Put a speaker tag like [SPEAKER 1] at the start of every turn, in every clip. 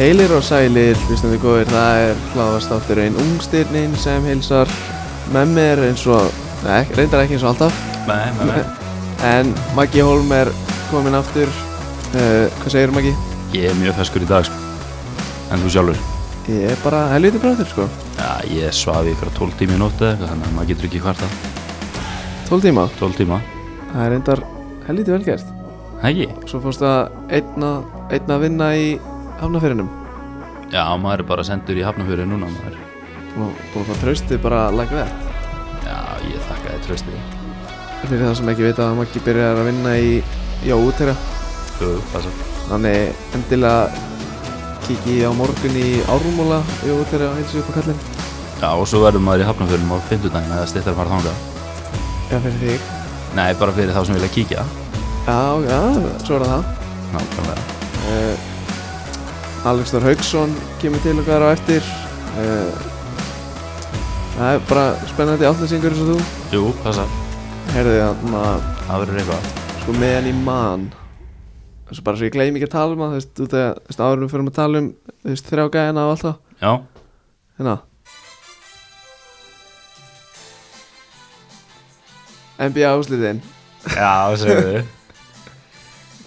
[SPEAKER 1] Heilir og sælir, hlustandi góðir, það er hláðastátturinn Ungstirnin sem hilsar með mér eins og, nei, reyndar ekki eins og alltaf
[SPEAKER 2] Nei, nei, nei.
[SPEAKER 1] En Maggi Holm er komin aftur, uh, hvað segir Maggi?
[SPEAKER 2] Ég er mjög feskur í dag sko. En þú sjálfur?
[SPEAKER 1] Ég er bara helviti bræður sko,
[SPEAKER 2] Já, ég svafi fyrir 12 tíma í nótt eða eitthvað Þannig að maður getur ekki hvarta
[SPEAKER 1] 12 tíma,
[SPEAKER 2] 12 tíma
[SPEAKER 1] það er reyndar helviti velgert
[SPEAKER 2] Ekki?
[SPEAKER 1] Svo fórstu að einna, einna að vinna í hafnafyrinum
[SPEAKER 2] Já, maður er bara sendur í hafnafjöru núna maður
[SPEAKER 1] Búin að- búin að fá traustið bara að lagga vett
[SPEAKER 2] Já, ég þakka þið tröstið
[SPEAKER 1] Fyrir það sem ekki vita að Maggi byrjar að vinna í, já, útera
[SPEAKER 2] Þú, passa
[SPEAKER 1] Þannig endilega kikið á morgun í Árumóla Jó, þegar að heilsa upp á kallinn
[SPEAKER 2] Já, og svo verður maður í hafnafjörunum á 50 daginn eða stittar fara þangað
[SPEAKER 1] Já, fyrir þig
[SPEAKER 2] Nei, bara fyrir þá sem vilja kíkja
[SPEAKER 1] Já, já, svo er það
[SPEAKER 2] Nákvæmlega
[SPEAKER 1] uh, Alex Þór Haugsson kemur til okkar á eftir uh, Það er bara spennandi átlýsingur eins og þú
[SPEAKER 2] Jú, passa
[SPEAKER 1] Herði þarna,
[SPEAKER 2] Það verður eitthvað
[SPEAKER 1] sko meðan í man Þessu bara svo ég gleymi ekki að tala um það Þú veist, út af- þú veist, áður en við fyrir að tala um Þú veist, þrjá gæðina og allt það
[SPEAKER 2] Já,
[SPEAKER 1] Hérna NBA úsliðin
[SPEAKER 2] já, segir þið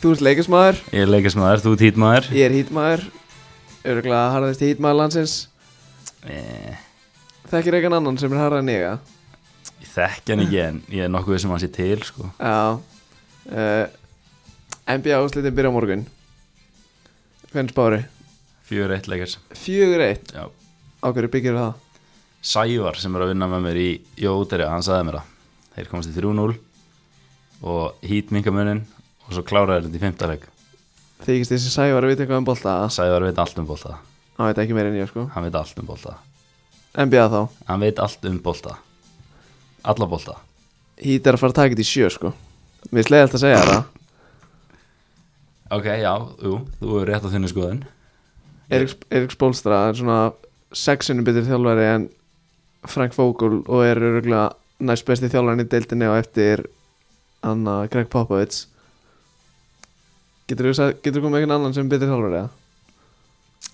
[SPEAKER 1] Þú ert leikismæður,
[SPEAKER 2] Ég er leikismæður, þú títmæður
[SPEAKER 1] ég er hítmæður Öruglega harðist hítmæður landsins
[SPEAKER 2] eh,
[SPEAKER 1] Þekkir eitthvað annan sem er harðan ég að
[SPEAKER 2] Ég þekki hann ekki en ég er nokkuð sem hann sé til sko.
[SPEAKER 1] Já Eh, uh, NBA úsliðin byrja á morgun Hvernig spári?
[SPEAKER 2] Fjör eitt leikars
[SPEAKER 1] 4-1
[SPEAKER 2] Já
[SPEAKER 1] Á hverju byggir það?
[SPEAKER 2] Sævar sem er að vinna með mér í Jóteri, hann sagði mér það þeir komast í 3-0 og hít minkamunin og svo kláraði þetta í fymtaleg
[SPEAKER 1] Þykist þessi sævar að vita eitthvað um bolta
[SPEAKER 2] Sævar veit allt um bolta,
[SPEAKER 1] Hann veit ekki meira en ég sko
[SPEAKER 2] hann veit allt um bolta
[SPEAKER 1] NBA þá
[SPEAKER 2] hann veit allt um bolta alla bolta
[SPEAKER 1] Hít er að fara að taka þetta í sjö sko Mér sleiði alltaf að segja það
[SPEAKER 2] ok, já, jú, þú er rétt á þinni skoðun
[SPEAKER 1] Eriks, Eriks Bólstra er svona sexinu betur þjálfari en Frank Vogel og er öruglega næst besti þjálfarin í deildinni og eftir Anna Greg Popovits Getur þú komið með einhvern annan sem betur þjálfari eða?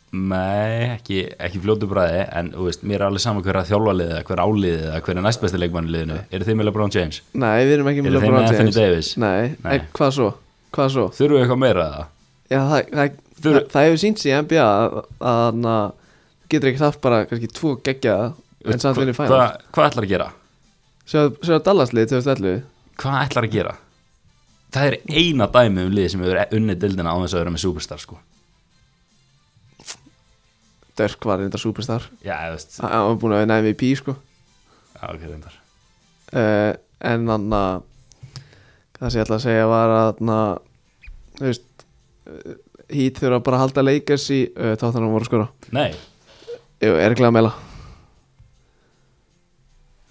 [SPEAKER 2] nei, ekki, ekki fljótu bræði en þú veist, mér er alveg saman hver að þjálfa liðið eða hver áliðið eða hver er næst besti leikmann í liðinu eru þið með LeBron James?
[SPEAKER 1] Nei, við erum ekki
[SPEAKER 2] eru þið
[SPEAKER 1] LeBron
[SPEAKER 2] með Anthony
[SPEAKER 1] James.
[SPEAKER 2] Davis?
[SPEAKER 1] Nei,
[SPEAKER 2] Nei.
[SPEAKER 1] En, hvað svo? Hvað svo?
[SPEAKER 2] þurfum við eitthvað meira að það?
[SPEAKER 1] Já, það, það,
[SPEAKER 2] Þú-
[SPEAKER 1] það, það hefur sínt sér í NBA að- að hann að getur ekki haft bara kannski tvo geggja en samt vinni
[SPEAKER 2] Hva,
[SPEAKER 1] fæna
[SPEAKER 2] hvað ætlar að gera?
[SPEAKER 1] Sjá að Dallas lið 2011
[SPEAKER 2] hvað ætlar að gera? Það er eina dæmi um lið sem hefur unnið dildina á þess að vera með superstar sko.
[SPEAKER 1] Dörk var þetta superstar
[SPEAKER 2] Já, ég veist Já,
[SPEAKER 1] hann var búin að vinna MVP sko
[SPEAKER 2] ok, reyndar
[SPEAKER 1] uh, en hann að það sem ég ætla að segja var að na, þú veist hít þurfa bara að halda leikas í uh, tóttanum voru skora
[SPEAKER 2] Nei,
[SPEAKER 1] Jú, er ekki að meila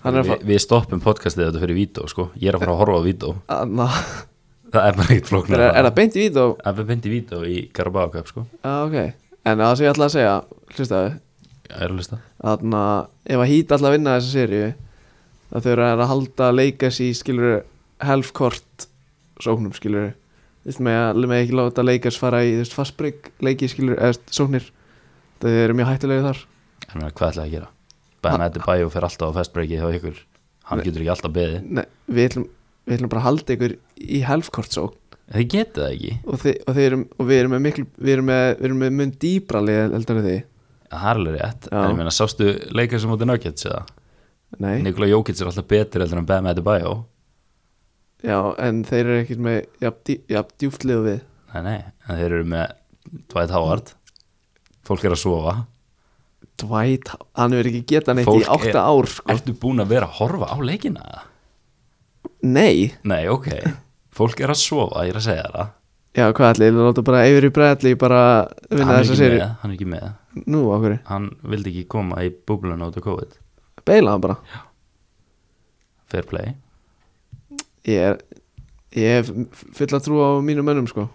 [SPEAKER 1] hann er að
[SPEAKER 2] vi, við stoppum podcastið þetta fyrir Vító sko. Ég er að fara að horfa á Vító
[SPEAKER 1] fá na,
[SPEAKER 2] Það er bara ekkert flóknar
[SPEAKER 1] er, er það beint í vít og
[SPEAKER 2] Það er beint í Vító í Carabao Cup sko.
[SPEAKER 1] já, ok, en það sem ég ætla að segja hlustaðu,
[SPEAKER 2] Já, ég er að lista
[SPEAKER 1] þannig að ef að hít alltaf vinna þessa seríu það þurfa að halda leikas í skilur half-court sóknum skilur þú veist með að með ekki láta leikas fara í þú veist fastbreak leiki skilur eða þú veist, sóknir það eru mjög hættulegi þar
[SPEAKER 2] En hvað ætlar að gera? Bæðan ætti bæju og fer alltaf á fastbreakið hjá ykkur Hann getur ekki alltaf beðið
[SPEAKER 1] Nei, við, ætlum, við ætlum bara að halda ykkur í half-court sókn
[SPEAKER 2] Þið getur það ekki
[SPEAKER 1] og, þið, og, þið erum, og við erum með miklu við erum með, við erum með mun dýbra lið heldur en þið
[SPEAKER 2] Það er alveg rétt
[SPEAKER 1] Já.
[SPEAKER 2] En ég meina, sástu leikar sem átti Nuggets eða?
[SPEAKER 1] Nei,
[SPEAKER 2] Nikola Jókits er alltaf betur heldur en Bam Adebayo
[SPEAKER 1] já, en þeir eru ekkert með jafn, dý, jafn djúft lið og við
[SPEAKER 2] Nei, nei, en þeir eru með Dwight Howard Fólk er að sofa
[SPEAKER 1] Dwight, hann verður ekki geta neitt í
[SPEAKER 2] Fólk er-
[SPEAKER 1] 8 ár sko.
[SPEAKER 2] Ertu búin að vera að horfa á leikina? eða?
[SPEAKER 1] Nei
[SPEAKER 2] Nei, ok Fólk er að sofa, ég er að segja þér það
[SPEAKER 1] Já, hvað allir, þú láta bara Eivir í bræðli bara
[SPEAKER 2] Hann
[SPEAKER 1] vinna
[SPEAKER 2] er
[SPEAKER 1] þessa
[SPEAKER 2] ekki
[SPEAKER 1] séri
[SPEAKER 2] með, hann er ekki með
[SPEAKER 1] Nú, á hverju,
[SPEAKER 2] Hann vildi ekki koma í búbluna út af COVID
[SPEAKER 1] beila hann bara
[SPEAKER 2] Fair play
[SPEAKER 1] Ég er, ég hef full að trú á mínum mönnum, sko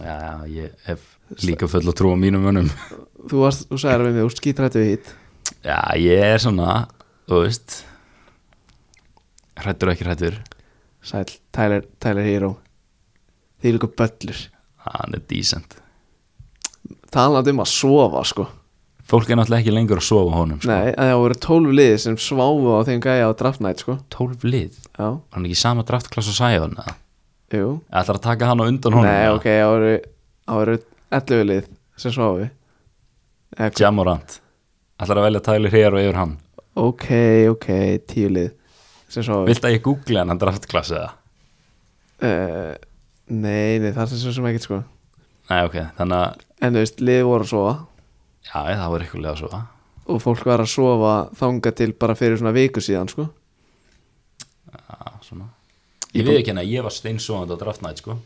[SPEAKER 2] Já, já, ég hef líka full að trúa mínum önum
[SPEAKER 1] Þú varst, þú sagði við mig, úr skítrættu við hitt
[SPEAKER 2] Já, ég er svona, þú veist Hrættur og ekki hrættur
[SPEAKER 1] Sæl, Tyler, Tyler Hero Þið er líka böllur
[SPEAKER 2] Hann er decent
[SPEAKER 1] talandi um að sofa sko
[SPEAKER 2] Fólk er náttúrulega ekki lengur að sofa á honum sko.
[SPEAKER 1] Nei, að það voru tólf liði sem sváfu á þeim gæja á draft night sko
[SPEAKER 2] 12 lið,
[SPEAKER 1] Já,
[SPEAKER 2] var hann ekki í sama draftklass og Sæjón eða?
[SPEAKER 1] jú
[SPEAKER 2] Ætlar að taka hann á undan honum
[SPEAKER 1] Nei,
[SPEAKER 2] eða?
[SPEAKER 1] ok, það voru, það voru 11 lið sem sváfu Eða hvað-
[SPEAKER 2] Jamorant Ætlar að velja Tyler Hare og yfir hann
[SPEAKER 1] Ok, ok, 10 lið sem sváfu
[SPEAKER 2] Vilt að ég googli hann hann draftklass eða?
[SPEAKER 1] uh, Nei, nei, það er svo sem ekkert sko
[SPEAKER 2] Nei, ok, þannig að
[SPEAKER 1] En þú veist, lið voru að sofa
[SPEAKER 2] Já, það var eitthvað lega að sofa
[SPEAKER 1] og fólk var að sofa þanga til bara fyrir svona viku síðan sko
[SPEAKER 2] Já, svona Ég við ekki hérna, ég var steinsóðand á draft night sko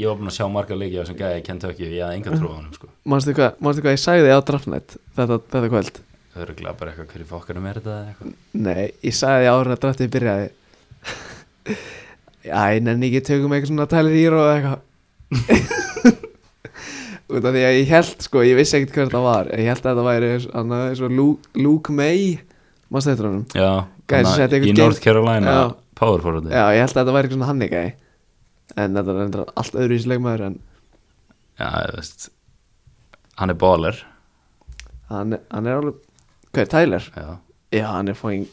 [SPEAKER 2] Ég var búinn að sjá marga leikja sem gæði Kentucky og ég hafði enga trú á honum sko
[SPEAKER 1] Manstu hvað, manstu hvað ég sagði á draftnætt þetta, þetta kvöld?
[SPEAKER 2] Örgulega bara eitthvað hverju fokkarum er þetta eða eitthvað
[SPEAKER 1] Nei, ég sagði ára að draftið byrjaði Æ, nenni ekki tökum eitthvað svona tælir ír og eitthvað Út af því að ég held sko, ég vissi ekkert hver þetta var Ég held að þetta væri annað, svo Luke, Luke May Manstu þetta honum?
[SPEAKER 2] Já,
[SPEAKER 1] Gæði sem
[SPEAKER 2] þannig
[SPEAKER 1] setti
[SPEAKER 2] að í
[SPEAKER 1] einhvern
[SPEAKER 2] North
[SPEAKER 1] game-
[SPEAKER 2] Carolina
[SPEAKER 1] Já.
[SPEAKER 2] Power forwardi
[SPEAKER 1] Já, ég held að þetta væri eitthvað svona hann ekki En þetta er reyndar allt öðru í slegmaður En
[SPEAKER 2] Já, þú veist Hann er baller
[SPEAKER 1] hann, hann er alveg, hvað er Tyler?
[SPEAKER 2] Já
[SPEAKER 1] Já, hann er fóin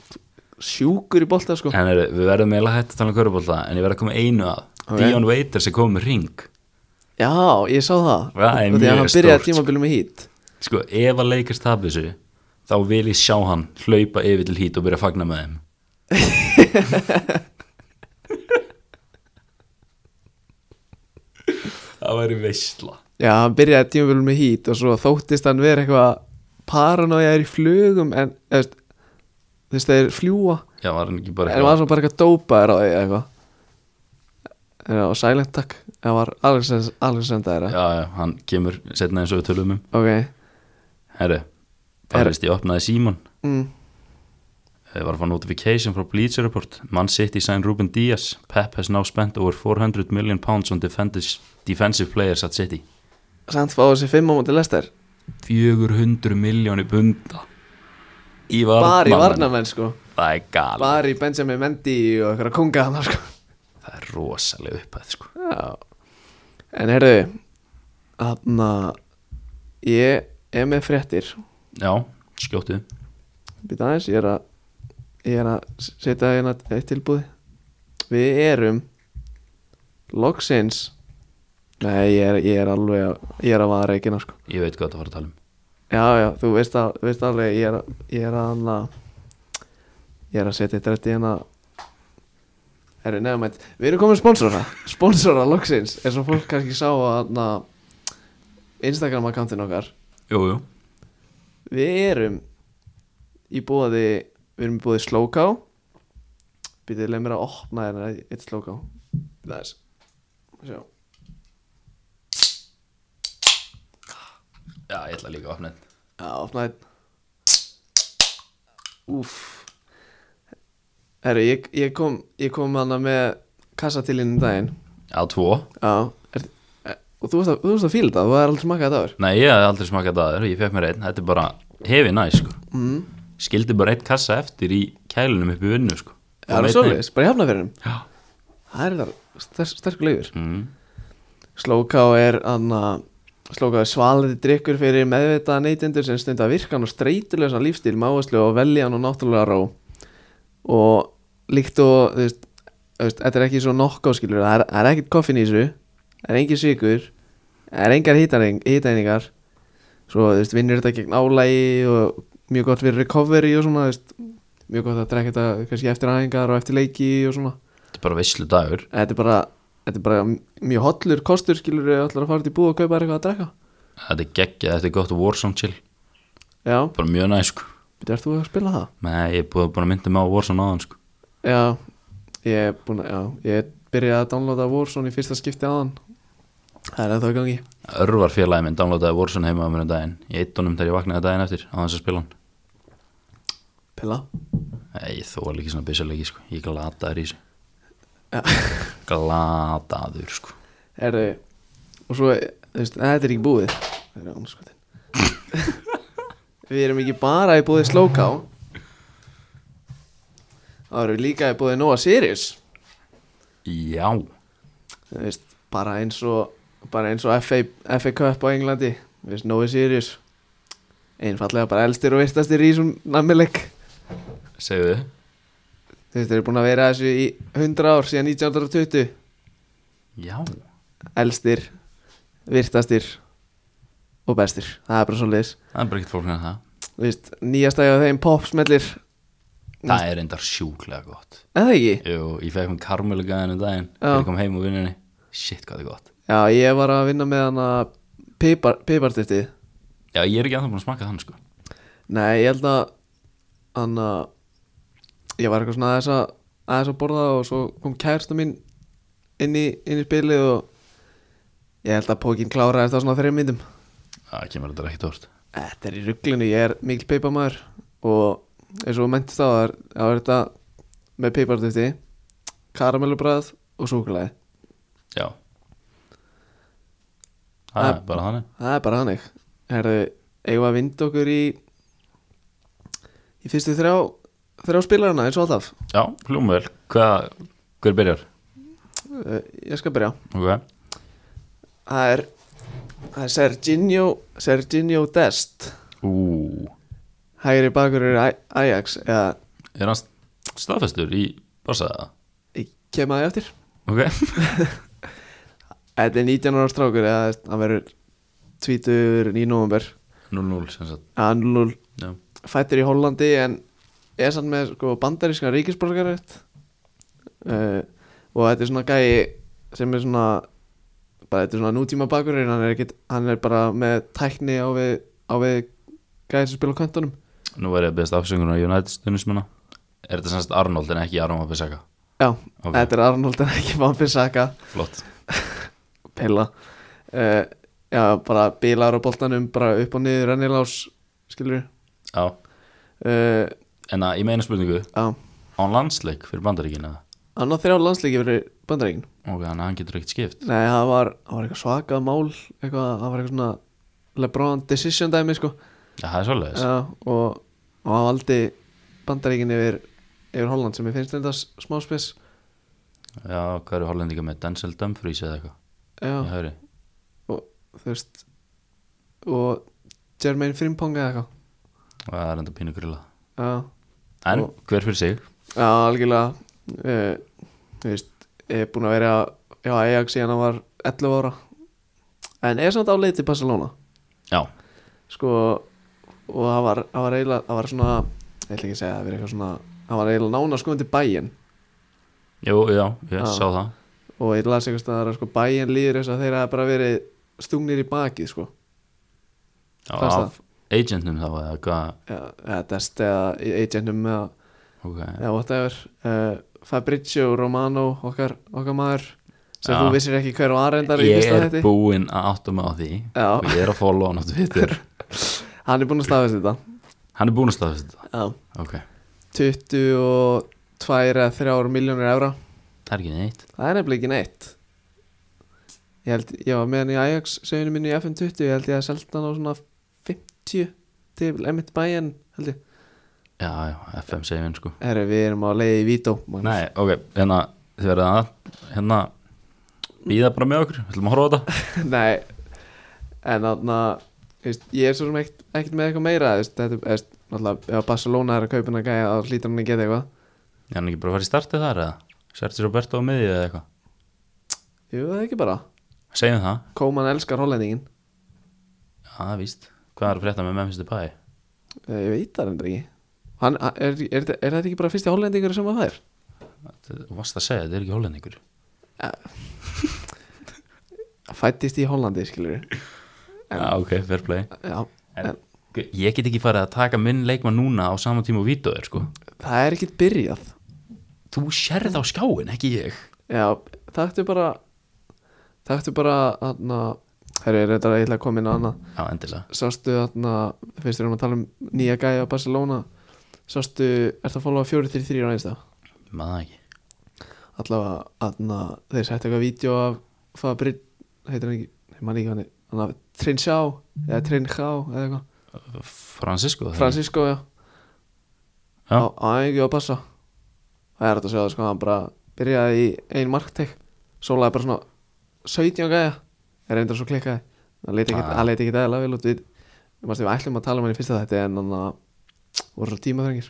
[SPEAKER 1] sjúkur í bolta sko
[SPEAKER 2] En er, við verðum eiginlega hægt að tala um körubólta En ég verð að koma einu að
[SPEAKER 1] Ok.
[SPEAKER 2] Dion Waiters er komið með ring
[SPEAKER 1] Já, ég sá það
[SPEAKER 2] Það er
[SPEAKER 1] Og Því
[SPEAKER 2] mjög
[SPEAKER 1] að hann byrjaði
[SPEAKER 2] stórt,
[SPEAKER 1] tímabilið með hít
[SPEAKER 2] Sko, ef að leikast tapir þessu Þá vil ég sjá hann hlaupa yfir til hít og byrja að fagna með þeim Það væri veistla
[SPEAKER 1] Já, hann byrjaði tímabilið með hít Og svo þóttist hann vera eitthvað Paranoiaður í flugum En þú veist, þú veist þeir fljúa
[SPEAKER 2] Já, var hann ekki bara
[SPEAKER 1] En var svo bara eitthvað dópaður á því eða eitthvað Já, og Silent Tag Það var Alexander, Alexander eða?
[SPEAKER 2] Já, já, hann kemur setna eins og við tölum um
[SPEAKER 1] Ok
[SPEAKER 2] Herru,
[SPEAKER 1] Herru.
[SPEAKER 2] bara veist ég opnaði síman
[SPEAKER 1] mm.
[SPEAKER 2] Það Eh, var að fá notification frá Bleacher Report Man City signed Ruben Diaz Pep has now spent over 400 million pounds on defendis- defensive players at City
[SPEAKER 1] Samt fáið sér fimm á móti lestir
[SPEAKER 2] 400 miljónir bunda í
[SPEAKER 1] Bara í
[SPEAKER 2] varnamenn
[SPEAKER 1] varnamenn sko
[SPEAKER 2] það er gali
[SPEAKER 1] Bara í Benjamin Mendy og eitthvað konga hann sko
[SPEAKER 2] það er rosalega upphæð sko.
[SPEAKER 1] Já En heyrðu Þarna Ég er með fréttir
[SPEAKER 2] já, skjóttu
[SPEAKER 1] Býta aðeins, ég er að Ég er að setja hérna eitt tilbúð Við erum Loksins Nei, ég er, ég er alveg að, Ég er að vara reikina sko
[SPEAKER 2] ég veit hvað það var að tala um
[SPEAKER 1] Já, já, þú veist, að, veist alveg Ég er að Ég er að, að, ég er að setja eitt rætti hérna Herru, nefnum eitt Við erum komin með sponsora Sponsora loksins Er svo fólk kannski sá að na, Instagram akkantinn okkar
[SPEAKER 2] jú, jú.
[SPEAKER 1] Við erum í bóði Við erum í bóði Slowká Býtið leið mér að opna þérna eitt Slowká Það er Sjá
[SPEAKER 2] já, ég ætla líka að opna þetta
[SPEAKER 1] Já, opna þérna Úff Herru, ég, ég kom Ég kom hana með kassa til inn í daginn
[SPEAKER 2] á tvo,
[SPEAKER 1] Já er, er, Og þú veist að, þú veist að fíla þetta Þú er aldrei smakað þetta áður
[SPEAKER 2] nei ég hef aldrei smakað það aður ég fekk mér einn, þetta er bara hefi næ sko.
[SPEAKER 1] mm.
[SPEAKER 2] skildi bara einn kassa eftir í kælunum upp í vinnu sko.
[SPEAKER 1] Það er
[SPEAKER 2] Fór með einn
[SPEAKER 1] svoleiðis, bara í hafnafyrinum
[SPEAKER 2] einn. Já.
[SPEAKER 1] Það er það ster, sterkur leigur
[SPEAKER 2] mm.
[SPEAKER 1] Slóká er anna, Slóká er svalandi drikkur fyrir meðvitaða neytendur sem stunda virkan og streytulösa lífstíl máðslu og veljan og náttúrulega ró og líkt og þú veist, þú veist, þetta er ekki svo nokká skilur það er, það er ekkert koffin í þessu það er engin sykur það er engar hitaeining- hitaeiningar svo þú veist, vinnur þetta gegn álægi og mjög gott fyrir recovery og svona þú veist, mjög gott að drekka þetta kannski eftir aðingar og eftir leiki og svona
[SPEAKER 2] þetta er bara veislu dagur
[SPEAKER 1] þetta er bara, þetta er bara mjög hollur kostur skilur við allar að fara til búið og kaupa þér eitthvað að drekka
[SPEAKER 2] þetta er geggja, þetta er gott Warzone chill
[SPEAKER 1] já,
[SPEAKER 2] bara mjög næ sko.
[SPEAKER 1] betur ert þú að spila það?
[SPEAKER 2] Nei, ég er búin búin að mynda mig á Warzone áðan sko.
[SPEAKER 1] já, ég er búin að já, ég byrjaði að downloada Warzone í fyrsta skipti aðan það er ennþá í gangi
[SPEAKER 2] Örvar félagi minn downloadaði Warzone heima á mér um daginn Ég eitt honum þegar ég vaknaði daginn eftir á þess að spila hann
[SPEAKER 1] pilla
[SPEAKER 2] Nei, ég þóla ekki svona byssalegi sko Ég glataður í þessu
[SPEAKER 1] Ja.
[SPEAKER 2] Glataður sko
[SPEAKER 1] er og svo, þú veist, neða, þetta er ekki búið það er ánskotin við erum ekki bara í búið Slowcow þá erum við líka í búið Noah Sirius
[SPEAKER 2] Já
[SPEAKER 1] þú veist, bara eins og bara eins og FA, FA Cup á Englandi Við snóið Sirius Einfallega bara elstir og veistastir í svona nammileik
[SPEAKER 2] segðu þið
[SPEAKER 1] Þú veist, þeir eru búin að vera að þessu í 100 ár síðan 1920
[SPEAKER 2] Já,
[SPEAKER 1] Elstir, virtastir og bestir Það er bara svo leiðis
[SPEAKER 2] það er bara ekkert fólk með það
[SPEAKER 1] Þú veist, nýjastægja þeim popsmellir
[SPEAKER 2] Það er reyndar sjúklega gott
[SPEAKER 1] En það ekki?
[SPEAKER 2] Jú, ég fekk hún karmelugæðin um daginn
[SPEAKER 1] Já.
[SPEAKER 2] Þegar ég kom heim og vinninni Shit, hvað það er gott
[SPEAKER 1] Já, ég var að vinna með hana pipar, piparstiftið
[SPEAKER 2] Já, ég er ekki anþá búin að smaka þann sko
[SPEAKER 1] Nei, ég held að hann að ég var eitthvað svona aðeins að aðeins að borða og svo kom kærsta mín inn í, inn í spilið og ég held að pókin kláraðist á svona þreim myndum
[SPEAKER 2] Það kemur þetta ekki tórt
[SPEAKER 1] Þetta er í rugglinu, ég er mikil peipamæður og eins og mentist á það þá er þetta með peipartöfti karamellubræð og súkulæði
[SPEAKER 2] Já Það er
[SPEAKER 1] Það-
[SPEAKER 2] bara þannig
[SPEAKER 1] Það er bara hannig Herðu, eigum við að vinda okkur í í fyrstu þrjá þrjá spilarana eins og alltaf
[SPEAKER 2] Já, hljómavel Hvað, hver byrjar?
[SPEAKER 1] Uh, Ég skal byrja
[SPEAKER 2] Ok
[SPEAKER 1] Það er, það er Serginio, Serginio Dest
[SPEAKER 2] Ú,
[SPEAKER 1] Hægri bakur er Ajax eða
[SPEAKER 2] er hann st- staðfestur í Barsaða?
[SPEAKER 1] ég kem að ég eftir
[SPEAKER 2] Ok
[SPEAKER 1] Þetta er 19 ára strákur eða þú veist, hann verður 20 í november
[SPEAKER 2] 0-0 sem sagt
[SPEAKER 1] Hann
[SPEAKER 2] Já,
[SPEAKER 1] fættir í Hollandi en er samt með sko, bandarískan ríkisborgarætt uh, og þetta er svona gæi sem er svona bara þetta er svona nútíma bakur hann er, ekkit, hann er bara með tækni á við, á við gæi sem spila á köntunum
[SPEAKER 2] nú verður ég að beðast afsöngur á United stundismanna Er þetta sem sagt Arnold en ekki Arnold Bissaka?
[SPEAKER 1] Já,
[SPEAKER 2] Ok.
[SPEAKER 1] þetta er Arnold en ekki Van Bissaka
[SPEAKER 2] Flott
[SPEAKER 1] pilla uh, já, bara bílar á boltanum bara upp og niður rennilás skilur
[SPEAKER 2] Já,
[SPEAKER 1] uh,
[SPEAKER 2] en að ég meina spurningu
[SPEAKER 1] já,
[SPEAKER 2] á landsleik fyrir bandaríkina
[SPEAKER 1] hann á þrjá landsleiki fyrir bandaríkin
[SPEAKER 2] ok, þannig að hann getur ekkert skipt
[SPEAKER 1] nei, það var, það var eitthvað svakað mál eitthvað, það var eitthvað svona Lebron decision dæmi sko
[SPEAKER 2] já, það er svolítið
[SPEAKER 1] já, og, og hann valdi bandaríkin yfir, yfir Holland sem ég finnst þetta smáspis
[SPEAKER 2] já, hvað eru hollendinga með Denzel Dumfries eða eitthvað
[SPEAKER 1] já,
[SPEAKER 2] í hægri
[SPEAKER 1] þú veist og Jermaine Frimpong eða eitthvað
[SPEAKER 2] og það er enda pínu grilla
[SPEAKER 1] já
[SPEAKER 2] en
[SPEAKER 1] Og-
[SPEAKER 2] hver fyrir sig
[SPEAKER 1] Já, algjörlega uh, Þú veist, ég er búin að vera Já, Ajax síðan hann var 11 ára En er samt á leið til Barcelona
[SPEAKER 2] já,
[SPEAKER 1] Sko Og það var, það var eiginlega Það var svona, ég ætla ekki að segja það Það var eitthvað svona, það var eiginlega nána sko undir bæin
[SPEAKER 2] jú, já, ég
[SPEAKER 1] Já.
[SPEAKER 2] sá það
[SPEAKER 1] Og ég las eitthvað staðar að sko bæin líður þess að þeir hafa bara verið stungnir í bakið sko
[SPEAKER 2] já,
[SPEAKER 1] Fannst það?
[SPEAKER 2] af agentnum þá eða hvað
[SPEAKER 1] Já, eða Dest eða agentnum eða,
[SPEAKER 2] ok,
[SPEAKER 1] eða whatever uh, Fabrizio Romano okkar, okkar maður sem
[SPEAKER 2] Já.
[SPEAKER 1] þú vissir ekki hver var endar í
[SPEAKER 2] ég
[SPEAKER 1] fyrsta
[SPEAKER 2] er
[SPEAKER 1] þætti.
[SPEAKER 2] búinn að átta mig á því
[SPEAKER 1] Já.
[SPEAKER 2] og ég er að follow hann á Twitter
[SPEAKER 1] Hann er búin að staðast þetta
[SPEAKER 2] hann er búinn að staðfesta þetta
[SPEAKER 1] Já.
[SPEAKER 2] ok,
[SPEAKER 1] 22 eða 3 miljónir evra
[SPEAKER 2] það er ekki neitt
[SPEAKER 1] Það er nefnilega ekki neitt Ég held, ég var með hann í Ajax seginu minni í FM20, ég held ég að selta hann á svona 50 til Emmett Bayern held ég
[SPEAKER 2] já, já, FM segir sko
[SPEAKER 1] Herri, við erum á leiði í Vító Magnús.
[SPEAKER 2] Nei, ok, hérna þið verða að hérna býða bara með okkur, við ætlum að horfa á þetta
[SPEAKER 1] Nei En þarna, þú veist, ég er svo sem ekkert, ekkert með eitthvað meira þú veist, Þetta er, veist, náttúrulega, ef Barcelona er að kaupa hann að gæja þá hlýtur hann að geta eitthvað
[SPEAKER 2] ég hann ekki bara að fara í startið þar eða Sergi Roberto á miðju eða eitthvað
[SPEAKER 1] Jú, það er ekki bara
[SPEAKER 2] segjum það,
[SPEAKER 1] Kóman elskar hollendingin
[SPEAKER 2] já, það er víst hvað er að frétta með Memphis Depay
[SPEAKER 1] Eh, Ég veit það endur ekki Hann, er, er, er, er þetta ekki bara fyrsti hollendingur sem að það er?
[SPEAKER 2] Þetta- þú varst að segja, þetta er ekki hollendingur
[SPEAKER 1] Fættist í Hollandi, skilur
[SPEAKER 2] já, ok, fair play
[SPEAKER 1] Já,
[SPEAKER 2] en,
[SPEAKER 1] en-
[SPEAKER 2] ég get ekki farið að taka minn leikmann núna á sama tíma og vítóður, sko
[SPEAKER 1] það er ekkert byrjað
[SPEAKER 2] þú sérð á skjáin, ekki ég
[SPEAKER 1] Já, taktu bara Taktu bara, þarna Herru, ég reyndar að ég ætla að koma inn á annað
[SPEAKER 2] já, endilega,
[SPEAKER 1] Sástu, þarna, fyrst erum að tala um nýja gæja á Barcelona Sástu, ertu að fólu á 4-3-3 á einstaf
[SPEAKER 2] maður það ekki
[SPEAKER 1] Allavega, þarna, þeir sættu eitthvað vídeo af Fabrit, heitir hann ekki Ég man ekki hann, er- hann að Trinsjá Eða Trinjá, eða eitthvað
[SPEAKER 2] Francisco, það er-
[SPEAKER 1] Francisco, já
[SPEAKER 2] Já.
[SPEAKER 1] Á aðeins og passa Það er þetta að segja það sko Hann bara byrjaði í ein marktek Sólaði bara svona 17 gæja Er reyndar svo klikkaði Það leiti ekkit,
[SPEAKER 2] Ah.
[SPEAKER 1] ah. leit ekkit eðla vel út við Ég mannst við ætlum að tala um hann í fyrsta þetta En hann að voru svo tímaþrengir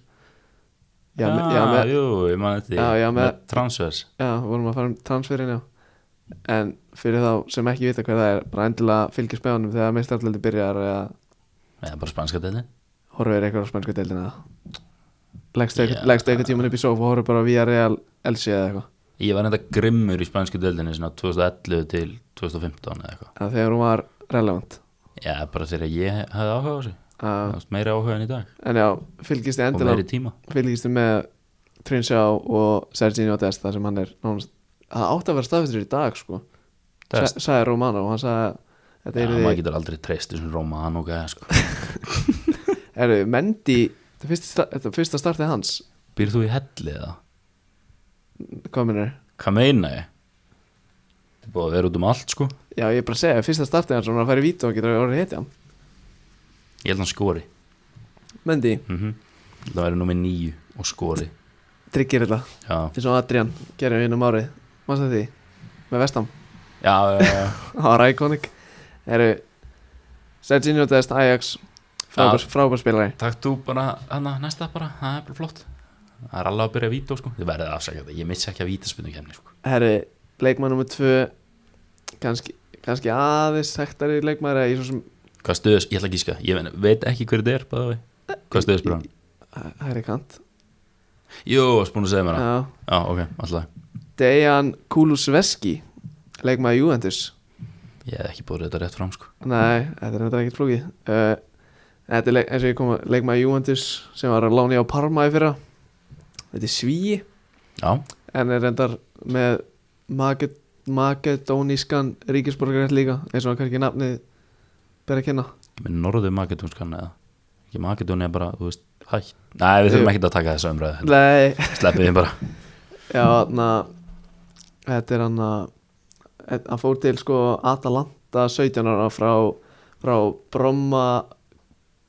[SPEAKER 1] Já, já, já,
[SPEAKER 2] ah,
[SPEAKER 1] með,
[SPEAKER 2] jú, ég man þetta
[SPEAKER 1] Já, já,
[SPEAKER 2] með
[SPEAKER 1] með-
[SPEAKER 2] transfers
[SPEAKER 1] já, vorum að fara um transferin já En fyrir þá sem ekki vita hvað það er Bara endilega fylgjast með honum þegar meistarallöldi byrjar Eða
[SPEAKER 2] eða bara spænska deildi
[SPEAKER 1] horfir eitthvað á spænsku deildina Leggstu
[SPEAKER 2] Já.
[SPEAKER 1] eitthvað yeah. tíman upp í sofa og horfir bara via Real LC eða eitthvað
[SPEAKER 2] ég var enda grimmur í spænsku deildinni svona 2011 til 2015 eða eitthvað
[SPEAKER 1] En þegar hún var relevant
[SPEAKER 2] já, bara þegar ég hafði áhuga á þessu
[SPEAKER 1] uh,
[SPEAKER 2] Þú veist, meira áhuga en í dag
[SPEAKER 1] En já, fylgist þið
[SPEAKER 2] og
[SPEAKER 1] endilega
[SPEAKER 2] meiri tíma
[SPEAKER 1] fylgistu með Trinsjá og Serginio Dest þar sem hann er nánast, það átti að vera staðfistur í dag sko,
[SPEAKER 2] Dest.
[SPEAKER 1] Sa- sagði Romano og hann sagði að
[SPEAKER 2] Já,
[SPEAKER 1] þetta
[SPEAKER 2] maður
[SPEAKER 1] eru því,
[SPEAKER 2] getur aldrei treyst þessum Romano gæja sko.
[SPEAKER 1] eru Mendy þetta fyrsta, sta- þetta fyrsta startið hans
[SPEAKER 2] Býr þú í helli eða?
[SPEAKER 1] hvað minnir,
[SPEAKER 2] Hvað meina ég? Það er búið að vera út um allt sko
[SPEAKER 1] já ég er bara að segja fyrsta startið hans, hann var að fara í vítu og getur að vera hetja hann
[SPEAKER 2] Ég held hann skori
[SPEAKER 1] Mendy,
[SPEAKER 2] mm Það væri nummer nýju og skori
[SPEAKER 1] tryggir þetta
[SPEAKER 2] Já,
[SPEAKER 1] eins og Adrian gerir einum árið mannstu því, með Vestam
[SPEAKER 2] já, já, já, já.
[SPEAKER 1] það var iconic eru Serginio Dest, Ajax frábær, frábær spilari
[SPEAKER 2] Takk þú bara hana, næsta bara, það er bara flott Það er alveg að byrja að víta sko Þið verðið að afsaka þetta, ég missi ekki að víta spilnum kemni sko
[SPEAKER 1] herri, leikmann nummer 2 kannski, kannski aðeins hektari leikmaður eða í svo sem
[SPEAKER 2] Hvað stöðus, ég ætla ekki sko, ég veit- veit ekki hver þetta er bæði við Hvað stöðus bara hann?
[SPEAKER 1] hæri kant
[SPEAKER 2] Jú, varst búin að segja mér það
[SPEAKER 1] Já.
[SPEAKER 2] Já, ok, alltaf
[SPEAKER 1] Dejan Kulusveski leikmaður Juventus
[SPEAKER 2] Ég hef ekki búið þetta rétt fram sko
[SPEAKER 1] nei, þetta er þetta ekkert flókið uh, þetta er leik, eins og ég kom að leikmaður Juventus sem var að lána á Parma í fyrra þetta er svíi
[SPEAKER 2] Já,
[SPEAKER 1] en er reyndar með Maket- makedónískan ríkisborgarætt líka eins og hann kannski nafnið ber að kynna
[SPEAKER 2] með norðu makedónskan eða ekki makedóni bara, þú veist, hætt Nei, við þurfum ekkert að taka þessa umræðu
[SPEAKER 1] nei,
[SPEAKER 2] Sleppið þið bara
[SPEAKER 1] Já, na, þetta er hann að hann fór til sko Atalanta 17 ára frá, frá Bromma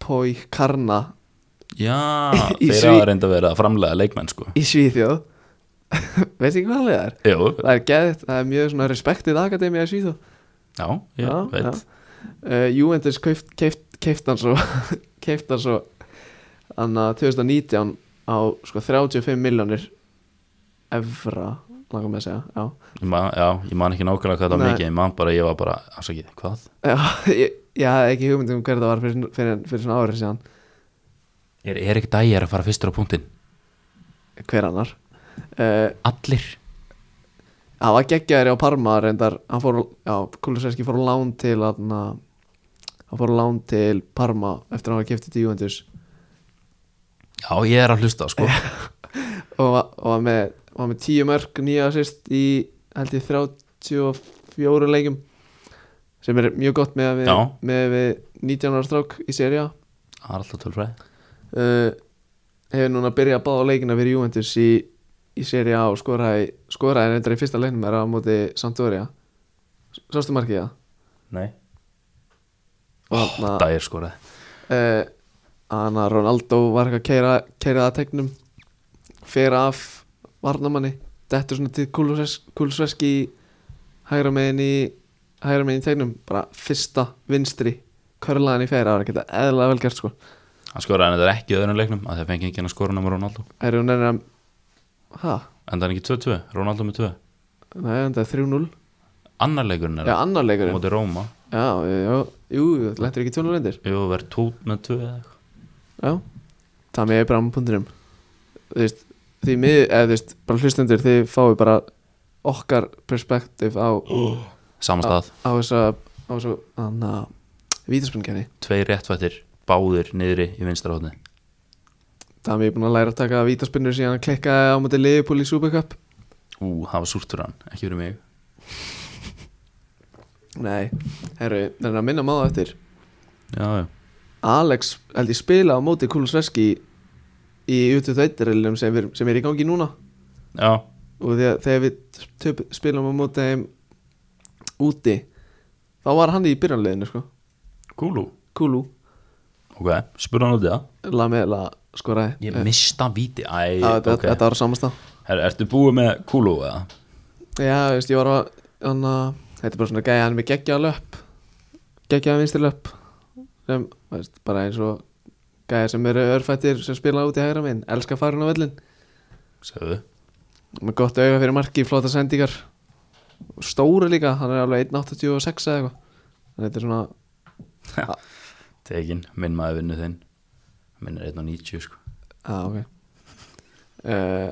[SPEAKER 1] Poikarna
[SPEAKER 2] Já,
[SPEAKER 1] Í
[SPEAKER 2] þeir
[SPEAKER 1] Sví-
[SPEAKER 2] hafa reynda að vera að framlega leikmenn sko
[SPEAKER 1] í Svíþjóð Veist ekki hvað það er?
[SPEAKER 2] Jú,
[SPEAKER 1] Það er geðið, það er mjög svona respektið akademið í Svíþjóð
[SPEAKER 2] já, ég veit
[SPEAKER 1] Uh, Juventus keift, keift, keift hann svo keift hann svo hann að 2019 á sko 35 miljónir evra, langar mig að segja já
[SPEAKER 2] Ég man, já, ég man ekki nákvæmlega hvað það var
[SPEAKER 1] Nei.
[SPEAKER 2] mikið Ég man bara, ég var bara, afsakið, hvað?
[SPEAKER 1] Já, ég, ég hafði ekki hugmynd um hverða var fyrir, fyrir, fyrir svona árið síðan
[SPEAKER 2] Er, er ekki dægir að fara fyrstur á punktin?
[SPEAKER 1] Hver annar uh,
[SPEAKER 2] Allir
[SPEAKER 1] Hann var geggjaðir á Parma reyndar Hann fór, á- já, Kulusevski fór á lán til hann Hann fór á lán til Parma eftir að hann var kiftið til Juventus
[SPEAKER 2] Já, ég er að hlusta, sko
[SPEAKER 1] og var, og var með, var með tíu mörg nýja assist í held ég 34 leikum sem er mjög gott með að við,
[SPEAKER 2] Já.
[SPEAKER 1] með að við 19 ára strák í seria
[SPEAKER 2] Það er alltaf tölfræð
[SPEAKER 1] uh, hefur núna byrjað að báða leikina fyrir Juventus í, í seri A og skoraði, skoraði reyndar í fyrsta leiknum þeirra á móti Sampdoria Sástu markið það?
[SPEAKER 2] Nei
[SPEAKER 1] Og hann
[SPEAKER 2] Dægir skoraði
[SPEAKER 1] uh, hann að Ronaldo var eitthvað að keira, keira það að tegnum fer af varnamanni dettur svona til Kulusveski hægra megin í hægra megin í tegnum, bara fyrsta vinstri, körlaðan í færa það var ekki þetta eðlilega vel gert sko
[SPEAKER 2] Hann skoraði en þetta er ekki í öðrum leiknum að það fengi enginn að skora nema Ronaldo
[SPEAKER 1] er hún enn að hæ,
[SPEAKER 2] En það er ekki 2-2, Ronaldo með 2
[SPEAKER 1] nei, þetta er 3-0
[SPEAKER 2] Annar leikurinn er
[SPEAKER 1] Já, annar
[SPEAKER 2] á
[SPEAKER 1] leikurinn
[SPEAKER 2] móti Róma
[SPEAKER 1] Já, já, jú, þetta lendir ekki tjónu reyndir
[SPEAKER 2] Jú, verð tút með 2 eða eitthvað
[SPEAKER 1] Já, það með bram.rum Þú veist, því miður, eða þú veist, bara hlustendur Þið fáið bara okkar perspektíf á,
[SPEAKER 2] Saman stað,
[SPEAKER 1] á þessa, á þessa, þannig að Vítaspunnkjarni,
[SPEAKER 2] tvei réttfættir, báðir niðri í vinstra hóðni
[SPEAKER 1] það með ég búin að læra að taka vítaspinnur síðan að klikkaði á móti Liverpool í Super Cup
[SPEAKER 2] Ú, það var súrt fyrir hann, ekki fyrir mig
[SPEAKER 1] Nei, herru, þannig að minna maður eftir
[SPEAKER 2] Já, já,
[SPEAKER 1] Alex, held ég spila á móti Kulusveski í U21-reilum sem, við- sem er í gangi núna
[SPEAKER 2] já,
[SPEAKER 1] og þegar, þegar við töp, spilum á móti þeim úti þá var hann í byrjanleginu sko
[SPEAKER 2] kúlú
[SPEAKER 1] Kulu,
[SPEAKER 2] Ok, spurðu hann út í það
[SPEAKER 1] Lamela skoraði
[SPEAKER 2] Ég
[SPEAKER 1] Eh,
[SPEAKER 2] mista víti
[SPEAKER 1] það-
[SPEAKER 2] Æ,
[SPEAKER 1] þetta,
[SPEAKER 2] ok
[SPEAKER 1] þetta var samasta
[SPEAKER 2] Her, Ertu búið með kúlu eða?
[SPEAKER 1] Já, þú veist, ég var að hann að- þetta er bara svona gæja hann er með geggja löp geggjaða vinstilöpp sem, veist, bara eins og gæðir sem eru örfættir sem spila út í hægra minn, elska farin á vellin
[SPEAKER 2] segðu
[SPEAKER 1] með gott auga fyrir marki, flóta sendingar Og stóru líka, hann er alveg 1.86 eða eitthvað þannig að þetta er svona,
[SPEAKER 2] tekin, minn maður vinnu þinn minn er 1.90 sko
[SPEAKER 1] að Ah, ok uh,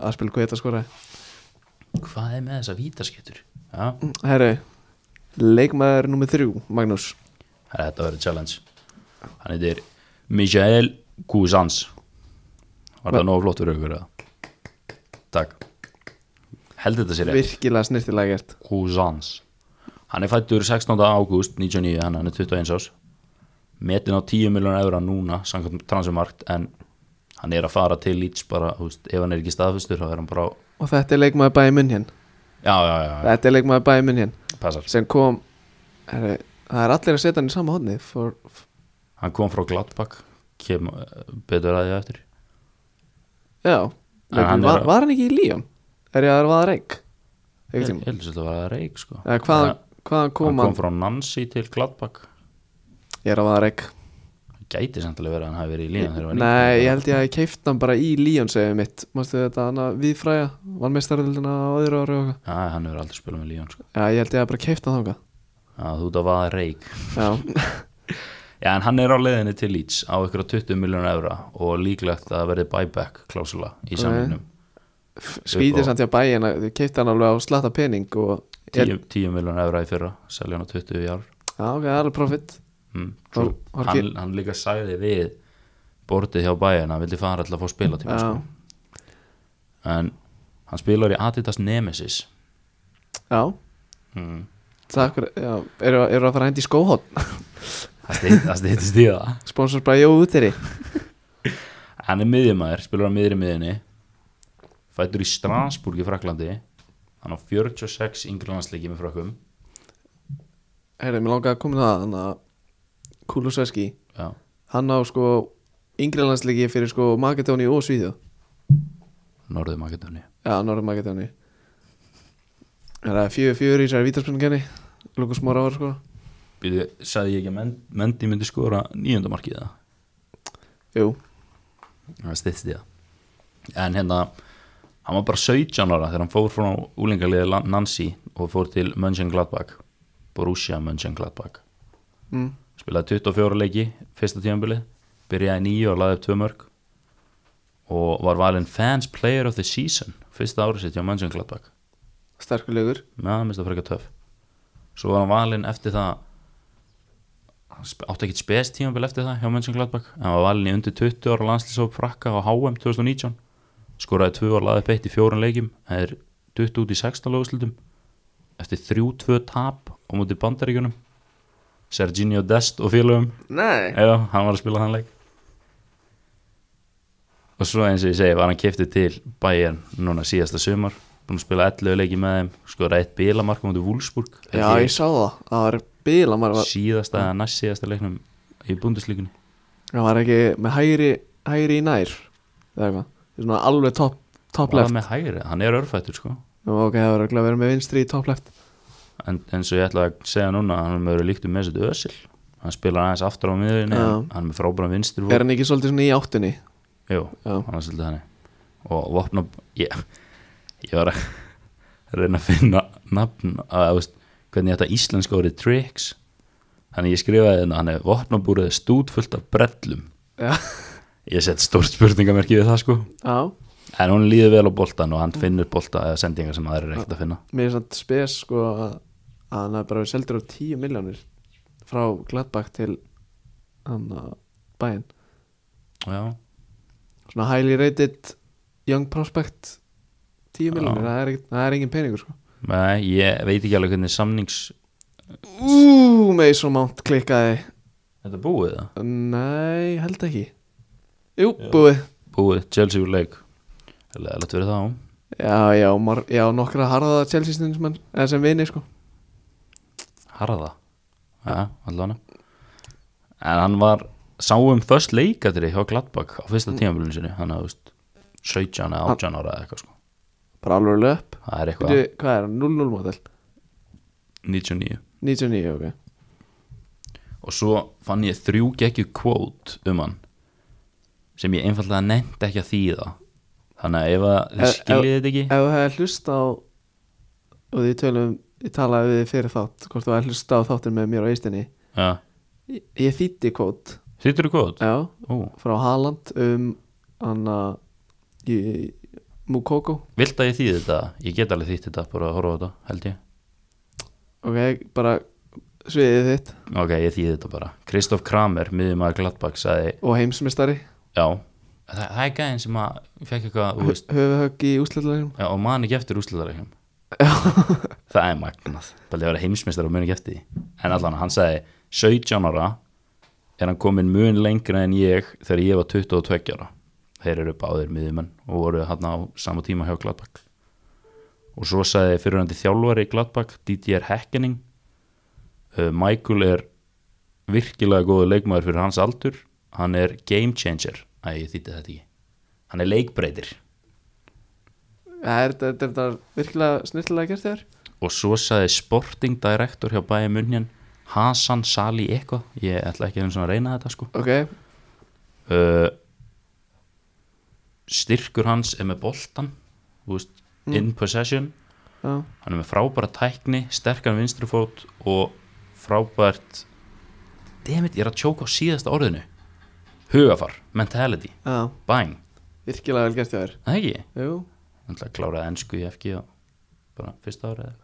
[SPEAKER 1] Aspil Guetta skoraði
[SPEAKER 2] hvað er með þessa vítaskettur já,
[SPEAKER 1] Herru, leikmaður nummer þrjú, Magnús
[SPEAKER 2] það er þetta að vera challenge hann heitir Michael Cousins var það nógu flott fyrir ykkur eða takk held þetta sér rétt
[SPEAKER 1] virkilega snirtilega gert
[SPEAKER 2] Cousins hann er fættur 16. ágúst 99 hann hann er 21 ás metin á 10 miljonar eura núna samkvæmt transfermarkt en hann er að fara til Leeds bara, þú veist, ef hann er ekki staðfustur þá er hann bara á
[SPEAKER 1] og þetta er leikmaður bæði munn hér
[SPEAKER 2] já, já, já,
[SPEAKER 1] þetta er leikmaður bæði munn hér
[SPEAKER 2] já, passar
[SPEAKER 1] sem kom, herru, það er allir að setja hann í sama hodni for,
[SPEAKER 2] hann kom frá Gladbach kem eh, betur að því á eftir
[SPEAKER 1] Já,
[SPEAKER 2] En hann
[SPEAKER 1] hann
[SPEAKER 2] er
[SPEAKER 1] var,
[SPEAKER 2] að-
[SPEAKER 1] var hann ekki í Líón? Er ég að það reik?
[SPEAKER 2] ég
[SPEAKER 1] Ekkert tíma
[SPEAKER 2] heldur þetta var að reik sko
[SPEAKER 1] Eða hvaðan,
[SPEAKER 2] Hann-
[SPEAKER 1] hvaðan kom
[SPEAKER 2] hann
[SPEAKER 1] hann?
[SPEAKER 2] kom frá Nancy til Gladbach
[SPEAKER 1] Ég er að vaða reik
[SPEAKER 2] gæti samtilega verið að hann hafi verið í líðan þegar hann var
[SPEAKER 1] Nei,
[SPEAKER 2] yngri.
[SPEAKER 1] ég held ég að ég keift hann bara í Líón segið mitt Mástu þetta hann að viðfræja Vann meistaröldina á öðru ári og eitthvað
[SPEAKER 2] Já, hann hefur aldrei spilað með líðan sko.
[SPEAKER 1] Já, ég held ég að bara keift hann þangað
[SPEAKER 2] Já, þú ert að vaða reik
[SPEAKER 1] Já,
[SPEAKER 2] já, en hann er á leiðinni til Leeds á ykkur 20 miljónu evra og líklegt að það verði buyback klásula í
[SPEAKER 1] Ok.
[SPEAKER 2] samlingnum
[SPEAKER 1] skvítið samt ég að bæja hann Þau keift hann alveg á slatta pening og
[SPEAKER 2] 10, 10 miljónu evra í fyrra selja hann á 20 í ár
[SPEAKER 1] Já, ok, það er alveg profit
[SPEAKER 2] mm,
[SPEAKER 1] Var-
[SPEAKER 2] true.
[SPEAKER 1] var ekki-
[SPEAKER 2] hann, hann líka sagði við bortið hjá bæin að hann vildi fara alltaf að fá spila tíma
[SPEAKER 1] Já,
[SPEAKER 2] sko. en hann spilar í Adidas Nemesis
[SPEAKER 1] já
[SPEAKER 2] mm.
[SPEAKER 1] Takk fyrir, já, eru eru að fara að hendi í skóhótt
[SPEAKER 2] það stytt- það styttist í það
[SPEAKER 1] Sponsors bara Jó Úteri
[SPEAKER 2] hann er miðjumæður, spilur á miðri miðinni fættur í Strasbourg í Fraklandi hann á 46 yngri landsleiki með frakum
[SPEAKER 1] Herri, mér langaði að koma með það Þannig að Kúlusveski
[SPEAKER 2] já,
[SPEAKER 1] hann á sko yngri landsleiki fyrir sko Makedóni og Svíðu
[SPEAKER 2] Norðu Makedóni
[SPEAKER 1] já, Norður Makedóni það er fjögur fjögur í þessari vítarspunningenni Lukas Móra var sko
[SPEAKER 2] Býðu, sagði ég ekki að Men- Mendy myndi skora nýjöndamarkið það,
[SPEAKER 1] jú,
[SPEAKER 2] það styttist í það en hérna hann var bara 17 ára þegar hann fór frá úlingaliði Nancy og fór til Mönchengladbach Borussia Mönchengladbach
[SPEAKER 1] mm.
[SPEAKER 2] spilaði 24 leiki fyrsta tímanbilið, byrjaði nýju og laði upp tvö mörg og var valinn fans player of the season fyrsta árið sitt hjá Mönchengladbach
[SPEAKER 1] sterkur leikur
[SPEAKER 2] meðan hann minnst að frekja töf svo var hann valinn eftir það hann sp- átti ekkit spes tímanbil eftir það hjá Mönchengladbach en var valinn í undir 20 ára landslýsóp frakka á HM 2019 skoraði tvö og laði upp eitt í fjórun leikim það er 20 út í 16 löguslutum eftir 3-2 tap á móti bandaríkjunum Serginio Dest og félögum
[SPEAKER 1] nei,
[SPEAKER 2] Já, hann var að spila þann leik Og svo eins og ég segi var hann kiftið til Bayern núna síðasta sumar Búin að spila 11 leiki með þeim Skora eitt bílamarka mútið Wolfsburg
[SPEAKER 1] já, ég sá það það var bíla, maður var
[SPEAKER 2] Síðasta eða næst síðasta leiknum í búndislíkunni
[SPEAKER 1] hann var ekki með hægri hægri í nær eða eitthvað svona alveg topp top
[SPEAKER 2] Var
[SPEAKER 1] left
[SPEAKER 2] það með hægri, hann er örfættur sko
[SPEAKER 1] Nú, ok, það var örugglega að vera með vinstri í topp left
[SPEAKER 2] En eins og ég ætla að segja núna Hann er með verið líktum með þessu ösil Hann spilar aðeins aftur á miðurinn
[SPEAKER 1] Já.
[SPEAKER 2] Hann er með frábæra vinstur
[SPEAKER 1] er hann ekki svolítið svona í áttunni
[SPEAKER 2] Jú,
[SPEAKER 1] Já.
[SPEAKER 2] hann var svolítið þannig og vopna ég, ég var að reyna að finna nafn að, að, veist, hvernig þetta íslenska orðið tricks þannig ég skrifaði þetta hann er vopnabúrið stút fullt af brellum
[SPEAKER 1] já,
[SPEAKER 2] ég sett stórt spurningamerki við það sko
[SPEAKER 1] já.
[SPEAKER 2] en hún líður vel á boltan og hann finnur bolta eða sendingar sem aðrir er ekkert að finna
[SPEAKER 1] mér er samt spes sko að að hann hafi bara verið seldur á 10 miljónir frá Gladbach til hann að bæinn
[SPEAKER 2] já,
[SPEAKER 1] svona highly rated young prospect 10
[SPEAKER 2] Já.
[SPEAKER 1] miljónir, það, er ekkert- það er engin peningur sko
[SPEAKER 2] Nei, ég veit ekki alveg hvernig samnings
[SPEAKER 1] Ú, Mason Mount klikkaði
[SPEAKER 2] þetta búið það
[SPEAKER 1] nei, held ekki jú, búið
[SPEAKER 2] búið, Chelsea úr leik eða lett verið það á
[SPEAKER 1] já, já, mar, já nokkra harða Chelsea stundsmenn eða sem vini sko
[SPEAKER 2] Harða Já, allan En hann var sáum um först leikatri hjá Gladbach á fyrsta tímafélun sinni hann hafði veist, 17 eða 18 ára eða eitthvað sko.
[SPEAKER 1] bara alveg löp
[SPEAKER 2] það er eitthvað
[SPEAKER 1] Byrju, hvað er hann, 0-0 model
[SPEAKER 2] 99
[SPEAKER 1] 99, ok
[SPEAKER 2] og svo fann ég þrjú geggju kvót um hann sem ég einfallega nefndi ekki að þýða þannig að ef að þið
[SPEAKER 1] Ef-
[SPEAKER 2] skiljið þetta ekki
[SPEAKER 1] Ef þú hefði hlust á og því tölum, ég talaði við þig fyrir þátt hvort þú hefði hlust á þáttin með mér á eistinni
[SPEAKER 2] ja.
[SPEAKER 1] Ég- Ég þýtti kvót
[SPEAKER 2] Sýttur þú kvót?
[SPEAKER 1] Já,
[SPEAKER 2] Ú,
[SPEAKER 1] frá Haaland um hann að í- Mukoko
[SPEAKER 2] vilt að ég þýði þetta? Ég get alveg þýtt þetta, bara að horfa á þetta, held ég
[SPEAKER 1] Ok, bara sviðið þitt
[SPEAKER 2] Ok, ég þýði þetta bara Kristoff Kramer, miðjumæður Gladbach, sagði
[SPEAKER 1] og heimsmeistari
[SPEAKER 2] Já, það, það er gæðin sem að fekk eitthvað, þú veist
[SPEAKER 1] höfuhögg í úsleitleginum
[SPEAKER 2] Já, og man ekki eftir úrslutarækjum Það er magnað Bæli að vera heimsmeistar og mun ekki eftir því En allan, hann sagði 17 ára er hann komin mun lengra en ég þegar ég var 22 ára Þeir eru báðir miðjumenn og voru hann á sama tíma hjá Gladbach Og svo sagði fyrirhandi þjálfari í Gladbach DDR Hackening uh, Michael er virkilega góðu leikmaður fyrir hans aldur Hann er game changer Æ, ég þýtti þetta ekki Hann er leikbreytir
[SPEAKER 1] Það er þetta- þetta er virkilega snillilega gert þér
[SPEAKER 2] og svo sagði Sporting Director hjá Bæja Munjan Hasan Sali eitthvað ég ætla ekki einu sinni að reyna þetta sko
[SPEAKER 1] Ok,
[SPEAKER 2] uh, styrkur hans er með boltan þú veist, in possession
[SPEAKER 1] já,
[SPEAKER 2] hann er með frábæra tækni, sterkan vinstri fót og frábært dammit, ég er að tjóka á síðasta orðinu hugafar, mentality,
[SPEAKER 1] já,
[SPEAKER 2] bang
[SPEAKER 1] virkilega vel gert þér
[SPEAKER 2] það ekki,
[SPEAKER 1] Jú,
[SPEAKER 2] hann ætla að kláraði ennsku í FG og bara fyrsta árið eða eitthvað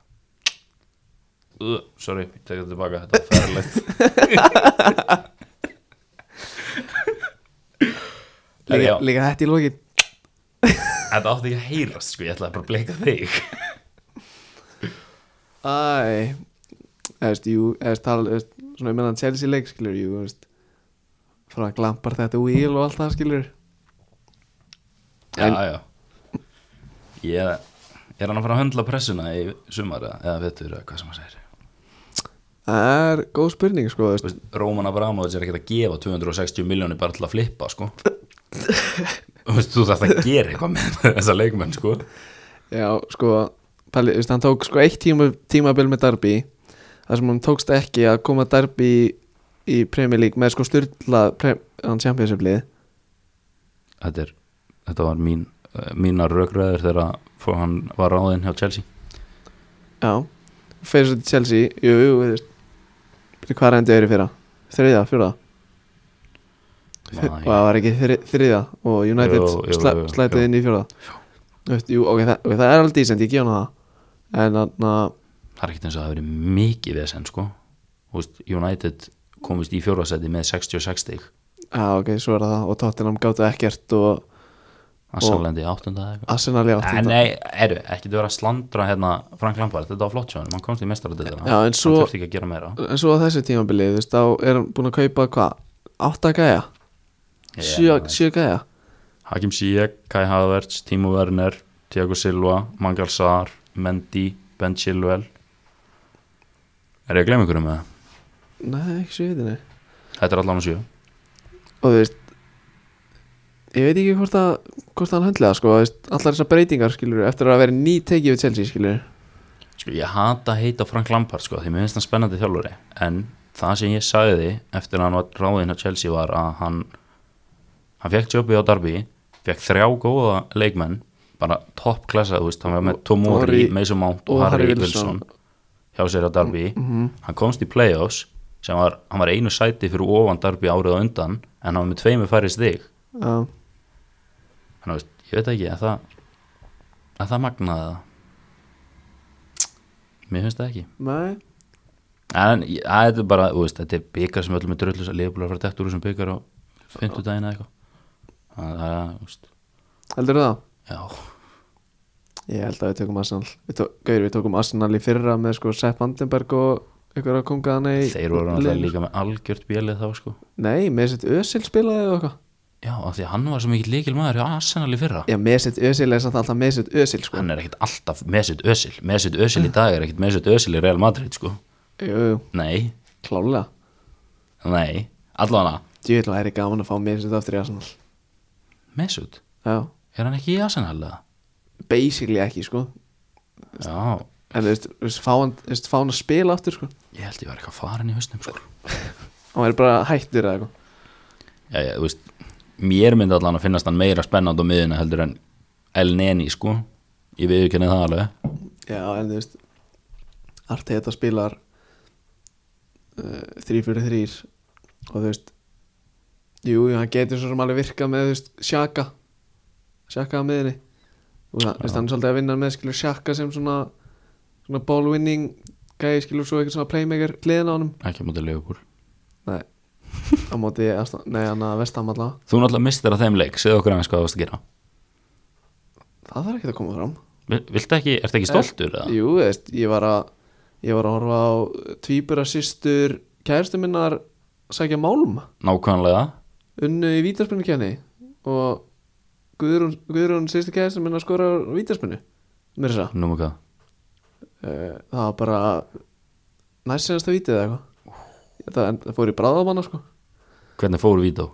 [SPEAKER 2] Ugh, sorry, ég tekja þetta tilbaka þetta var færlegt Herri, já.
[SPEAKER 1] líka, líka þetta í lokin
[SPEAKER 2] Þetta átti ekki að heyrast sko, ég ætlaði bara að bleika þig
[SPEAKER 1] Æ, þú veist, jú, þú veist, tala, þú veist, svona ég menna Chelsea leik, skilur, jú, þú veist frá að glampar þetta wheel og allt það, skilur
[SPEAKER 2] Já, já Ég er hann að fara að höndla pressuna í sumar eða- eða vettur eða hvað sem hann segir
[SPEAKER 1] Það er góð spurning, sko, þú
[SPEAKER 2] Þú
[SPEAKER 1] veist
[SPEAKER 2] veist, Róman Abramovic er ekkert að gefa 260 miljónir bara til að flippa sko Þú veist, þú þarft að gera eitthvað með þessa leikmenn sko
[SPEAKER 1] Já, sko, pæli, veist, hann tók sko eitt tíma, tímabil með Darby þar sem hann tókst ekki að koma Darby í Premier League með sko styrla hann championship-lið
[SPEAKER 2] þetta, er, þetta var mín eh, mínar rökræður þegar að fór- hann var ráðinn hjá Chelsea
[SPEAKER 1] Já, fyrir svo til Chelsea Jú, jú, þú veist Byrju, Hvað reyndi öðru fyrra? Þriða, fjórða?
[SPEAKER 2] Nei.
[SPEAKER 1] Og það var ekki þri, þriða og United
[SPEAKER 2] Jú,
[SPEAKER 1] jú,
[SPEAKER 2] jú, jú,
[SPEAKER 1] slætið
[SPEAKER 2] jú.
[SPEAKER 1] inn í fjórða Þú veist, jú, ok, það, ok, það er alveg decent, ég gef hann það En þarna,
[SPEAKER 2] það er ekkert eins og það hafi verið mikið vesen sko Þú veist, United komist í fjórðarsæti með 66 stig
[SPEAKER 1] já, ok, svo er það Og Tottenham gátu ekkert og
[SPEAKER 2] að samlendi áttunda eða eitthvað
[SPEAKER 1] Arsenal í
[SPEAKER 2] Eh,
[SPEAKER 1] áttunda
[SPEAKER 2] Nei, eru, ekki þú vera að slandra hérna Frank Lampard, þetta var flott sjá hann, hann komst í mestaradeildina
[SPEAKER 1] Já, en svo-
[SPEAKER 2] hann þurfti ekki að gera meira
[SPEAKER 1] en svo á þessu tímabilið, þú veist, þá er hann búin að kaupa hvað, átta gæja
[SPEAKER 2] Ég-
[SPEAKER 1] sjö, sjö gæja
[SPEAKER 2] Hakim Ziyech, Kai Havertz, Timo Werner Thiago Silva, Mangal Saar Mendy, Ben Chilwell Er ég að glemma ykkur um það?
[SPEAKER 1] nei, ekki sjöðinni
[SPEAKER 2] Þetta er allan á sjö
[SPEAKER 1] og þú veist ég veit ekki hvort, að, hvort hann höndla það sko, þú veist, allar þessar breytingar skilur eftir að vera ný tekið við Chelsea skilur
[SPEAKER 2] Sko, ég hata að heita Frank Lampard sko, því mér finnst hann spennandi þjálfari en það sem ég sagði eftir að hann var ráðinn á Chelsea var að hann hann fekk jobbi á Darby fekk þrjá góða leikmenn bara topp klassa, þú veist, hann var með Tomori,
[SPEAKER 1] Tomori
[SPEAKER 2] Mason Mount og, Harry Wilson, Mm, mhm. hjá sér á Darby hann komst í playoffs sem var, hann var einu sæti fyrir ofan Darby árið á undan en hann var með tveimu færri stig
[SPEAKER 1] já,
[SPEAKER 2] þannig að veist, ég veit ekki að það að það magnaði það mér finnst það ekki
[SPEAKER 1] nei,
[SPEAKER 2] En ég- að þetta er bara, þú veist, þetta er byggar sem öllum er dröllus að liðbúlar að fara dætt úr þessum byggar á fimmtudaginn eða eitthvað. Það það er, þú veist,
[SPEAKER 1] heldur það
[SPEAKER 2] já,
[SPEAKER 1] ég held að við tökum Arsenal við, tó, gaur, við tókum Arsenal í fyrra með sko Sepp Vandenberg og ykkur að konga hann í
[SPEAKER 2] þeir voru náttúrulega
[SPEAKER 1] liðinu,
[SPEAKER 2] líka með algjört bjölið þá, sko.
[SPEAKER 1] sko. nei, með sitt Özil spilaði og eitthvað
[SPEAKER 2] Já, af því að hann var svo mikill leikil maður hjá Arsenal í fyrra.
[SPEAKER 1] já, með sitt Özil er samt alltaf með sitt Özil sko.
[SPEAKER 2] Hann er ekkit alltaf Mesut Özil. Mesut Özil í dag er ekkit Mesut Özil í Real Madrid, sko.
[SPEAKER 1] jú, jú,
[SPEAKER 2] Nei,
[SPEAKER 1] klálega
[SPEAKER 2] nei, allavega
[SPEAKER 1] Djúvel væri gaman að fá mér sitt aftur í Arsenal
[SPEAKER 2] Mesut,
[SPEAKER 1] Já,
[SPEAKER 2] er hann ekki í Arsenal eða?
[SPEAKER 1] basically ekki sko
[SPEAKER 2] Já,
[SPEAKER 1] En þú veist, þú veist, fá hann, þú veist, fá hann að spila aftur sko
[SPEAKER 2] ég held ég var eitthvað farin í hausnum, sko.
[SPEAKER 1] hann væri bara hættur eða eitthvað
[SPEAKER 2] já, já, þú veist, mér myndi allan að finnast hann meira spennandi á miðuna heldur en El Neni sko ég viðurkenni það alveg
[SPEAKER 1] Já, en þú veist Arteta spilar uh, 3-4-3 og þú veist Jú, jú, hann getur svo sem alveg virkað með þú veist, Sjaka Sjaka á miðinni og það, þú veist, hann er svolítið að vinna með skilur Sjaka sem svona, svona ball winning gæði skilur svo eitthvað svona playmaker hliðin á honum
[SPEAKER 2] ekki á móti Leopold
[SPEAKER 1] Nei, á móti Aston- Nei, hann að vestam allavega
[SPEAKER 2] þú náttúrulega mistir að þeim leik, segðu okkur aðeins hvað þú varst að gera
[SPEAKER 1] Það þarf ekki að koma fram
[SPEAKER 2] Vil- Viltu ekki, ertu ekki stoltur? eða?
[SPEAKER 1] Jú, þú veist, ég var að ég var að horfa á tvíbura sýstur kæristu minnar sækja málum
[SPEAKER 2] Nákvæmlega
[SPEAKER 1] unnu í vítarspunni kenni og Guðrún, Guðrún sýstur kæristu minnar skora á vítarspunni mér þess að
[SPEAKER 2] Númer hvað?
[SPEAKER 1] segja. Eh, það var bara næst senast að vítið eða eitthvað það, en, það fór í bráðamanna sko
[SPEAKER 2] Hvernig fóru vító?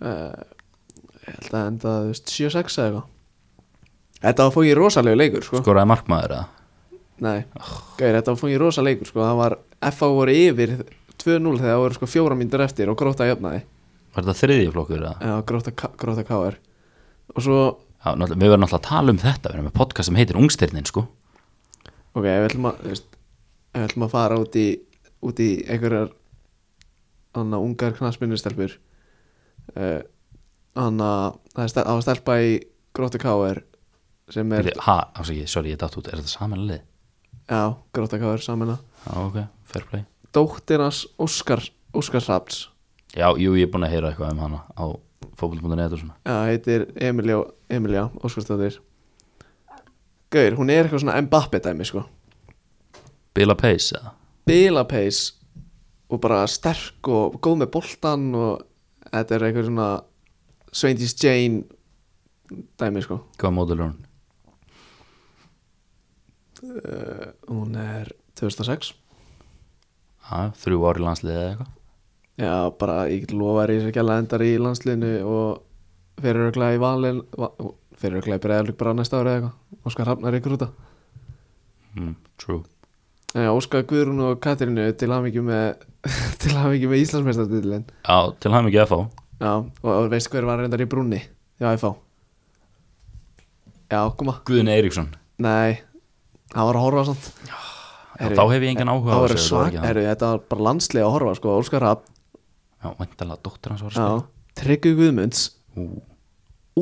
[SPEAKER 1] uh, ég held að enda þú veist, 7-6 eða eitthvað Þetta var fóngið rosalegu leikur sko
[SPEAKER 2] Skoraði markmaður eða?
[SPEAKER 1] Nei, gæri, þetta var fungið rosa leikur sko. það var, FA voru yfir 2-0 þegar það voru sko fjóra mínútur eftir og gróta jafnaði,
[SPEAKER 2] Var þetta þriðji flokkur eða?
[SPEAKER 1] eða gróta, gróta káir og svo,
[SPEAKER 2] Já, náttúrulega- við verðum náttúrulega að tala um þetta, við erum með podcast sem heitir Ungstyrnin sko
[SPEAKER 1] ok, ef við ætlum að þú veist, ef við ætlum að fara út í út í einhverjar hann að ungar knassminnustelpur uh, hann að það er stel, á að stelpa í gróta káir sem er,
[SPEAKER 2] Bíddu, Ha, ásaki, sorry, ég datt út, er þetta samanlið?
[SPEAKER 1] já, gróta káir saman að
[SPEAKER 2] Já, ok, fair play
[SPEAKER 1] dóttir hans Óskar Óskar Hrafns
[SPEAKER 2] Já, jú, ég er búin að heyra eitthvað um hana á fókbólum.net og svona
[SPEAKER 1] Já, heitir Emiljá, Emiljá Óskarsdóttir Gaur, hún er eitthvað svona Mbappe dæmi sko
[SPEAKER 2] Bila Pace eða?
[SPEAKER 1] Bilapeis og bara sterk og góð með boltan og þetta er eitthvað svona Sveindís Jane dæmi sko
[SPEAKER 2] Hvað módul er hún?
[SPEAKER 1] Eh, Hún er 2006
[SPEAKER 2] Já, þrjú ár í landsliðið eða eitthvað
[SPEAKER 1] Já, bara ég get lofa þér að ég sé ekki alveg endar í landsliðinu og fyrir öglega í valin va fyrir öglega í breðalug bara næsta ári eða eitthvað Óskar Hafnar ykkur út að
[SPEAKER 2] mm, True
[SPEAKER 1] Já, Eh, Óskar Guðrún og Katrínu til hafmyggjum með til hafmyggjum með Íslandsmeistartillin
[SPEAKER 2] Já, til hann ekki að fá
[SPEAKER 1] Já, og, og veistu hver var reyndar í brúnni Já, FH Já, koma
[SPEAKER 2] Guðin Eiríksson
[SPEAKER 1] Nei, það var að horfa samt
[SPEAKER 2] Já, þá hef ég engan áhuga á
[SPEAKER 1] á þessu
[SPEAKER 2] þessu,
[SPEAKER 1] svak,
[SPEAKER 2] það var ekki það.
[SPEAKER 1] heru, Þetta var bara landslega að horfa sko, Óskar Rapp,
[SPEAKER 2] Já, væntalega, dóttir hans var að
[SPEAKER 1] já,
[SPEAKER 2] spila
[SPEAKER 1] Tryggvi Guðmunds
[SPEAKER 2] Ú,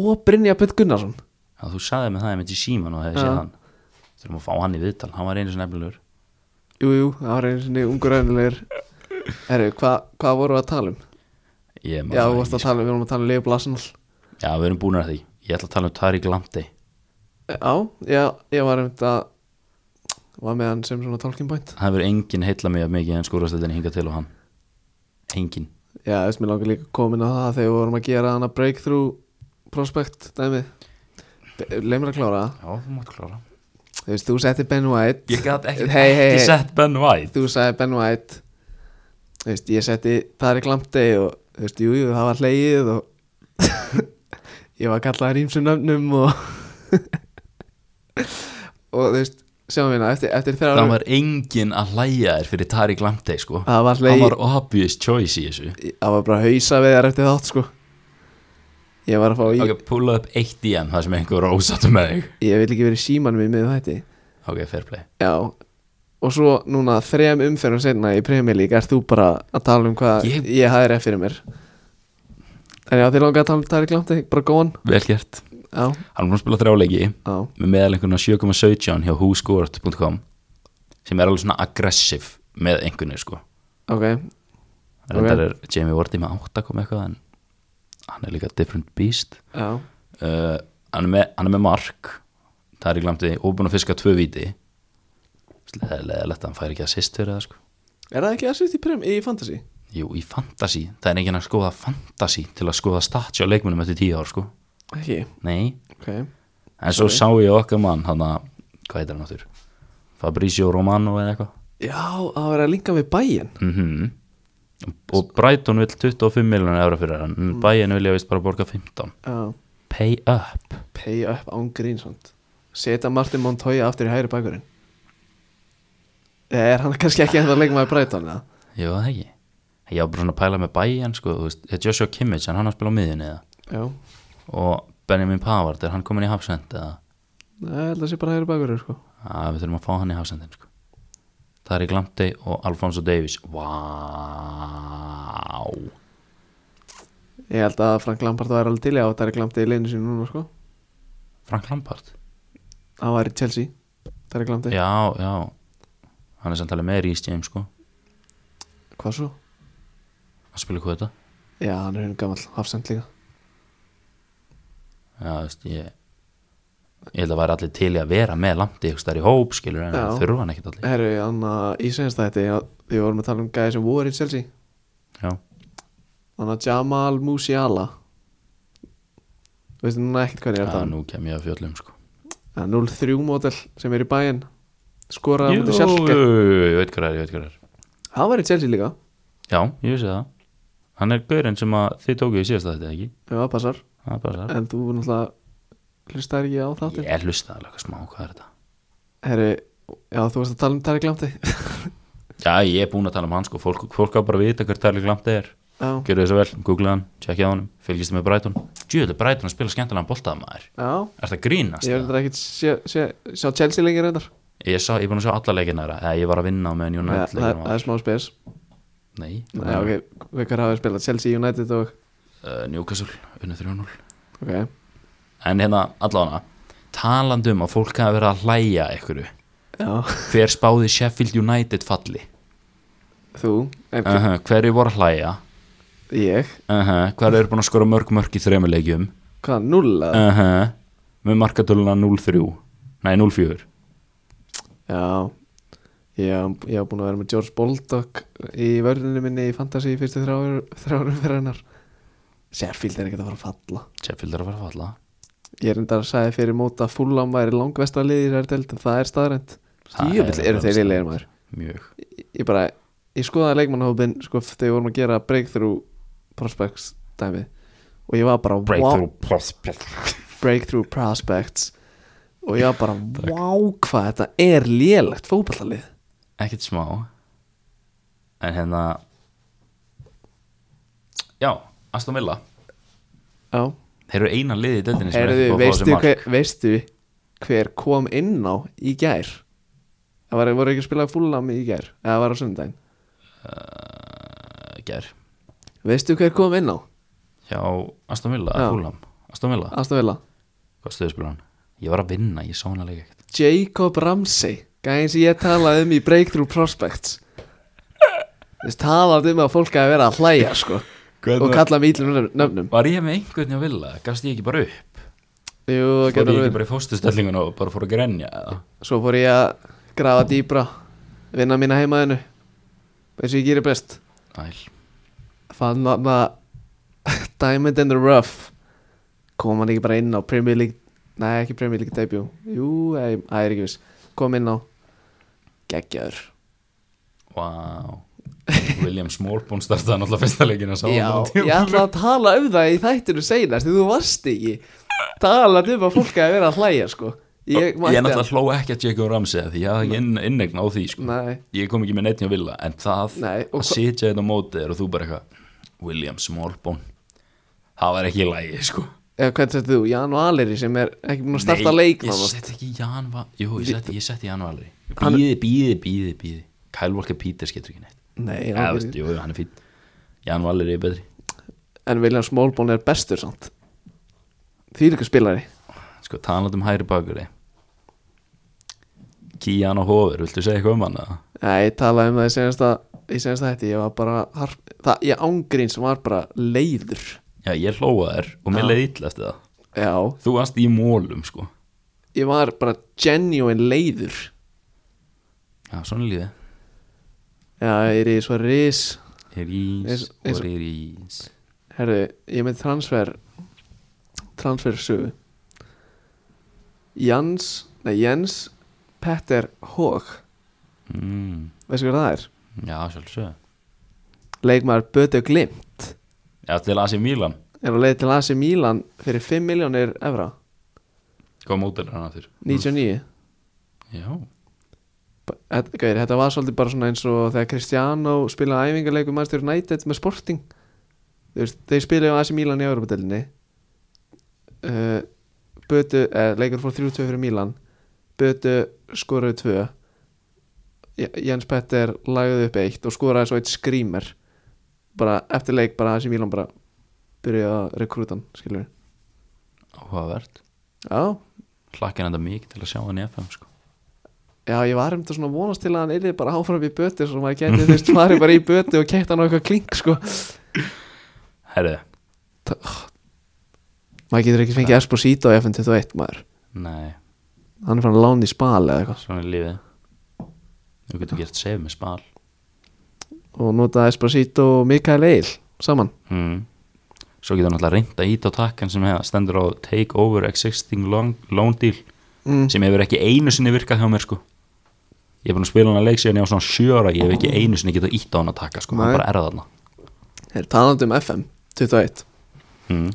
[SPEAKER 1] og Brynja Putt Gunnarsson
[SPEAKER 2] Já, þú sagði með það einmitt í síman og það hefði
[SPEAKER 1] Já.
[SPEAKER 2] séð hann Þurfum að fá hann í viðtal, hann var einu sem nefnilegur
[SPEAKER 1] Jú, jú, það var einu sinni ungur reynilegur Herru, hva, hvað vorum við að tala um?
[SPEAKER 2] Ég man
[SPEAKER 1] Já,
[SPEAKER 2] það
[SPEAKER 1] við varst
[SPEAKER 2] ekki,
[SPEAKER 1] að tala um, við vorum að tala um Leif Blasnall
[SPEAKER 2] sko. Já, við erum búin að því Ég ætla að tala um Tariq Lamptey
[SPEAKER 1] Já, já, ég var einmitt að var með hann sem svona talking point
[SPEAKER 2] Það hefur enginn heilla mig að mikið en skúrastöldinni hingað til og hann Enginn
[SPEAKER 1] Já, þess mér langar líka komin á það þegar við vorum að gera hana breakthrough prospect dæmi Leif mér að klára það.
[SPEAKER 2] Já, þú mátt klára
[SPEAKER 1] Þú veist, þú setti Ben White
[SPEAKER 2] Ég gat ekki,
[SPEAKER 1] Hey, hey,
[SPEAKER 2] ekki
[SPEAKER 1] hey.
[SPEAKER 2] sett Ben White
[SPEAKER 1] Þú sagði Ben White Þú veist, ég setti Tari Glamti og þú veist, jú, jú, það var hlegið og ég var kallaður ímsum nöfnum og og þú veist, sjáum við hérna eftir, eftir þrjá
[SPEAKER 2] Það var enginn að hlæja þér fyrir Tariq Lamptey sko
[SPEAKER 1] það var
[SPEAKER 2] Hann
[SPEAKER 1] hlegið
[SPEAKER 2] var obvious choice í þessu
[SPEAKER 1] það var bara hausa við þar eftir þátt sko ég var að fá í,
[SPEAKER 2] Ok, pulla upp 1 DM það sem einhver rósat með þig
[SPEAKER 1] ég vil ekki verið símanum í miður þætti
[SPEAKER 2] Ok, fair play
[SPEAKER 1] já og svo núna þrejum umferðum senna í Premier League ert þú bara að tala um hvað
[SPEAKER 2] Ég-
[SPEAKER 1] ég, ég hafði rétt fyrir mér en já þið langar að tala um Tari Glamti bara góðan
[SPEAKER 2] Vel gert
[SPEAKER 1] já,
[SPEAKER 2] Hann var að spila þrjáleiki
[SPEAKER 1] já,
[SPEAKER 2] með meðal einhvern á 7.17 hjá whoScored.com sem er alveg svona aggressiv með einhvernir sko
[SPEAKER 1] ok Ok.
[SPEAKER 2] reyndar er Jamie Vardy með 8 kom eitthvað en hann er líka different beast
[SPEAKER 1] já,
[SPEAKER 2] uh, hann, er með, hann er með mark það er í glamti óbúin að fiska tvö viti leðilegt að hann fær ekki að sýst fyrir það sko
[SPEAKER 1] er það ekki að sýtt í Premier í Fantasy?
[SPEAKER 2] jú í fantasy, það er enginn að skoða fantasy til að skoða statja á leikmunum eftir 10 ár sko
[SPEAKER 1] ekki,
[SPEAKER 2] nei,
[SPEAKER 1] ok
[SPEAKER 2] en svo sá ég okkar mann hann að, hvað heitir hann áttur Fabrizio Romano eða eitthvað
[SPEAKER 1] já, að vera að linka við bæinn
[SPEAKER 2] mm og Brighton vil 25 miljonar eura fyrir hann mm. Bayern vilja vist bara borga 15
[SPEAKER 1] já,
[SPEAKER 2] pay up
[SPEAKER 1] pay up án grínsond setja Martin Montoya aftur í hægri bakurinn er hann kannski ekki ennþá leikmaður Brighton eða?
[SPEAKER 2] ég var það ekki ég var bara svona að pæla með bæjan sko, þú veist, er Joshua Kimmich, en hann að spila á miðjunni eða
[SPEAKER 1] Já,
[SPEAKER 2] og Benjamin Pavard, er hann komin í hafsend eða,
[SPEAKER 1] Nei, ég held að sé bara hægri bakurur sko
[SPEAKER 2] að við þurfum að fá hann í hafsendin sko. það er í Glamtey og Alfonso Davies Vá
[SPEAKER 1] Ég held að Frank Lampard væri alveg til í að það er glamtið í leinu sínu núna sko
[SPEAKER 2] Frank Lampard
[SPEAKER 1] Hann var í Chelsea, það er glamtið
[SPEAKER 2] já, já, hann er samtalið með Rhys James sko,
[SPEAKER 1] Hvað svo?
[SPEAKER 2] að spila hvað þetta
[SPEAKER 1] Já, hann er henni gammal, hafsend líka
[SPEAKER 2] já, þú veist, ég ég held að væri allir til í að vera með Lamptey ykkur stær í hóp, skilur, en
[SPEAKER 1] Já.
[SPEAKER 2] það þurfa hann ekkert allir
[SPEAKER 1] Herru, hann að í senast þætti já, Því vorum að tala um gæði sem voru í Chelsea
[SPEAKER 2] já,
[SPEAKER 1] Þannig að Jamal Musiala Þú veistu núna ekkert hvað ég er að
[SPEAKER 2] að
[SPEAKER 1] tala um
[SPEAKER 2] nú kem ég að fjöllum sko
[SPEAKER 1] Það er 0-3 mótel sem er í bæinn Skoraði á
[SPEAKER 2] Jú,
[SPEAKER 1] móti
[SPEAKER 2] jú,
[SPEAKER 1] Sjálke
[SPEAKER 2] jú, ég veit hvað það er, ég veit hvað það er
[SPEAKER 1] Hann var í Chelsea líka
[SPEAKER 2] Já, ég vissi það Hann er gaurinn sem að þið tókuðu í síðasta þetta, ekki?
[SPEAKER 1] Já, passar
[SPEAKER 2] Það er bara það
[SPEAKER 1] En þú náttúrulega hlustar ekki á þáttinn
[SPEAKER 2] Ég hlusta alveg eitthvað smá, hvað er þetta?
[SPEAKER 1] Herru, já, þú varst að tala um Tarek Lampti
[SPEAKER 2] Já, ég er búinn að tala um hann sko Fólk, fólk á bara að vita hver Tarli Glamti er
[SPEAKER 1] Já,
[SPEAKER 2] Gjörðu þessu vel, googlaði hann, tjekkið á hann Fylgist með Brighton Djöðu, Brighton að spila skemmtilegan boltaða maður
[SPEAKER 1] já
[SPEAKER 2] Er það grínast?
[SPEAKER 1] Ég
[SPEAKER 2] Ég,
[SPEAKER 1] verður ekkert sjá, sjá, sjá Chelsea lengi reyndar
[SPEAKER 2] ég, sá, ég er búinn að sjá alla leikina þeirra Eða ég var að vinna með
[SPEAKER 1] Nei,
[SPEAKER 2] United
[SPEAKER 1] Það
[SPEAKER 2] leikina
[SPEAKER 1] það er smá spes
[SPEAKER 2] Nei,
[SPEAKER 1] Nei, ok, við hver hafið spilað Chelsea United og
[SPEAKER 2] uh, Newcastle, unnu 3-0
[SPEAKER 1] Ok,
[SPEAKER 2] En hérna, allavega Talandi um að fólk hafi verið að hlæja einhverju
[SPEAKER 1] já,
[SPEAKER 2] Hver spáði Sheffield United falli?
[SPEAKER 1] þú, en
[SPEAKER 2] Uh -huh, hverju voru að hlæja?
[SPEAKER 1] ég
[SPEAKER 2] Uh -huh, hverju eru búin að skora mörg mörg í þremuleikjum?
[SPEAKER 1] Hvað, nulla?
[SPEAKER 2] Uh -huh, með markatöluna 0-3 Nei, 0-4
[SPEAKER 1] Já, ég, ég hef búin að vera með George Baldock í vörðinu minni í Fantasy í fyrstu þrjárum fyrir hennar Sheffield er ekkert að fara að falla
[SPEAKER 2] Sheffield er að fara að falla
[SPEAKER 1] Ég reyndar að sagði fyrir móta fullam væri langvestra liði í þessari delt en það er staðrænt
[SPEAKER 2] Það er
[SPEAKER 1] Jöfnvill eru þeir
[SPEAKER 2] staðreynd.
[SPEAKER 1] liðlegir maður
[SPEAKER 2] Mjög
[SPEAKER 1] Ég bara, ég skoðaði leikmannhópin sko þegar við vorum að gera breakthrough prospects dæmi og ég var bara
[SPEAKER 2] Breakthrough prospect
[SPEAKER 1] wow, breakthrough prospects og ég var bara wow hvað þetta er lélegt fótballalið
[SPEAKER 2] Ekkert smá En hérna Já, Aston Villa
[SPEAKER 1] Já,
[SPEAKER 2] Þeir eru eina liði í döldinni sem er
[SPEAKER 1] heyrðu,
[SPEAKER 2] ekki búið að fá
[SPEAKER 1] veistu,
[SPEAKER 2] þessi mark
[SPEAKER 1] hver, veistu hver kom inn á í gær Það var, voru ekki að spila fullam í gær eða var á sundaginn
[SPEAKER 2] uh, Ger
[SPEAKER 1] Veistu hver kom inn á?
[SPEAKER 2] Hjá Aston Villa,
[SPEAKER 1] Já.
[SPEAKER 2] Fúlam Aston Villa,
[SPEAKER 1] Aston Villa
[SPEAKER 2] hvað stöðu spila hann? Ég var að vinna, ég sá hann að leika ekkert
[SPEAKER 1] Jacob Ramsey gæðin sem ég talaði um í Breakthrough Prospects þess talaði um að fólk að vera að hlæja sko, og kalla mig ítlum nöfn- nöfnum
[SPEAKER 2] Var ég með einhvern í að vilja? Gafst ég ekki bara upp?
[SPEAKER 1] Jú,
[SPEAKER 2] Fór
[SPEAKER 1] getur
[SPEAKER 2] ég ekki
[SPEAKER 1] verið.
[SPEAKER 2] bara í fóstustellingun og bara fór að grenja? eða?
[SPEAKER 1] svo fór ég að grafa dýbra vinna mína heimaðinu eins og ég gerir best
[SPEAKER 2] Æl,
[SPEAKER 1] fann þarna Diamond in the Rough kom hann ekki bara inn á Premier League nei ekki Premier League debut jú, ei, að ég er ekki viss kom inn á geggjaður
[SPEAKER 2] vá William Smallbone startaði náttúrulega fyrsta leikina sá hann
[SPEAKER 1] Já,
[SPEAKER 2] á
[SPEAKER 1] ég
[SPEAKER 2] tíma.
[SPEAKER 1] ætla að tala um það í þættinu seinast því þú varst ekki talað um að fólk að vera að hlæja sko
[SPEAKER 2] Ég,
[SPEAKER 1] mætti að-
[SPEAKER 2] náttúrulega hló ekki að Jacob Ramsey af Því ég hafði ekki inn, innegna á því sko.
[SPEAKER 1] Nei,
[SPEAKER 2] Ég kom ekki með neitt í að vilja En það
[SPEAKER 1] Nei, og
[SPEAKER 2] að
[SPEAKER 1] hva-
[SPEAKER 2] sitja þetta á móti þér og þú bara eitthvað William Smallbone Það var ekki í lægi sko
[SPEAKER 1] eða hvernig settu þú, Jan Valeri sem er ekki búin að starta
[SPEAKER 2] Nei,
[SPEAKER 1] leik
[SPEAKER 2] ég
[SPEAKER 1] nánast.
[SPEAKER 2] sett ekki Jan Va- Jú, ég sett, ég sett Jan Valri
[SPEAKER 1] Hann-
[SPEAKER 2] Bíði, bíði, bíði, bíði Kyle Walker Peters getur ekki neitt
[SPEAKER 1] Nei,
[SPEAKER 2] Já,
[SPEAKER 1] hann
[SPEAKER 2] veist, jú, jú, hann er fín Jan Valri er betri
[SPEAKER 1] en William Smallbone er bestur samt Því líka spilari
[SPEAKER 2] Sko, talað um hæri bakuri Kían og Hóver, viltu segja eitthvað um hann? eða?
[SPEAKER 1] Nei, ég talaði um það í senasta í senasta þetta, ég var bara harf, það, ég ángrín sem var bara leiður
[SPEAKER 2] Já, ég hlóa þær og mér
[SPEAKER 1] Já.
[SPEAKER 2] leiði illa eftir það
[SPEAKER 1] Já,
[SPEAKER 2] Þú varst í mólum, sko
[SPEAKER 1] ég var bara genuine leiður
[SPEAKER 2] Já, svona er lífið
[SPEAKER 1] Já, ég er í svo ris
[SPEAKER 2] Ég rís
[SPEAKER 1] Eins- eins
[SPEAKER 2] og
[SPEAKER 1] og-
[SPEAKER 2] ég rís
[SPEAKER 1] Herðu, ég er með transfer transfer sögu Jans nei Jens Petter Hók,
[SPEAKER 2] mm,
[SPEAKER 1] veistu hvað það er?
[SPEAKER 2] Já, sjálfsög
[SPEAKER 1] Leikmaður Böte Glimt
[SPEAKER 2] Já, til Asi Mílan
[SPEAKER 1] er á leið til AC Milan fyrir 5 miljónir evra
[SPEAKER 2] Hvað mótel er hann aftur?
[SPEAKER 1] 99
[SPEAKER 2] Já,
[SPEAKER 1] þetta, gæri, þetta var svolítið bara svona eins og þegar Cristiano spilaði æfingarleikum Manchester United með Sporting Þú veist, þeir spilaði á AC Milan í Europadelinni uh, Bötu, eh, leikur fór 3-2 fyrir Milan Bötu skoraði 2 J- Jens Petter lagði upp eitt og skoraði svo eitt skrýmer bara eftir leik bara AC Milan bara byrjaði að rekrúta hann skilur
[SPEAKER 2] áhugavert
[SPEAKER 1] já,
[SPEAKER 2] hlakkin þetta mikið til að sjá hann í FM sko.
[SPEAKER 1] já, ég var um þetta svona að vonast til að hann yrði bara áfram í Bötu svo maður gæti þú veist farið bara í Bötu og kætt hann á eitthvað klink sko oh.
[SPEAKER 2] herðu,
[SPEAKER 1] maður getur ekki fengið Esposito í FN21 maður
[SPEAKER 2] nei,
[SPEAKER 1] hann er fann að lána í spal eða eitthvað
[SPEAKER 2] svona er lífið þú getur gert save með spal
[SPEAKER 1] og nota Esposito og Mikael Eil saman
[SPEAKER 2] mm. svo getur hann alltaf reynda ít á takkan sem hef- stendur á take over existing long, loan deal
[SPEAKER 1] mm.
[SPEAKER 2] sem hefur ekki einu sinni virkað hjá mér sko ég er búin að spila hann að leik síðan ég á svona sjöra ég hef ekki einu sinni getað ítt á hann að taka sko, hann
[SPEAKER 1] Nei.
[SPEAKER 2] bara er þarna
[SPEAKER 1] er talandi um FM 21
[SPEAKER 2] mm.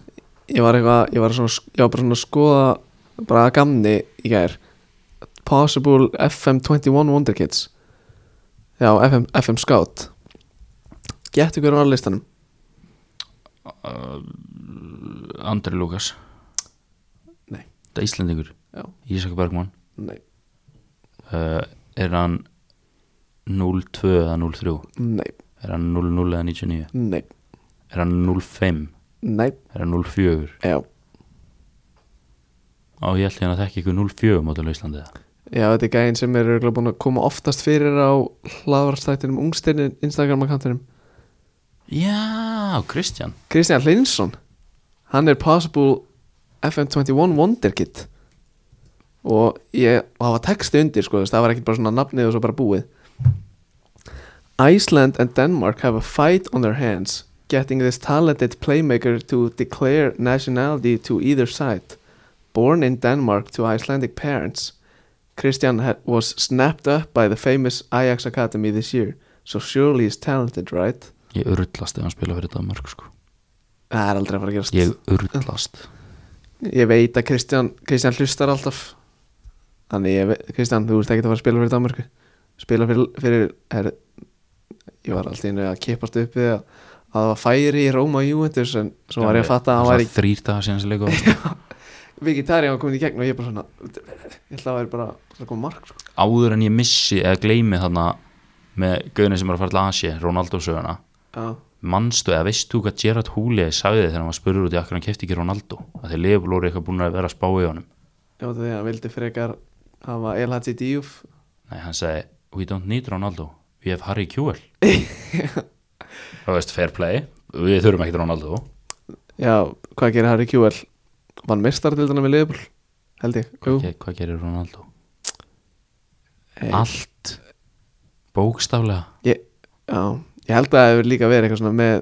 [SPEAKER 1] ég var eitthvað, ég var svona, ég var bara svona að skoða bara að gamni í gær Possible FM21 Wonder Kids já, FM, FM Scout gett ykkur á listanum
[SPEAKER 2] Andri Lukas
[SPEAKER 1] Nei.
[SPEAKER 2] það er Íslendingur,
[SPEAKER 1] já,
[SPEAKER 2] Ísak Bergman
[SPEAKER 1] nei,
[SPEAKER 2] uh, er hann 0-2 eða 0-3
[SPEAKER 1] nei,
[SPEAKER 2] er hann 0-0 eða 99
[SPEAKER 1] nei,
[SPEAKER 2] er hann 0-5,
[SPEAKER 1] nei
[SPEAKER 2] er hann 0-4
[SPEAKER 1] já,
[SPEAKER 2] á ég held ég hann að þekki ykkur 0-4 mótil Íslandi eða
[SPEAKER 1] já þetta er gæinn sem er örugglega búin að koma oftast fyrir á hlaðvarstættinum ungstirnin Instagram-kantinum
[SPEAKER 2] já, Kristján
[SPEAKER 1] Kristján Hlinsson hann er Possible FM21 Wonderkid og ég og það var texti undir sko, þú veist, það var ekki bara svona nafnið og svo bara búið Iceland and Denmark have a fight on their hands getting this talented playmaker to declare nationality to either side born in Denmark to Icelandic parents Christian had, was snapped up by the famous Ajax Academy this year so surely he's talented right
[SPEAKER 2] ég urðlast ef hann spila fyrir Danmark sko
[SPEAKER 1] það er aldrei að fara að gerast
[SPEAKER 2] ég urðlast
[SPEAKER 1] Ég veit að Kristján, Kristján hlustar alltaf Þannig ég veit, Kristján, þú ert ekki að fara að spila fyrir Danmarku Spila fyrir, fyrir er, Ég var alltaf innu að kipast upp við að, að það var færi í Róma Júventus En svo var ég að fatta að hann var í
[SPEAKER 2] þrýr dagar síðan sem leikur
[SPEAKER 1] Vegetarian og komin í gegn og ég bara svona Ég ætla að það væri bara svona koma mark sko.
[SPEAKER 2] áður en ég missi eða gleymi þarna með gauðinu sem er að fara til Asi Ronaldo söguna
[SPEAKER 1] Já,
[SPEAKER 2] manstu eða veist þú hvað Gerard Houllier sagði þegar hann var spurður út í akkur hann kefti ekki Ronaldo að þeir lefur lóri eitthvað búin að vera að spá í honum
[SPEAKER 1] ég veit að því að hann vildi frekar hafa El Hadji Diouf
[SPEAKER 2] nei hann sagði we don't need Ronaldo we have Harry Kewell það veist fair play við þurfum ekkert Ronaldo
[SPEAKER 1] Já, hvað gerir Harry QL? Vann mistar til dæna með liðbúl Held ég, jú,
[SPEAKER 2] Ge- hvað gerir Ronaldo
[SPEAKER 1] Hey.
[SPEAKER 2] allt bókstaflega
[SPEAKER 1] ég, já, ég held að það hefur líka verið eitthvað svona með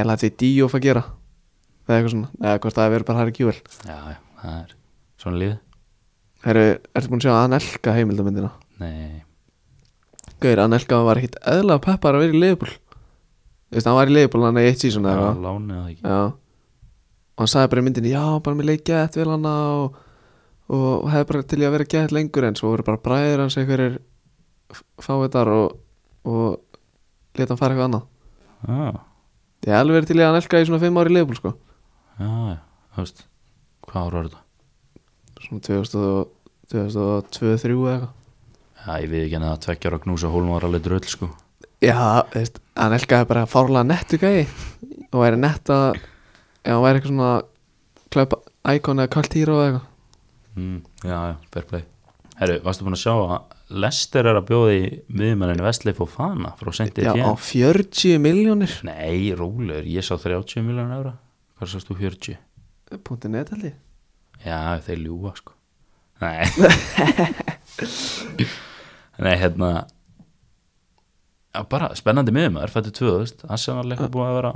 [SPEAKER 1] eða hætti Díóf að gera eða eitthvað svona, eða hvort það hefur verið bara Harry Kjúvel
[SPEAKER 2] já já það er svona lífið
[SPEAKER 1] Herru, ertu búin að sjá að Anelka heimildamindina?
[SPEAKER 2] nei
[SPEAKER 1] Gauður, Anelka var ekkit eðla peppar að vera í liðbúl Þú veist, hann var í liðbúl hann í eitt sísun eða
[SPEAKER 2] það
[SPEAKER 1] eitthvað
[SPEAKER 2] lánið það ekki
[SPEAKER 1] Já Og hann sagði bara í myndinni, já, bara mér leik gett vel hana og, og hefði bara til ég að vera gett lengur en svo voru bara bræður hans einhverjir fáiðar og, og leta hann fara eitthvað annað
[SPEAKER 2] já
[SPEAKER 1] Ég hef alveg verið til í að nelka í svona 5 ári í leifbúl sko
[SPEAKER 2] Já, já, þú veist, hvað ára var þetta?
[SPEAKER 1] Svona 2002-2003 eða eitthvað
[SPEAKER 2] Já, ég við ekki henni að tveggja ára knúsa hólum var alveg dröll, sko.
[SPEAKER 1] Já, þú veist, hann elkaði bara fárlega nettu gæi og væri nett að ef hann væri eitthvað svona klöp íkon eða kalt hýra eða eitthvað
[SPEAKER 2] Mm, já, já, fair play. Herru, varstu búin að sjá að Lester er að bjóða í miðmenninu Vestleif og Fana frá sentið
[SPEAKER 1] Já, á 40 miljónir
[SPEAKER 2] Nei, rólegur, ég sá 30 miljonar eura. Hvað sást þú 40?
[SPEAKER 1] Punti net held ég
[SPEAKER 2] Já, þeir ljúa, sko. Nei. Nei, hérna, já, bara spennandi miðmennir, fættu 2000. Arsenal eitthvað búið að vera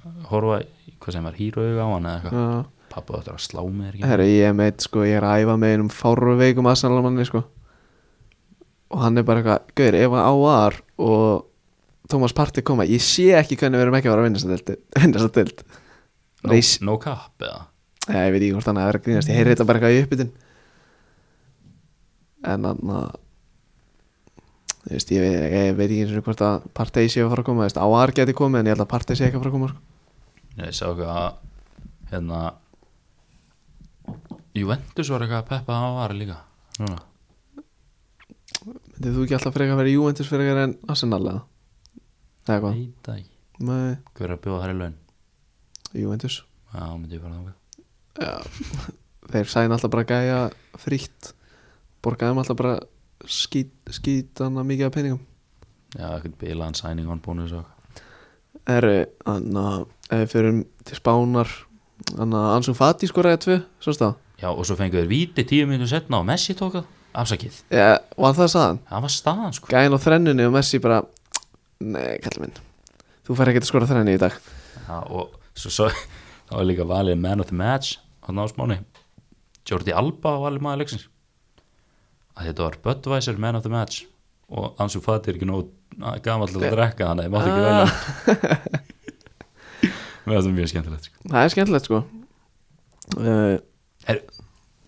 [SPEAKER 2] að horfa, í- hvað sem var, hýrauga á hann eða eitthvað.
[SPEAKER 1] Já.
[SPEAKER 2] Pappa þetta er að slá með þér ekki
[SPEAKER 1] Herra, ég er meitt sko, ég er að æfa með einum fárlega veikum aðsanalarmanni sko og hann er bara eitthvað, gauður, ef að áar og Thomas Partey koma ég sé ekki hvernig við erum ekki að vera að vinna þess að vinna þess að dild
[SPEAKER 2] no,
[SPEAKER 1] Reis-
[SPEAKER 2] no cap eða
[SPEAKER 1] Nei, ég veit ekki hvort hann er að vera að grínast Ég heyri þetta bara eitthvað í uppbytun En hann að Þú veist, ég, veit, ég veit ekki eins og hvort að Partey sé að fara að koma, þú veist, Áar geti komið en ég held að Partey sé ekki að fara að koma sko.
[SPEAKER 2] Ég sá eitthvað að hérna Juventus var eitthvað að peppa það var líka Núna.
[SPEAKER 1] Myndið þú ekki alltaf frekar að vera Juventus frekar en Arsenal eða? Eða hvað?
[SPEAKER 2] Nei, það ekki
[SPEAKER 1] Nei,
[SPEAKER 2] Hver er að bjóða þær í laun?
[SPEAKER 1] Juventus
[SPEAKER 2] Já, myndi ég fara þangað
[SPEAKER 1] Þeir sæn alltaf bara gæja frítt Borgaðum alltaf bara skít, skítana mikið af peningum
[SPEAKER 2] Já, eitthvað bilaðan signing on bónus og eitthvað
[SPEAKER 1] Eru, anna, ef við fyrum til Spánar Anna, Ansum Fati skoraði tvö, svo stað
[SPEAKER 2] Já, og svo fengu þeir víti tíu minnum setna og Messi tók það Afsakið,
[SPEAKER 1] Já, var það saðan?
[SPEAKER 2] það var staðan sko
[SPEAKER 1] Gæin á þrennunni og Messi bara Nei, kallum minn Þú fær ekki að skora þrenni í dag
[SPEAKER 2] Já, og svo, svo það var líka valið man of the match hann á smáni Jordi Alba var valið maður leiksins að þetta var Budweiser man of the match og Ansu Fati er ekki nóg gamall til að drekka þannig, ég mátti ekki velja hann.
[SPEAKER 1] Ah.
[SPEAKER 2] Mér finnst það mjög skemmtilegt sko.
[SPEAKER 1] Það er skemmtilegt sko uh,
[SPEAKER 2] Her,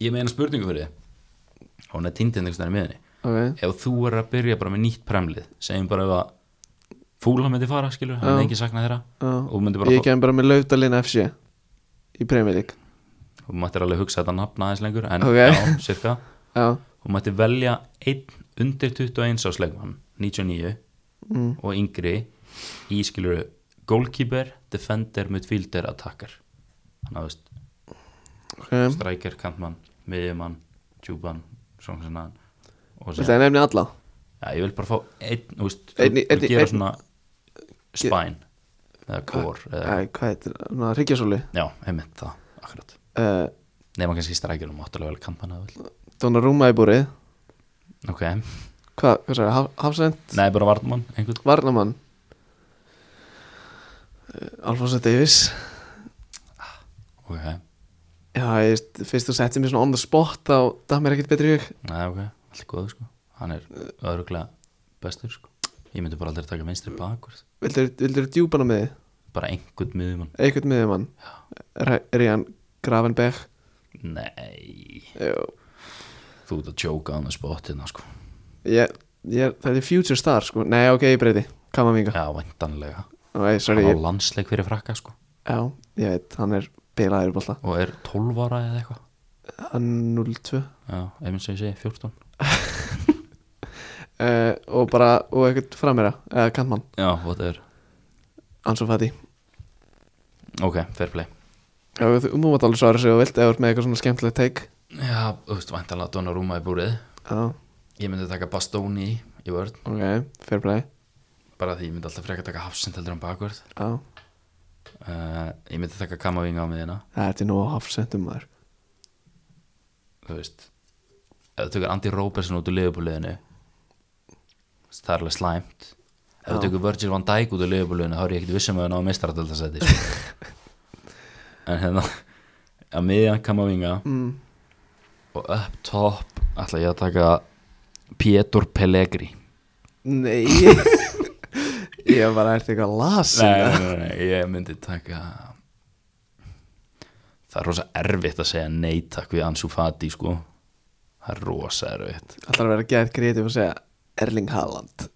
[SPEAKER 2] Ég meina spurningu fyrir þið hún er týndin einhvers veginn í miðinni
[SPEAKER 1] Ok
[SPEAKER 2] ef þú er að byrja bara með nýtt premlið segjum bara ef að fúla myndi fara skilur, hann
[SPEAKER 1] Já.
[SPEAKER 2] er ekki saknað þeirra og
[SPEAKER 1] Já.
[SPEAKER 2] þú myndir bara
[SPEAKER 1] Ég kem bara með lautalinn FC Í Premier League
[SPEAKER 2] og mættir alveg hugsa þetta nafna aðeins lengur en
[SPEAKER 1] Ok.
[SPEAKER 2] já, cirka
[SPEAKER 1] Já,
[SPEAKER 2] og mættir velja einn undir 21 árs leikmann 99
[SPEAKER 1] mm,
[SPEAKER 2] og yngri í skilur goalkeeper, defender, midfielder, attacker þannig að þú veist,
[SPEAKER 1] ok
[SPEAKER 2] striker, kantmann miðjumann, djúbann svona svona og
[SPEAKER 1] Þetta
[SPEAKER 2] sér,
[SPEAKER 1] er nefni alla
[SPEAKER 2] já, ég vil bara fá einn, þú veist, þú-
[SPEAKER 1] Einn í- einn
[SPEAKER 2] þú
[SPEAKER 1] í-
[SPEAKER 2] gera
[SPEAKER 1] einn-
[SPEAKER 2] svona spine eða core eða,
[SPEAKER 1] Æ, Hvað heitir, ná, Ríkjasóli
[SPEAKER 2] já, einmitt það, akkurat
[SPEAKER 1] uh,
[SPEAKER 2] nema kannski striker, þú mátt alveg velja kantmann eða vel
[SPEAKER 1] Donnarumma í búrið
[SPEAKER 2] ok,
[SPEAKER 1] Hvað, hvað sagði, haf, Hafsend,
[SPEAKER 2] nei bara varnmann einhvern
[SPEAKER 1] Varnamann uh, Alfonso Davis
[SPEAKER 2] Ok,
[SPEAKER 1] Já, ég veist, fyrst þú settir mér svona on the spot þá dæð mér ekkert betri í hug
[SPEAKER 2] Nei, ok, allt góð sko Hann er öðruglega bestur sko Ég myndi bara aldrei taka vinstri bakvörð
[SPEAKER 1] Vildur, vildur djúpana með þið,
[SPEAKER 2] Bara einhvern miðjumann
[SPEAKER 1] eitthvað með þið mann Ríðan Gravenberg
[SPEAKER 2] Nei,
[SPEAKER 1] Jú
[SPEAKER 2] þú ert að tjóka hann að spottina sko
[SPEAKER 1] ég, ég, þetta er future star sko Nei, ok, ég breyti, Kamavinga
[SPEAKER 2] Já, væntanlega
[SPEAKER 1] Nei, sorry,
[SPEAKER 2] Hann á
[SPEAKER 1] ég,
[SPEAKER 2] landsleik fyrir frakka sko
[SPEAKER 1] já, ég veit, hann er bilaður í bolta Eh,
[SPEAKER 2] Og er 12 ára eða eitthvað
[SPEAKER 1] Hann 0-2 uh,
[SPEAKER 2] Já, ef minn sem ég segi 14
[SPEAKER 1] Eh, Og bara, og ekkert framera Eða Eh, kantmann,
[SPEAKER 2] Já, what er
[SPEAKER 1] Ansu Fati
[SPEAKER 2] Ok, fair play
[SPEAKER 1] Já, þú þú mátt alveg svara sig og vilt Eða þú ert með eitthvað svona skemmtilegt take
[SPEAKER 2] Já, þú veist, væntanlega Donnarumma í búrið
[SPEAKER 1] Já,
[SPEAKER 2] Ég myndi taka Bastoni í, í vörð
[SPEAKER 1] ok, fair play
[SPEAKER 2] Bara því ég myndi alltaf frekar taka Hafsind heldur en bakvörð
[SPEAKER 1] Já,
[SPEAKER 2] uh, Ég myndi taka Kamavinga á miðina
[SPEAKER 1] þetta er nú að hafsendum maður
[SPEAKER 2] þú veist ef þú tökur Andy Robertson út úr liðbúliðinu það er alveg slæmt ef þú
[SPEAKER 1] Já.
[SPEAKER 2] tökur Virgil van Dijk út úr liðbúliðinu þá er ég ekkert vissum að það ná meistaradöldasæti sko. en hérna að miðjan Kamavinga
[SPEAKER 1] mm,
[SPEAKER 2] og upp top ætla ég að taka Pétur Pellegri
[SPEAKER 1] Nei Ég bara ert eitthvað lasin
[SPEAKER 2] nei, nei, nei, nei, ég myndi taka það er rosa erfitt að segja nei takk við Ansu Fati sko það er rosa erfitt
[SPEAKER 1] Alltaf að vera gett kreatíf og segja Erling Haaland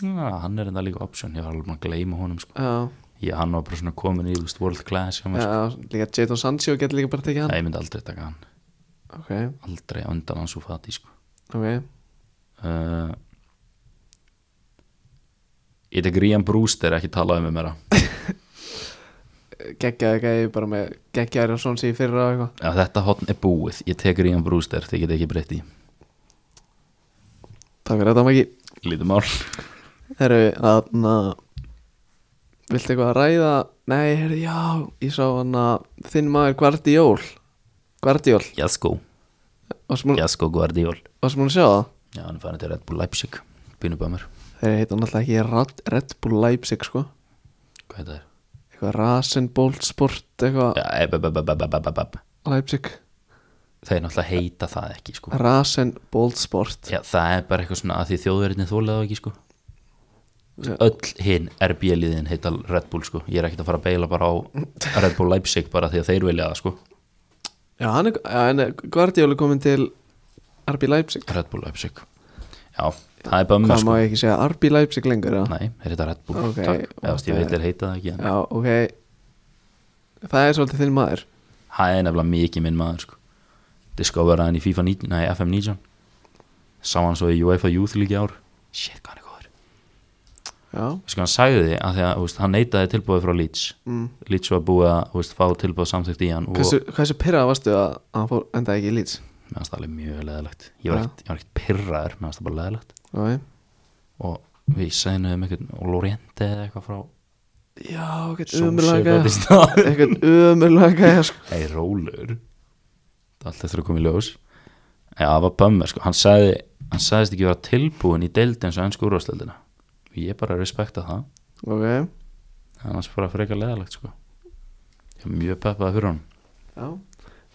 [SPEAKER 2] Já, hann er enda líka option, ég var alveg búin að gleyma honum sko.
[SPEAKER 1] Já,
[SPEAKER 2] Já, hann var bara svona komin í þú veist, world class hjá mér sko.
[SPEAKER 1] já líka Jadon Sancho getur líka bara tekið hann
[SPEAKER 2] Nei, ég myndi aldrei taka hann
[SPEAKER 1] Ok,
[SPEAKER 2] Aldrei á undan hans og fati sko.
[SPEAKER 1] ok
[SPEAKER 2] uh, Ég tek Rían Brewster ekki talað um mér
[SPEAKER 1] geggjaði gæði bara með geggjaði og svona síði fyrra og eitthvað
[SPEAKER 2] Já, þetta hotn er búið Ég tek Rían Brewster, þið get ekki breytt í
[SPEAKER 1] Takk fyrir þetta Maggi
[SPEAKER 2] Lítið mál
[SPEAKER 1] Herru, þarna Viltu eitthvað að ræða? Nei, herru, já, ég sá hann að þinn maður Guardiol Guardiol,
[SPEAKER 2] Jasko,
[SPEAKER 1] varst múin
[SPEAKER 2] Jasko Guardiol
[SPEAKER 1] að sjá það?
[SPEAKER 2] Mm. Já, hann er farin til Red Bull Leipzig Býnum bara mér,
[SPEAKER 1] Þeir heita náttúrulega ekki Red, Red Bull Leipzig, sko
[SPEAKER 2] hvað þetta er?
[SPEAKER 1] Eitthvað Rasenbolt Sport, eitthvað
[SPEAKER 2] Já, e, eb, eb, eb, eb, eb, eb, eb, eb.
[SPEAKER 1] Leipzig
[SPEAKER 2] Þeir náttúrulega heita það ekki sko.
[SPEAKER 1] Rasenbolt Sport
[SPEAKER 2] Já, það er bara eitthvað svona að því þjóðverðinni þólaði ekki sko
[SPEAKER 1] Já.
[SPEAKER 2] Öll hinn RB-liðin heita Red Bull sko Ég er ekkert að fara að beila bara á Red Bull Leipzig bara því að þeir vilja það sko
[SPEAKER 1] eh, Já, hann er, já, en Guardiol er komin til RB Leipzig
[SPEAKER 2] Red Bull Leipzig Já, Já, það er bömmu
[SPEAKER 1] Hvað
[SPEAKER 2] sko
[SPEAKER 1] má ég ekki segja, RB Leipzig lengur eða?
[SPEAKER 2] Nei, er þetta Red Bull?
[SPEAKER 1] Ok,
[SPEAKER 2] Takk, eða
[SPEAKER 1] ok.
[SPEAKER 2] veist, ég veit þeir heita það ekki en
[SPEAKER 1] Já, ok Það er svolítið þinn maður
[SPEAKER 2] Það er nefnilega mikið minn maður sko Discover hann í FIFA 19, nei, FM 19 Sá hann svo í UEFA Youth League í ár Shit, hvað hann er góður
[SPEAKER 1] Já,
[SPEAKER 2] Veistu hvað hann sagði því að því að þú veist, hann neitaði tilbúið frá Leeds
[SPEAKER 1] mm.
[SPEAKER 2] Leeds var búið að þú veist, fá tilbúið samþykkt í hann og
[SPEAKER 1] hversu, hversu pyrrað varstu að að hann fór endaði ekki í Leeds
[SPEAKER 2] mér fannst það alveg mjög leðilegt Ég var
[SPEAKER 1] Já.
[SPEAKER 2] ekkert- ég var ekkert pirraður, mér fannst það bara leðilegt
[SPEAKER 1] Ok.
[SPEAKER 2] og við sæðinum einhvern og Loriente eða eitthvað frá
[SPEAKER 1] Já, ekkert
[SPEAKER 2] Solskjaer
[SPEAKER 1] umurlaga
[SPEAKER 2] gat í stað.
[SPEAKER 1] Ekkert umurlaga sko.
[SPEAKER 2] Nei, rólur Allt eftir að koma í ljós Já, það var bömmur, sko, hann sagði hann sagðist ekki vera tilbúin í deildi eins og ennsku úrvastöldina ég bara respekta það
[SPEAKER 1] Ok,
[SPEAKER 2] annars bara frekar leðalegt, sko ég er mjög peppaði fyrir honum
[SPEAKER 1] já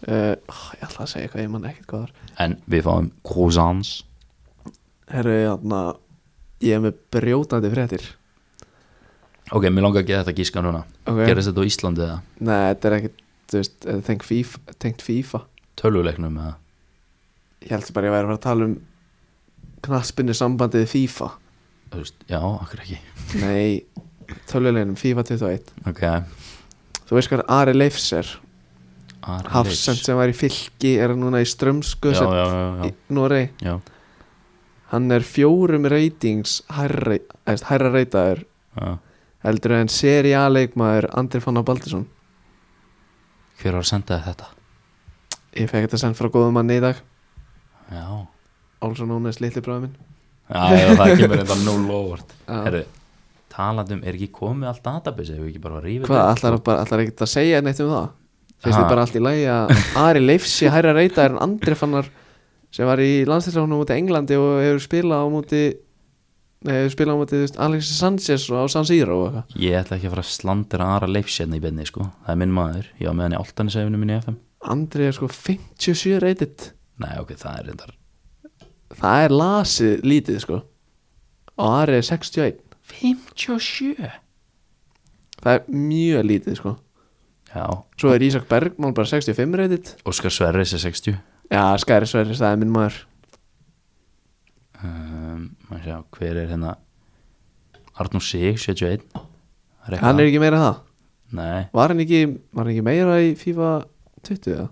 [SPEAKER 1] Uh, ég ætla að segja eitthvað, ég man ekkert góðar
[SPEAKER 2] en við fáum croissants
[SPEAKER 1] Herru, þarna Ég er með brjótandi fréttir
[SPEAKER 2] ok, mér langar að geta þetta gíska núna
[SPEAKER 1] Ok.
[SPEAKER 2] gerist þetta á Íslandi eða
[SPEAKER 1] Nei, þetta er ekkert, þú veist, þetta er tengt FIFA, tengt FIFA
[SPEAKER 2] tölvuleiknum eða
[SPEAKER 1] Ég held bara að ég væri að fara að tala um knaspinu sambandið FIFA
[SPEAKER 2] þú veist, já, akkur ekki
[SPEAKER 1] Nei, töluleginum FIFA 21
[SPEAKER 2] ok,
[SPEAKER 1] Þú veist hvað Ari Leifs er
[SPEAKER 2] Ari
[SPEAKER 1] Hafsend
[SPEAKER 2] Leifs.
[SPEAKER 1] sem var í fylki er núna í Strömsku
[SPEAKER 2] já,
[SPEAKER 1] sem
[SPEAKER 2] já, já,
[SPEAKER 1] í Norei
[SPEAKER 2] já, já.
[SPEAKER 1] Hann er fjórum ratings hærra, eðst, hærra reytaður
[SPEAKER 2] já.
[SPEAKER 1] heldur en seriáleikmaður Andri Fanna Baldursson
[SPEAKER 2] hver var að senda þér þetta
[SPEAKER 1] Ég fekk þetta send frá góðum manni í dag
[SPEAKER 2] já,
[SPEAKER 1] Álsson Ónes litli bróði minn
[SPEAKER 2] já, já það kemur þetta núl óvart
[SPEAKER 1] Já.
[SPEAKER 2] Herru, talandum er ekki komið allt database ef við ekki bara rífið
[SPEAKER 1] Hvað, ætlar bara- ætlarðu ekkert að segja neitt um það? Finnst
[SPEAKER 2] Ha.
[SPEAKER 1] þið bara allt í lagi að Ari Leifs sé hærra reytaður en Andri Fannar sem var í landslýsraunum múti Englandi og hefur spilað á múti nei, hefur spilað á múti þú veist, Alexis Sanchez og á San Siro og eitthvað
[SPEAKER 2] Ég ætla ekki að fara að slandra aðra leifs hérna í benni sko Það er minn maður, ég á með hann í áltanisefinu minni í FM
[SPEAKER 1] Andri er sko 57 reytit
[SPEAKER 2] Nei ok, það er reyndar
[SPEAKER 1] það er lasið lítið sko og Ari er 61
[SPEAKER 2] 57
[SPEAKER 1] það er mjög lítið sko
[SPEAKER 2] Já,
[SPEAKER 1] svo er Ísak Bergmál bara 65 reytit
[SPEAKER 2] Óskar Sverris er 60
[SPEAKER 1] já, Skæri Sverris, það er minn maður
[SPEAKER 2] um, maður sjá, Hver er hérna Arnur Sig, 71 Það er
[SPEAKER 1] hann
[SPEAKER 2] eitthvað
[SPEAKER 1] er ekki meira en það
[SPEAKER 2] Nei,
[SPEAKER 1] var hann ekki, var hann ekki meira í FIFA 20 eða?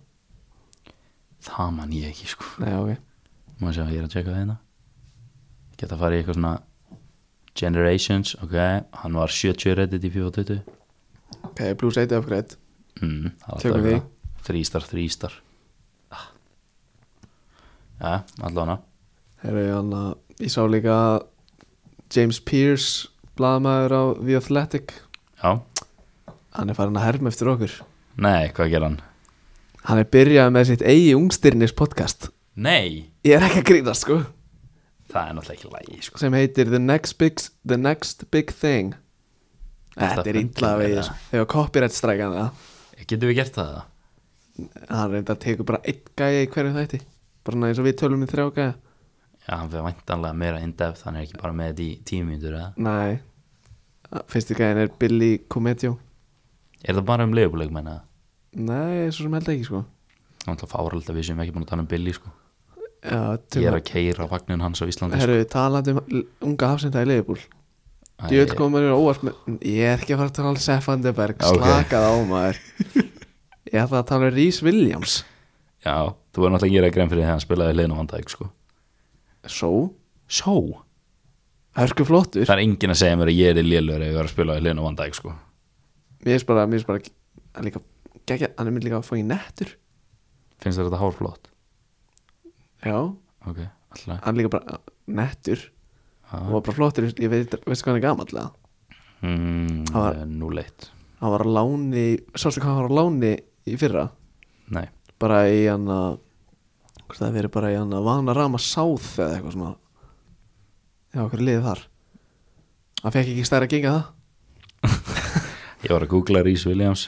[SPEAKER 2] það man ég ekki sko
[SPEAKER 1] nei, ok
[SPEAKER 2] maður sjá, ég er að tjekka það hérna Geta að fara í eitthvað svona Generations, ok Hann var 70 reddit í FIFA 20
[SPEAKER 1] ok, plus 1 upgrade
[SPEAKER 2] mm, það er alltaf
[SPEAKER 1] Tökum
[SPEAKER 2] eitthvað.
[SPEAKER 1] því.
[SPEAKER 2] þrístar, þrístar ah. já, allavega
[SPEAKER 1] Herra, ég, anna, ég sá líka að James Pierce blaðmaður á The Athletic
[SPEAKER 2] já,
[SPEAKER 1] hann er farin að herma eftir okkur
[SPEAKER 2] nei, hvað ger hann
[SPEAKER 1] hann er byrjað með sitt eigi ungstyrnis podcast
[SPEAKER 2] nei,
[SPEAKER 1] ég er ekki að grínast sko
[SPEAKER 2] það er náttúrulega ekki lægi sko.
[SPEAKER 1] sem heitir The Next Big, The Next Big Thing
[SPEAKER 2] Það
[SPEAKER 1] Þetta er illa
[SPEAKER 2] fundið
[SPEAKER 1] við
[SPEAKER 2] meira.
[SPEAKER 1] þessu. þegar copyright strækan það
[SPEAKER 2] getum við gert það eða?
[SPEAKER 1] hann reyndar tekur bara einn gæja í hverju þætti bara svona eins og við tölum í þrjá gæja
[SPEAKER 2] já, hann fyrir væntanlega meira in-depth hann er ekki bara með þetta í tíu mínútur eða?
[SPEAKER 1] nei fyrsti gæjan er Billy Comedio
[SPEAKER 2] er það bara um leifuleik menna
[SPEAKER 1] nei, svo sem held ekki sko
[SPEAKER 2] náttúrulega fárald að við sem ekki búin að tala um Billy sko.
[SPEAKER 1] Já,
[SPEAKER 2] ég
[SPEAKER 1] tökum-
[SPEAKER 2] er að keira vagnin hans á Íslandi sko.
[SPEAKER 1] Herru, talandi um l- unga hafsenda í Leifbúl
[SPEAKER 2] Æ,
[SPEAKER 1] Djöld komur mér óvart með Ég er ekki að fara að tala um Sefandeberg
[SPEAKER 2] Já, ok.
[SPEAKER 1] okay. Slakað á maður Ég ætla að tala um Rhys Williams
[SPEAKER 2] já, þú er náttúrulega að gera grein fyrir því að hann spilaði leina vandæk sko.
[SPEAKER 1] Svo,
[SPEAKER 2] svo,
[SPEAKER 1] hörku flottur
[SPEAKER 2] það er enginn að segja mér að ég er í lélur ef ég var að spila leina vandæk sko.
[SPEAKER 1] Mér er bara, mér er bara Hann er líka, gegja, hann er mér líka að fá í nettur
[SPEAKER 2] finnst þér þetta hárflott
[SPEAKER 1] Já,
[SPEAKER 2] ok, alltaf
[SPEAKER 1] hann er líka bara uh, nettur
[SPEAKER 2] Já.
[SPEAKER 1] Og bara flottur, ég veit, veistu hvað hann er gamallega
[SPEAKER 2] mm,
[SPEAKER 1] Það var-
[SPEAKER 2] eh, núll eitt
[SPEAKER 1] Hann var á láni, sástu hvað hann var á láni í fyrra
[SPEAKER 2] nei,
[SPEAKER 1] Bara í hann að Hvort það verið bara í hann að Vana Rama South eða eitthvað svona Já, okkur liðið þar Hann fekk ekki stærra gengi að það
[SPEAKER 2] ég var að googla Rhys Williams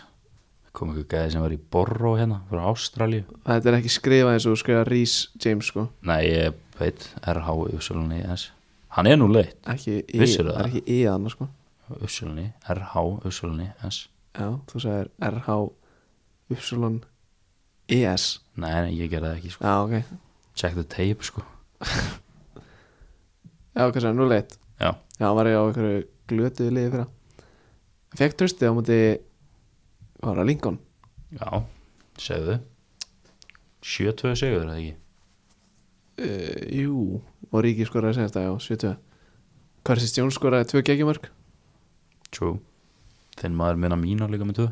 [SPEAKER 2] kom einhver gæði sem var í Borro hérna frá Ástralju,
[SPEAKER 1] Þetta er ekki skrifað eins og þú skrifa Rhys James sko
[SPEAKER 2] nei ég veit R-H-U-S hann er núll eitt
[SPEAKER 1] ekki í,
[SPEAKER 2] Vissirðu
[SPEAKER 1] það er
[SPEAKER 2] það?
[SPEAKER 1] ekki í hann sko
[SPEAKER 2] U-S-L-N-I, R-H-U-S-L-N-I-S
[SPEAKER 1] Já, þú sagðir RH Upsilon ES
[SPEAKER 2] nei, nei, ég gerði það ekki sko.
[SPEAKER 1] Já, ok
[SPEAKER 2] check the tape sko
[SPEAKER 1] Já, hvað sem, 0-1
[SPEAKER 2] Já.
[SPEAKER 1] Já, hann var ég á einhverju glötuðu liði fyrir hann Fekk tröstið á móti Hvað var það, Lincoln?
[SPEAKER 2] Já, segðu 7-2 sigur er það ekki
[SPEAKER 1] Uh, jú, og Ríki skoraði senast að já, 70 Hvað er þessi Stjón skoraði, 2 geggjumörk?
[SPEAKER 2] True Þinn maður minna mín á líka með 2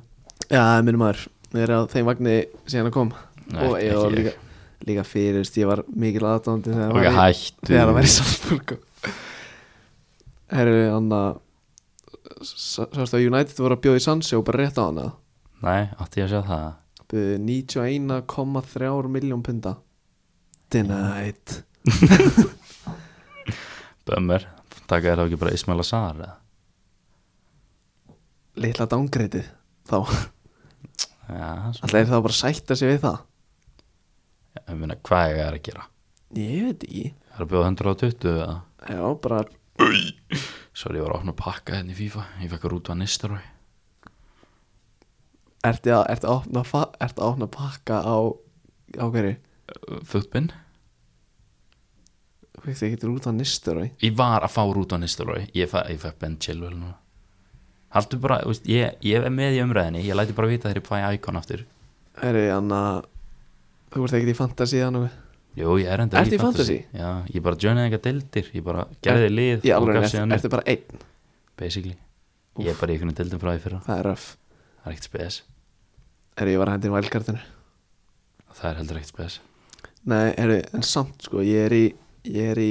[SPEAKER 1] Já, það er minn maður, ég er á þeim vagnir síðan að kom Og ég var líka, líka fyrir, þú veist, ég var mikil aðdándi þegar hann
[SPEAKER 2] Ok,
[SPEAKER 1] var í-
[SPEAKER 2] hættu
[SPEAKER 1] þegar hann var í Salzburg Herru, hann að Sástu að United voru að bjóða í Sanse og bara rétt á hana
[SPEAKER 2] Nei, átti ég að segja það
[SPEAKER 1] Buðu 91,3 miljón punda Denied
[SPEAKER 2] Bömmur, taka þér þá ekki bara Ismail Azar eða?
[SPEAKER 1] Litla dángreitið Þá alltaf
[SPEAKER 2] Já, svo,
[SPEAKER 1] er það bara að sætta sig við það
[SPEAKER 2] ég meina, hvað ég er að gera?
[SPEAKER 1] Ég veit ekki
[SPEAKER 2] Það er að bjóða 120 eða?
[SPEAKER 1] Já, bara
[SPEAKER 2] Sorry, ég var að opna að pakka hérna í FIFA Ég fekk að rúta að Nistarói
[SPEAKER 1] Ertu að, ertu að, opna, fa- ertu að opna pakka á Á hverju?
[SPEAKER 2] Uh, Fötbin
[SPEAKER 1] Þú veist, ég getur út að nistur og
[SPEAKER 2] Ég var að fá rúta á Nistarói Ég, fe- ég fekk Ben Chilwell núna Haldur bara, þú veist, ég, ég er með í umræðinni Ég læti bara vita þegar ég fæ Icon aftur
[SPEAKER 1] Herru, hann að Þú ert ekkert í fantasy þannig
[SPEAKER 2] Jú, ég er enda
[SPEAKER 1] Ertu í fantasy?
[SPEAKER 2] Já, ég bara joinaði eitthvað deildir Ég bara gerði lið
[SPEAKER 1] Í
[SPEAKER 2] og
[SPEAKER 1] alveg,
[SPEAKER 2] gaf
[SPEAKER 1] ertu,
[SPEAKER 2] síðan upp,
[SPEAKER 1] ertu bara einn
[SPEAKER 2] Basically
[SPEAKER 1] Úff.
[SPEAKER 2] Ég er bara í einhvern deildum frá því fyrra
[SPEAKER 1] Það er röf
[SPEAKER 2] Það er ekkert spes
[SPEAKER 1] Herru, ég var að hendin vælkartinu
[SPEAKER 2] Það er heldur ekkert spes
[SPEAKER 1] Nei, herru, en samt sko Ég er í, ég er í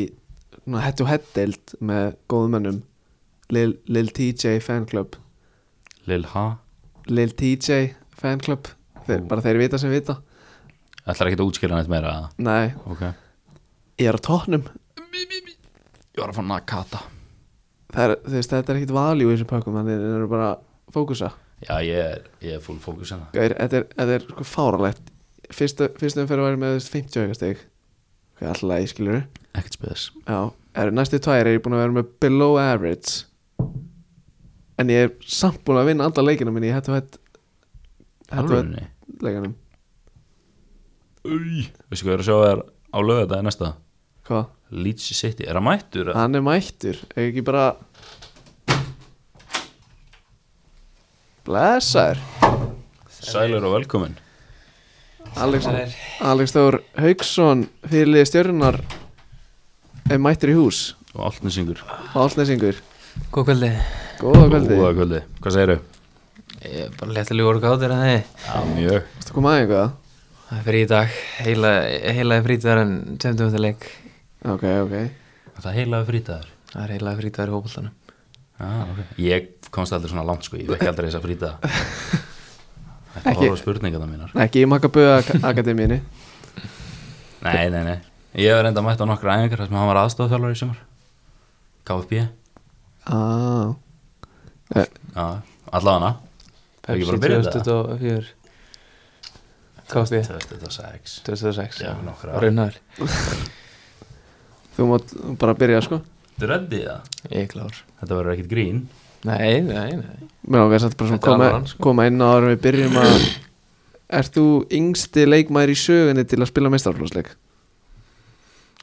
[SPEAKER 1] svona, Head to head deild með góðum mönnum Lil, Lil TJ fanclub
[SPEAKER 2] Lil Ha
[SPEAKER 1] Lil TJ fanclub þeir,
[SPEAKER 2] Ú.
[SPEAKER 1] Bara þeir vita sem vita
[SPEAKER 2] Ætlar ekkert að útskýra neitt meira að
[SPEAKER 1] Nei,
[SPEAKER 2] Ok
[SPEAKER 1] ég er á tóknum
[SPEAKER 2] Ég var að fá Nakata
[SPEAKER 1] Það er, þú veist, þetta er ekkit valjú í þessum pakkum Þannig þeir eru bara að fókusa
[SPEAKER 2] Já, ég er, ég er full fókus hérna
[SPEAKER 1] Gaur, Þetta er, þetta er sko fáralegt Fyrstu, fyrstu umferð var ég með þú veist, 50 aukastig Hvað er alltaf ég skilur
[SPEAKER 2] Ekkert spes
[SPEAKER 1] Já, er, næstu tvær er ég búin að vera með below average En ég er samt búin að vinna alla leikina minni Ég hættu hætt Hættu hætt
[SPEAKER 2] Alvörunni
[SPEAKER 1] leikinum
[SPEAKER 2] Új Veistu hvað ég er að sjá þér á lögða þetta næsta
[SPEAKER 1] Hvað?
[SPEAKER 2] Leeds City Er hann mættur? eða?
[SPEAKER 1] Hann er mættur, er ekki bara Blessaður
[SPEAKER 2] Sælur og velkomin
[SPEAKER 1] Alex, Alex Þór Hauksson Fyrirlið stjörnunar Er mættur í hús
[SPEAKER 2] Og altnisingur
[SPEAKER 1] Álnesingur,
[SPEAKER 3] Góð kvöldi
[SPEAKER 1] góða kvöldi
[SPEAKER 2] Góða kvöldi Hvað segiru?
[SPEAKER 3] Ég er bara léttilega orð gáttir að þið
[SPEAKER 2] Já, mjög
[SPEAKER 1] Varstu að koma aðeins eitthvað?
[SPEAKER 3] Það er frí í dag Heila, heila er frítvar en tveimtum þetta leik
[SPEAKER 1] Ok, ok
[SPEAKER 2] Það er heilaði frítaður
[SPEAKER 3] Það er heila frítvar í hópultanum
[SPEAKER 2] ah, okay. Ég komst aldrei svona langt sko Ég vekki aldrei þess að fríta Þetta
[SPEAKER 1] Ekki-
[SPEAKER 2] var á spurningarna mínar
[SPEAKER 1] Nei, Ekki í Magaböða akademíinni
[SPEAKER 2] Nei, nei, nei Ég var enda mætt á nokkra æfingar þar sem hann var aðstofþjálfur í sumar KFB Já,
[SPEAKER 1] ah. Eh,
[SPEAKER 2] allavega Ekki bara að byrja þetta?
[SPEAKER 3] 2024 Kást ég
[SPEAKER 2] hana 2006
[SPEAKER 3] 2006
[SPEAKER 2] Já, nokkra.
[SPEAKER 3] Raunar
[SPEAKER 1] Þú mátt bara byrja sko
[SPEAKER 2] Þú reddi það?
[SPEAKER 3] Ég er klár
[SPEAKER 2] Þetta verður ekkit grín
[SPEAKER 3] Nei, nei, nei
[SPEAKER 1] Mér ákveðast að bara svona
[SPEAKER 3] Þetta er
[SPEAKER 1] koma,
[SPEAKER 3] alvaran, sko.
[SPEAKER 1] koma inn á árum við byrjum að Ert þú yngsti leikmæður í sögunni til að spila meistarflósleik?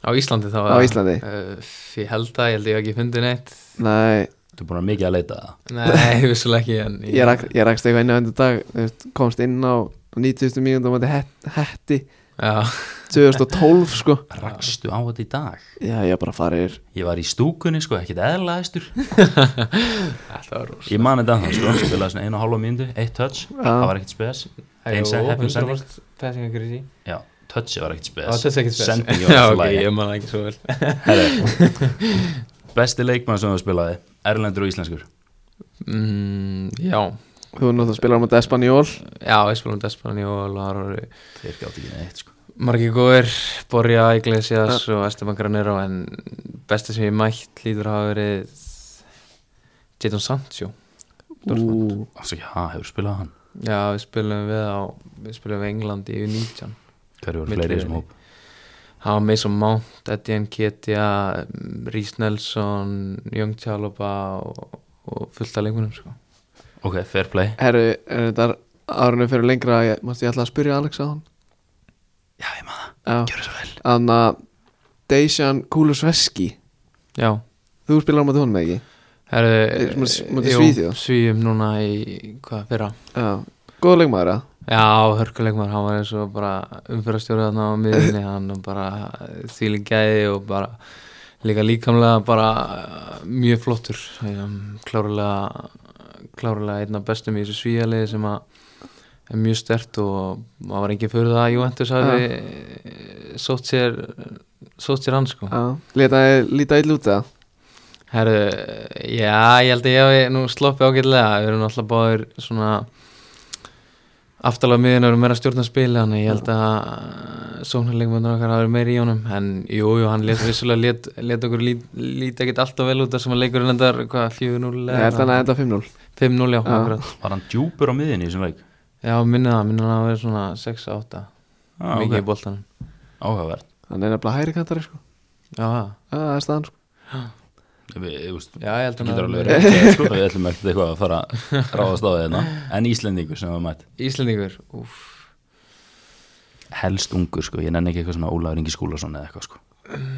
[SPEAKER 3] Á Íslandi þá
[SPEAKER 1] Á
[SPEAKER 3] eða?
[SPEAKER 1] Íslandi?
[SPEAKER 3] Uh, Ég held að, ég held að ég hef ekki fundið neitt
[SPEAKER 1] Nei,
[SPEAKER 2] Þú er búin að mikið að leita það
[SPEAKER 3] Nei, vissulega ekki en
[SPEAKER 1] ég rak- ég rakst eitthvað inn á endur dag þú veist, Komst inn á 90. mínúndum og þetta hetti
[SPEAKER 3] Já
[SPEAKER 1] 2012 sko
[SPEAKER 2] Rakstu á þetta í dag?
[SPEAKER 1] Já, ég bara farir
[SPEAKER 2] Ég var í stúkunni sko, ekkit eðlaðistur
[SPEAKER 3] Þetta var rúst
[SPEAKER 2] Ég man þetta að það sko, spilaði svona einu og hálfa mínútu, eitt touch Það var ekkit spes Ein sem heppin sending
[SPEAKER 3] Passing agree
[SPEAKER 2] Já, touchið var ekkit spes
[SPEAKER 3] Já, þetta er ekkert spes.
[SPEAKER 2] Sending var
[SPEAKER 3] Já,
[SPEAKER 2] alltaf
[SPEAKER 3] ok,
[SPEAKER 2] lægi
[SPEAKER 3] ég man það ekki svo vel
[SPEAKER 2] Besti leikmann sem þú spilaði, erlendur og íslenskur
[SPEAKER 3] mm, Já,
[SPEAKER 1] Þú er náttúrulega að spila á móti Espanjól
[SPEAKER 3] já, ég spilum Despan Jól og það voru
[SPEAKER 2] Þeir gátt ekki neitt sko
[SPEAKER 3] margir góðir Borja, Iglesias og Esteban Granero en besti sem ég mætt lítur að hafa verið Jadon Sancho
[SPEAKER 1] Ú,
[SPEAKER 2] Afsaki, ha, hefur spilað hann?
[SPEAKER 3] Já, við spilum við á við spilum við England í 19
[SPEAKER 2] Hverju voru
[SPEAKER 3] Milli
[SPEAKER 2] fleiri í þessum
[SPEAKER 3] þeirra.
[SPEAKER 2] hóp?
[SPEAKER 3] Það var Mason Mount, Etienne Ketia Rhys Nelson Young Tjálópa og, og fullt af leikunum sko.
[SPEAKER 2] Ok, fair play
[SPEAKER 1] herru, er þetta árunum fyrir lengra ég, Mástu ég ætla að spyrja Alex á hann
[SPEAKER 2] Já, ég maður það,
[SPEAKER 1] Já,
[SPEAKER 2] gjör það svo vel
[SPEAKER 1] hann að Dejan Kulusveski
[SPEAKER 3] já
[SPEAKER 1] Þú spilar á móti honum eða ekki? Ég-
[SPEAKER 3] Herðu,
[SPEAKER 1] móti- móti
[SPEAKER 3] jú,
[SPEAKER 1] Svíþjóð?
[SPEAKER 3] Svíum núna í, hvað, fyrra
[SPEAKER 1] Já, góða leikmaður að
[SPEAKER 3] Já, hörkuleikmar, hann var eins og bara umfyrastjórið þarna á miðinni hann var bara þýling gæði og bara líka líkamlega bara eh, mjög flottur Ehm, klárlega klárlega einn af bestum í þessu svíjaliði sem að er mjög stert og maður var ekki fyrir það að Juventus hafi eh, sótt sér sótt sér hann sko
[SPEAKER 1] Leta líta ill út það
[SPEAKER 3] Herru, já, ég held að ég hafi nú sloppið ágætlega, við erum alltaf báðir svona aftalega miðin erum meira að stjórna spili þannig ég held að sóknarleikmöndur okkar hafi verið meira í honum, en jú, jú, hann lét, vissulega lét, lét okkur lít, lít ekkert alltaf vel út þar sem að leikurinn endar, hvað, 4-0
[SPEAKER 1] Ég held hann að enda 5-0
[SPEAKER 3] 5-0, já,
[SPEAKER 1] Já.
[SPEAKER 3] akkurat
[SPEAKER 2] Var hann djúpur á miðinni í þessum leik?
[SPEAKER 3] Já, minna það, minna það að vera svona 6-8
[SPEAKER 2] Ah,
[SPEAKER 3] mikið
[SPEAKER 2] okay.
[SPEAKER 3] í boltanum
[SPEAKER 2] Áhugavert
[SPEAKER 1] Hann er nefnilega hæri kantari sko
[SPEAKER 3] Já, já.
[SPEAKER 1] Já, Það er staðan sko
[SPEAKER 2] Við- Þú veist,
[SPEAKER 3] já, ég held
[SPEAKER 2] það
[SPEAKER 3] hann
[SPEAKER 2] getur
[SPEAKER 3] að
[SPEAKER 2] alveg verið sko, Við ætlum ekkert eitthvað að fara að ráðast á þeirna En Íslendingur sem var mætt
[SPEAKER 3] Íslendingur, úf
[SPEAKER 2] Helst ungur sko, ég nenni ekki eitthvað svona Ólaður Ingi Skúlason eða eitthvað sko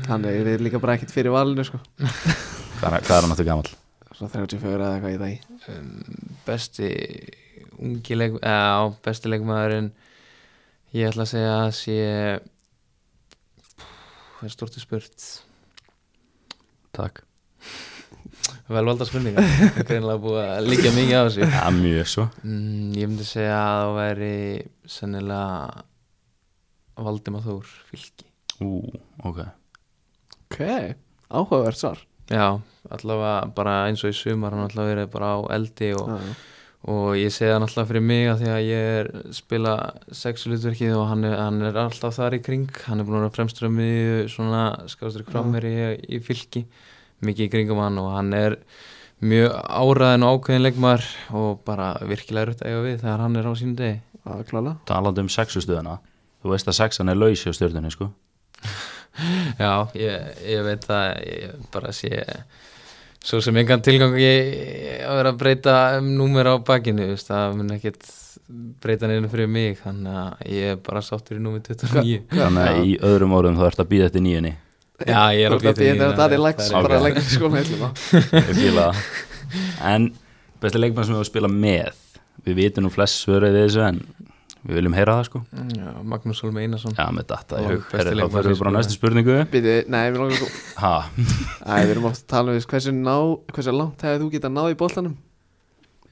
[SPEAKER 1] Hann er er líka bara ekkert fyrir valinu sko
[SPEAKER 2] Hvað er, hvað er hann aftur gamall?
[SPEAKER 1] Svona 34 eða eitthvað í dag
[SPEAKER 3] besti ungi leik, eða, besti leikmaðurinn ég ætla að segja að sé það er stortu spurt
[SPEAKER 2] Takk
[SPEAKER 3] velvalda spurningar Það er greinlega búið að líka mikið á þessu
[SPEAKER 2] Já, mjög sko. svo
[SPEAKER 3] mm, ég myndi segja að það væri sennilega Valdimar Þór fylki
[SPEAKER 2] Ú, ok
[SPEAKER 1] Ok, áhugavert svar
[SPEAKER 3] já, allavega bara eins og í sumar hann allavega verið bara á eldi og
[SPEAKER 1] Já, já.
[SPEAKER 3] og ég segi það náttúrulega fyrir mig að því að ég er spila sexulutverkið og hann er, hann er alltaf þar í kring hann er búin að vera fremstur um miðju svona skástur krámir í, í fylki mikið í kringum hann og hann er mjög áraðin og ákveðin leikmar og bara virkilega rutt eiga við þegar hann er á sínum degi
[SPEAKER 1] Já, klála
[SPEAKER 2] Talandi um sexustöðuna Þú veist að sexan er laus hjá stjörnunni sko
[SPEAKER 3] Já, ég, ég veit það ég bara sé svo sem engan tilgang ég að vera að breyta um númer á bakinu þú veist, það mun ekkit breyta neina fyrir mig þannig að ég er bara sáttur í númer 29
[SPEAKER 2] Þannig að í öðrum orðum þá ertu að býða eftir nýjunni
[SPEAKER 3] Já, ég
[SPEAKER 1] Þú ert
[SPEAKER 3] er að
[SPEAKER 1] að
[SPEAKER 3] breyta
[SPEAKER 1] býta þetta að það er lags
[SPEAKER 2] það er
[SPEAKER 1] bara
[SPEAKER 2] ok.
[SPEAKER 1] að leggja skóla heilum
[SPEAKER 2] Ég fíla það En besti leikmann sem við spila með Við vitum nú flest svöruð við þessu en Við viljum heyra það sko
[SPEAKER 3] Já, Magnús Hólm Einarsson
[SPEAKER 2] Já, með datta í
[SPEAKER 3] Og
[SPEAKER 2] hug
[SPEAKER 3] besti
[SPEAKER 2] Herri, Þá
[SPEAKER 3] leikmaður
[SPEAKER 2] fyrir
[SPEAKER 3] sem
[SPEAKER 2] við bara á
[SPEAKER 3] spilaði.
[SPEAKER 2] næstu spurningu
[SPEAKER 1] Býti, nei, við langar sko
[SPEAKER 2] Ha,
[SPEAKER 1] Æ, við erum oft að tala um því hversu, ná, hversu langt hefði þú getað náð í boltanum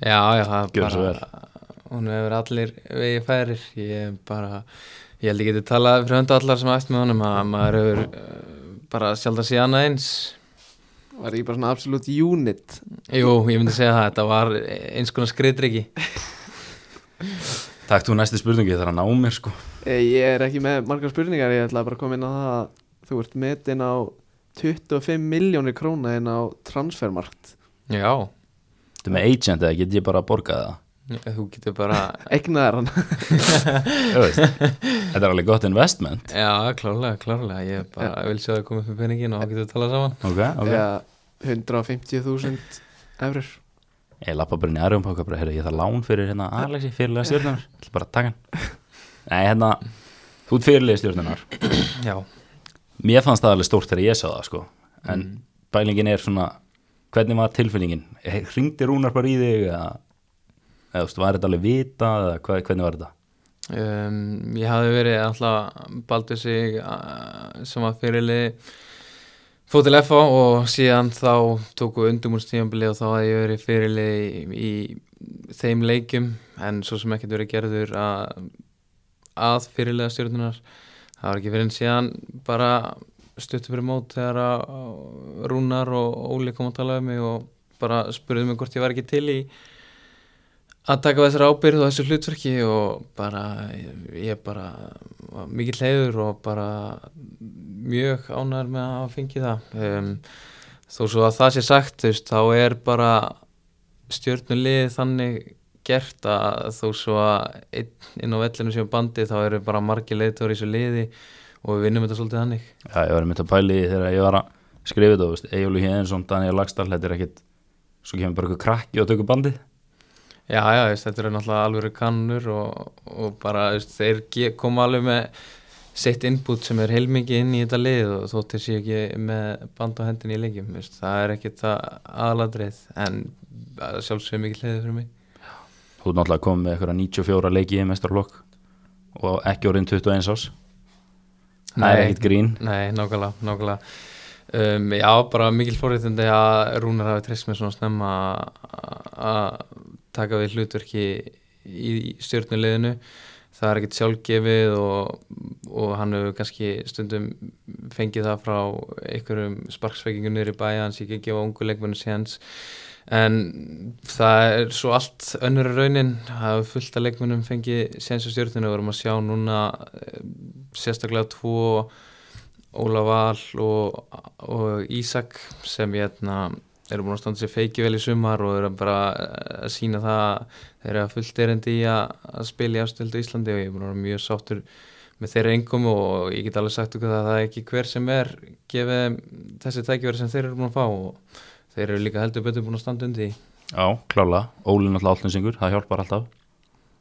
[SPEAKER 3] Já, já, það er
[SPEAKER 2] Gjörðu svo
[SPEAKER 3] bara hún hefur allir vegi færir ég er bara, ég held ég geti talað fyrir hönda allar sem ætti með honum að maður hefur uh, bara sjálf að sé annað eins
[SPEAKER 1] Var ég bara svona absolutt unit
[SPEAKER 3] Jú, ég myndi segja það, þetta var eins konar skriðdryggi
[SPEAKER 2] takk þú næstu spurningu Ég þarf að ná mér sko
[SPEAKER 1] Eh, Ég er ekki með margar spurningar Ég ætla bara að koma inn á það að Þú ert metinn á 25 miljónir króna inn á transfermarkt
[SPEAKER 3] Já,
[SPEAKER 2] Þú með agent eða get ég bara að borga það
[SPEAKER 3] þú getur bara
[SPEAKER 1] Egnaðar hann
[SPEAKER 2] Þú veist, Þetta er alveg gott investment
[SPEAKER 3] Já, klárlega, klárlega Ég bara vil sjá það koma upp með peningin og þá getur við talað saman
[SPEAKER 2] Ok, ok
[SPEAKER 1] Eða 150.000 eurur
[SPEAKER 2] Ég lappa bara inn í aðrum pakka bara, heyrðu, ég þarf lán fyrir hérna Alexi, fyrirlega stjórnunar, ég ætla bara að taka hann Nei, hérna, þú ert fyrirlega stjórnunar
[SPEAKER 3] Já,
[SPEAKER 2] Mér fannst það alveg stórt þegar ég sá það, sko En bælingin er svona, hvernig var tilfinningin? Eh, Hringdi Rúnar bara í þig eða, eða þú veist, var þetta alveg vita eða hvað, hvernig var þetta?
[SPEAKER 3] um, ég hafði verið alltaf Baldur sig uh, sem var fyrirlið fór til FH og síðan þá tóku undumúrstíðanbili og þá hafði ég verið fyrirlið í, í þeim leikjum en svo sem ekkert verið gerður að, að fyrirlega stjórnunar það var ekki fyrir en síðan bara stuttum fyrir mót þegar að Rúnar og Óli kom að tala um mig og bara spurði mig hvort ég var ekki til í að taka þessar ábyrð og þessu hlutverki og bara ég bara var mikill leiður og bara mjög ánæður með að hafa fengið það um, þó svo að það sé sagt þú veist, þá er bara stjórnulið þannig gert að þó svo að einn inn á vellinu sem bandi þá eru bara margir leiðtóri í þessu liði og við vinnum þetta svolítið þannig
[SPEAKER 2] Já, ég var einmitt að pæli því þegar ég var að skrifa þetta, þú veist, Eyjólu Hjöðinsson, Daniel Lagstall, þetta er ekkit, svo kemur bara eitthvað krakki og tökur bandið.
[SPEAKER 3] Já, já, þú veist, þetta eru náttúrulega alvöru kannur og, og bara þú veist, þeir ge- koma alveg með sitt input sem er heilmikið inn í þetta lið og þótt þér sé ekki með band á hendinni í leikjum veist. það er ekkit það aðladrið en að sjálfsögur mikið leiðið fyrir mig
[SPEAKER 2] Þú er náttúrulega komið með eitthvað 94 leiki í mestrarlokk og ekki orðin 21 ás Það er
[SPEAKER 3] Nei.
[SPEAKER 2] ekkit grín
[SPEAKER 3] Nei, nákvæmlega, nákvæmlega um, Já, bara mikil fórréttindi að Rúnar hafi treyst með svona snemma að- að taka við hlutverki í stjórnuleginu það er ekkert sjálfgefið og, og hann hefur kannski stundum fengið það frá einhverjum sparksveikingu niður í bæja hans ekki að gefa ungu leikmennu séns en það er svo allt önnur raunin, það hefur fullt að leikmennum fengið séns á stjórninu og við erum að sjá núna eh, sérstaklega tvo Óla Val og, og Ísak sem hérna eru búin að standa sér feiki vel í sumar og eru bara eh, að sína það að þeir eru að fullt erindi í að, að spila í afstöldu Íslandi og ég er búin að vera mjög sáttur með þeirra engum og ég get alveg sagt okkur það að það er ekki hver sem er gefið þeim þessi tækifæri sem þeir eru búin að fá og þeir eru líka heldur betur búin að standa undi í.
[SPEAKER 2] Já, klála, Óli er náttúrulega állinsingur, það hjálpar alltaf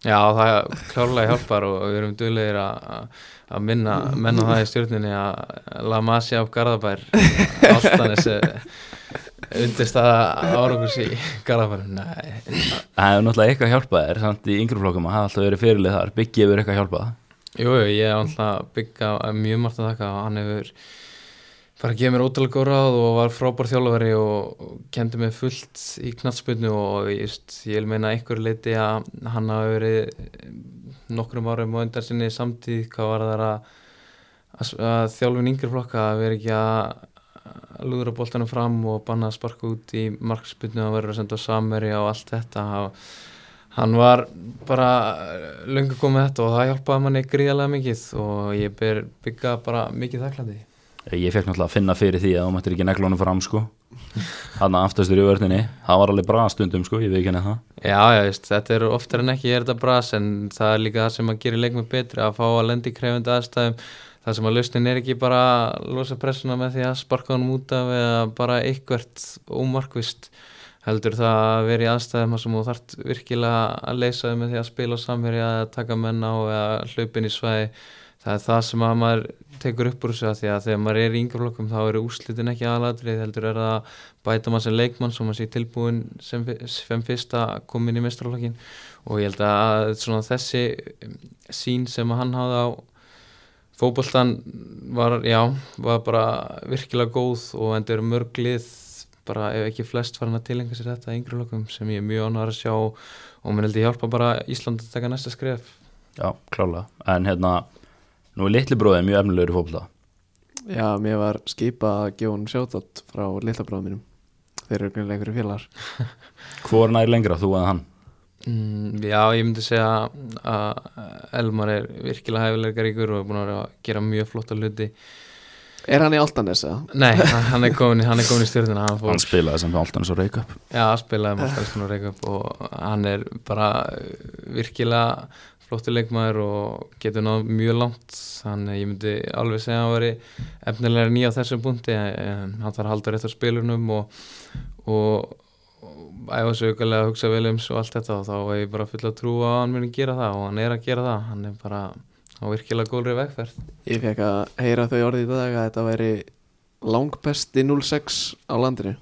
[SPEAKER 3] Já, það klárlega hjálpar og við erum duglegir að- að að minna menna það í stjórninni að La Masia af Garðabær ástanis undist að árangur sí Garðabær, nei
[SPEAKER 2] Það er náttúrulega eitthvað að hjálpa þér samt í yngri flokkum að það hafa alltaf verið fyrirlið þar byggið yfir eitthvað að hjálpa það
[SPEAKER 3] Jú, jú, ég er alltaf bygga mjög margt að þakka og hann hefur bara gefið mér ótrúlega góð ráð og var frábær þjálfari og kendi mér fullt í knattspunnu og just, ég vil meina að einhverju leiti að hann hafi verið nokkrum árum á undan sinni samtíð hvað var þar að, að, að þjálfin yngri flokka að vera ekki að lúðra boltanum fram og banna að sparka út í markspunnu að vera að senda á samverja og allt þetta og hann var bara löngu komið þetta og það hjálpaði manni gríðarlega mikið og ég ber bygga bara mikið þakklandi
[SPEAKER 2] Eh, Ég fekk náttúrulega að finna fyrir því að þú mættir ekki neglunum fram sko Þannig aftastur í vörninni, það var alveg bra stundum sko, ég veit ekki henni það
[SPEAKER 3] Já, já, veist, þetta er oftar en ekki er þetta bras en það er líka það sem að gera leikmið betri að fá að lendi krefindi aðstæðum það sem að lausnin er ekki bara að losa pressuna með því að sparka honum út af eða bara eitthvert ómarkvist heldur það að vera í aðstæðum þar sem þú þart virkilega að leysa þig með því að spila á samverja eða taka menn á eða hlaupin í svæði það er það sem að maður tekur upp úr þessu að því að þegar maður er í yngjaflokkum þá eru úslitin ekki aðladrið heldur er það að bæta maður sem leikmann svo maður sé tilbúin sem, fi- sem fyrst að koma inn í mestralokkin og ég held að svona þessi um, sín sem að hann hafði á fótboltan var, já, var bara virkilega góð og enda eru mörg lið bara ef ekki flest farin að tilengja sér þetta yngri lokum sem ég er mjög ánægður að sjá og mér heldur hjálpa bara Ísland að taka næsta skref
[SPEAKER 2] Já, klála, en hérna, nú er litli bróðið mjög efnilegur í fótbolta
[SPEAKER 1] Já, mér var skipað að gefa hún sjátt frá litlabráðum mínum Þeir eru greinlega einhverju félagar
[SPEAKER 2] Hvor nær lengra, þú eða hann?
[SPEAKER 3] Mm, já, ég myndi segja að Elmar er virkilega hæfilega ríkur og er búin að vera að gera mjög flotta hluti.
[SPEAKER 1] Er hann í Altanes eða?
[SPEAKER 3] Nei, hann hann er komin, í- hann er komin í stjórnina, hann fór
[SPEAKER 2] Hann spilaði sem alltaf eins og reik upp
[SPEAKER 3] Já, að um spilaði Markarsson og Reykjavík og hann er bara uh, virkilega flottur leikmaður og getur náð mjög langt þannig að ég myndi alveg segja að hann veri efnilega nýja á þessum punkti eh, en hann þarf að halda rétt á spilunum og, og, og æfa sig aukalega að hugsa vel um svo allt þetta og þá er ég bara full að trúa að hann muni gera það og hann er að gera það hann er bara á virkilega góðri vegferð
[SPEAKER 1] Ég fekk að heyra þau orðið í dag að þetta væri langbesti 06 á landinu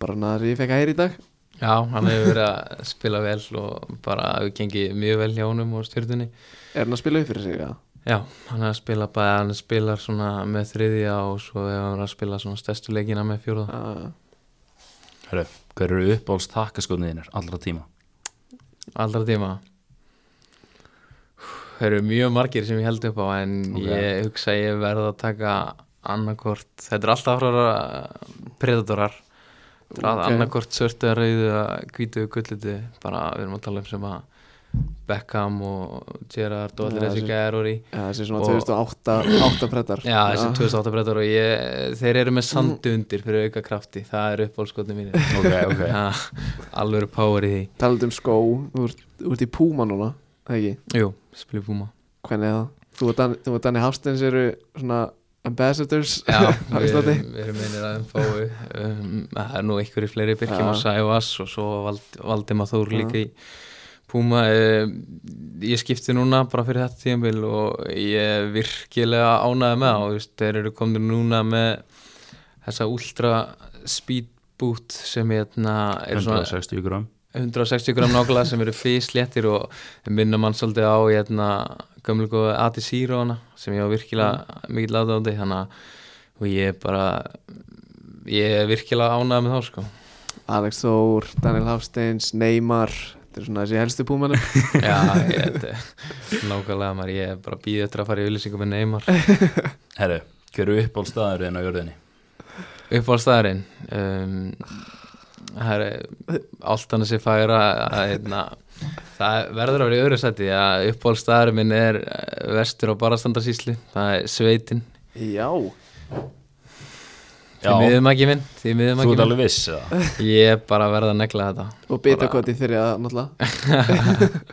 [SPEAKER 1] Bara naður ég fekk að heyra í dag
[SPEAKER 3] Já, hann hefur verið að spila vel og bara gengið mjög vel hjá honum og stjórnunni
[SPEAKER 1] Er hann að spila upp fyrir sig eða?
[SPEAKER 3] Já, hann er að spila bara, hann spilar svona með þriðja og svo er hann að spila svona stærstu leikina með fjóruða.
[SPEAKER 1] Uh,
[SPEAKER 2] Hörru, hver eru uppáhalds takkaskotnið þínir allra tíma?
[SPEAKER 3] Allra tíma. Það eru mjög margir sem ég held upp á en
[SPEAKER 2] Ok.
[SPEAKER 3] ég hugsa að ég verð að taka annarkort, þetta er alltaf frá að- predatorar. Þetta er
[SPEAKER 1] Ok.
[SPEAKER 3] okay. annarkort svörtu að rauðu að hvítu og gullutu, bara við erum að tala um sem að Beckham og Gerrard og allir
[SPEAKER 1] Já,
[SPEAKER 3] þessi
[SPEAKER 1] þessi-
[SPEAKER 3] gæður í.
[SPEAKER 1] ja, þessi svona
[SPEAKER 3] Og-
[SPEAKER 1] 2008 8 brettar
[SPEAKER 3] Já, þessi 2008 brettar og ég, þeir eru með sandi undir fyrir auka krafti, það eru uppbólskotni mínir
[SPEAKER 2] Ok, ok
[SPEAKER 3] Ha, Alveg eru power í því
[SPEAKER 1] Talandi um skó, þú ert, þú ert í Púma núna eða ekki?
[SPEAKER 3] Jú, spilum Puma
[SPEAKER 1] Hvernig er það? Þú og Dan- þú og Danni Hafsteins eru svona ambassadors
[SPEAKER 3] Já,
[SPEAKER 1] á
[SPEAKER 3] við
[SPEAKER 1] Íslandi
[SPEAKER 3] erum, við erum einir aðeins fáu um, Það er nú einhverju fleiri
[SPEAKER 1] Já.
[SPEAKER 3] Birkjum og Sævas og svo Vald, Valdima Þór líka í Púma, eh, ég skipti núna bara fyrir þetta tíðanbíl og ég er virkilega ánæði með það og þú veist, þeir eru komnir núna með þessa ultra speed boot sem hérna er svona
[SPEAKER 2] 160 gram
[SPEAKER 3] 160 gram nákvæmlega sem eru fysléttir og minna mann svolítið á hérna, gömlu góðu Adi Siro hana sem ég á virkilega mikið láta á því þannig að og ég er bara ég er virkilega ánægð með þá sko
[SPEAKER 1] Alex Þór, Daniel Hafsteins, Neymar Þetta er svona þessi helstu púmanum
[SPEAKER 3] já, ég, þetta er nákvæmlega maður ég er bara býð eftir að fara í auðlýsingu með Neymar
[SPEAKER 2] Herru, hver eru uppáhaldstaður þinn á jörðinni?
[SPEAKER 3] upp á staðarinn um, það er allt hann sem færa að, hérna, það verður að vera í öðru sæti að upp á staðarinn minn er eh, vestur á barastandarsýslu það er sveitin
[SPEAKER 1] Já
[SPEAKER 2] Já,
[SPEAKER 3] Því miðum ekki minn, því miðum
[SPEAKER 2] þú
[SPEAKER 3] ekki
[SPEAKER 2] ert
[SPEAKER 3] minn
[SPEAKER 2] alveg viss eða?
[SPEAKER 3] Ég er bara að verða að negla þetta
[SPEAKER 1] Og bitakoti þegar það náttúrulega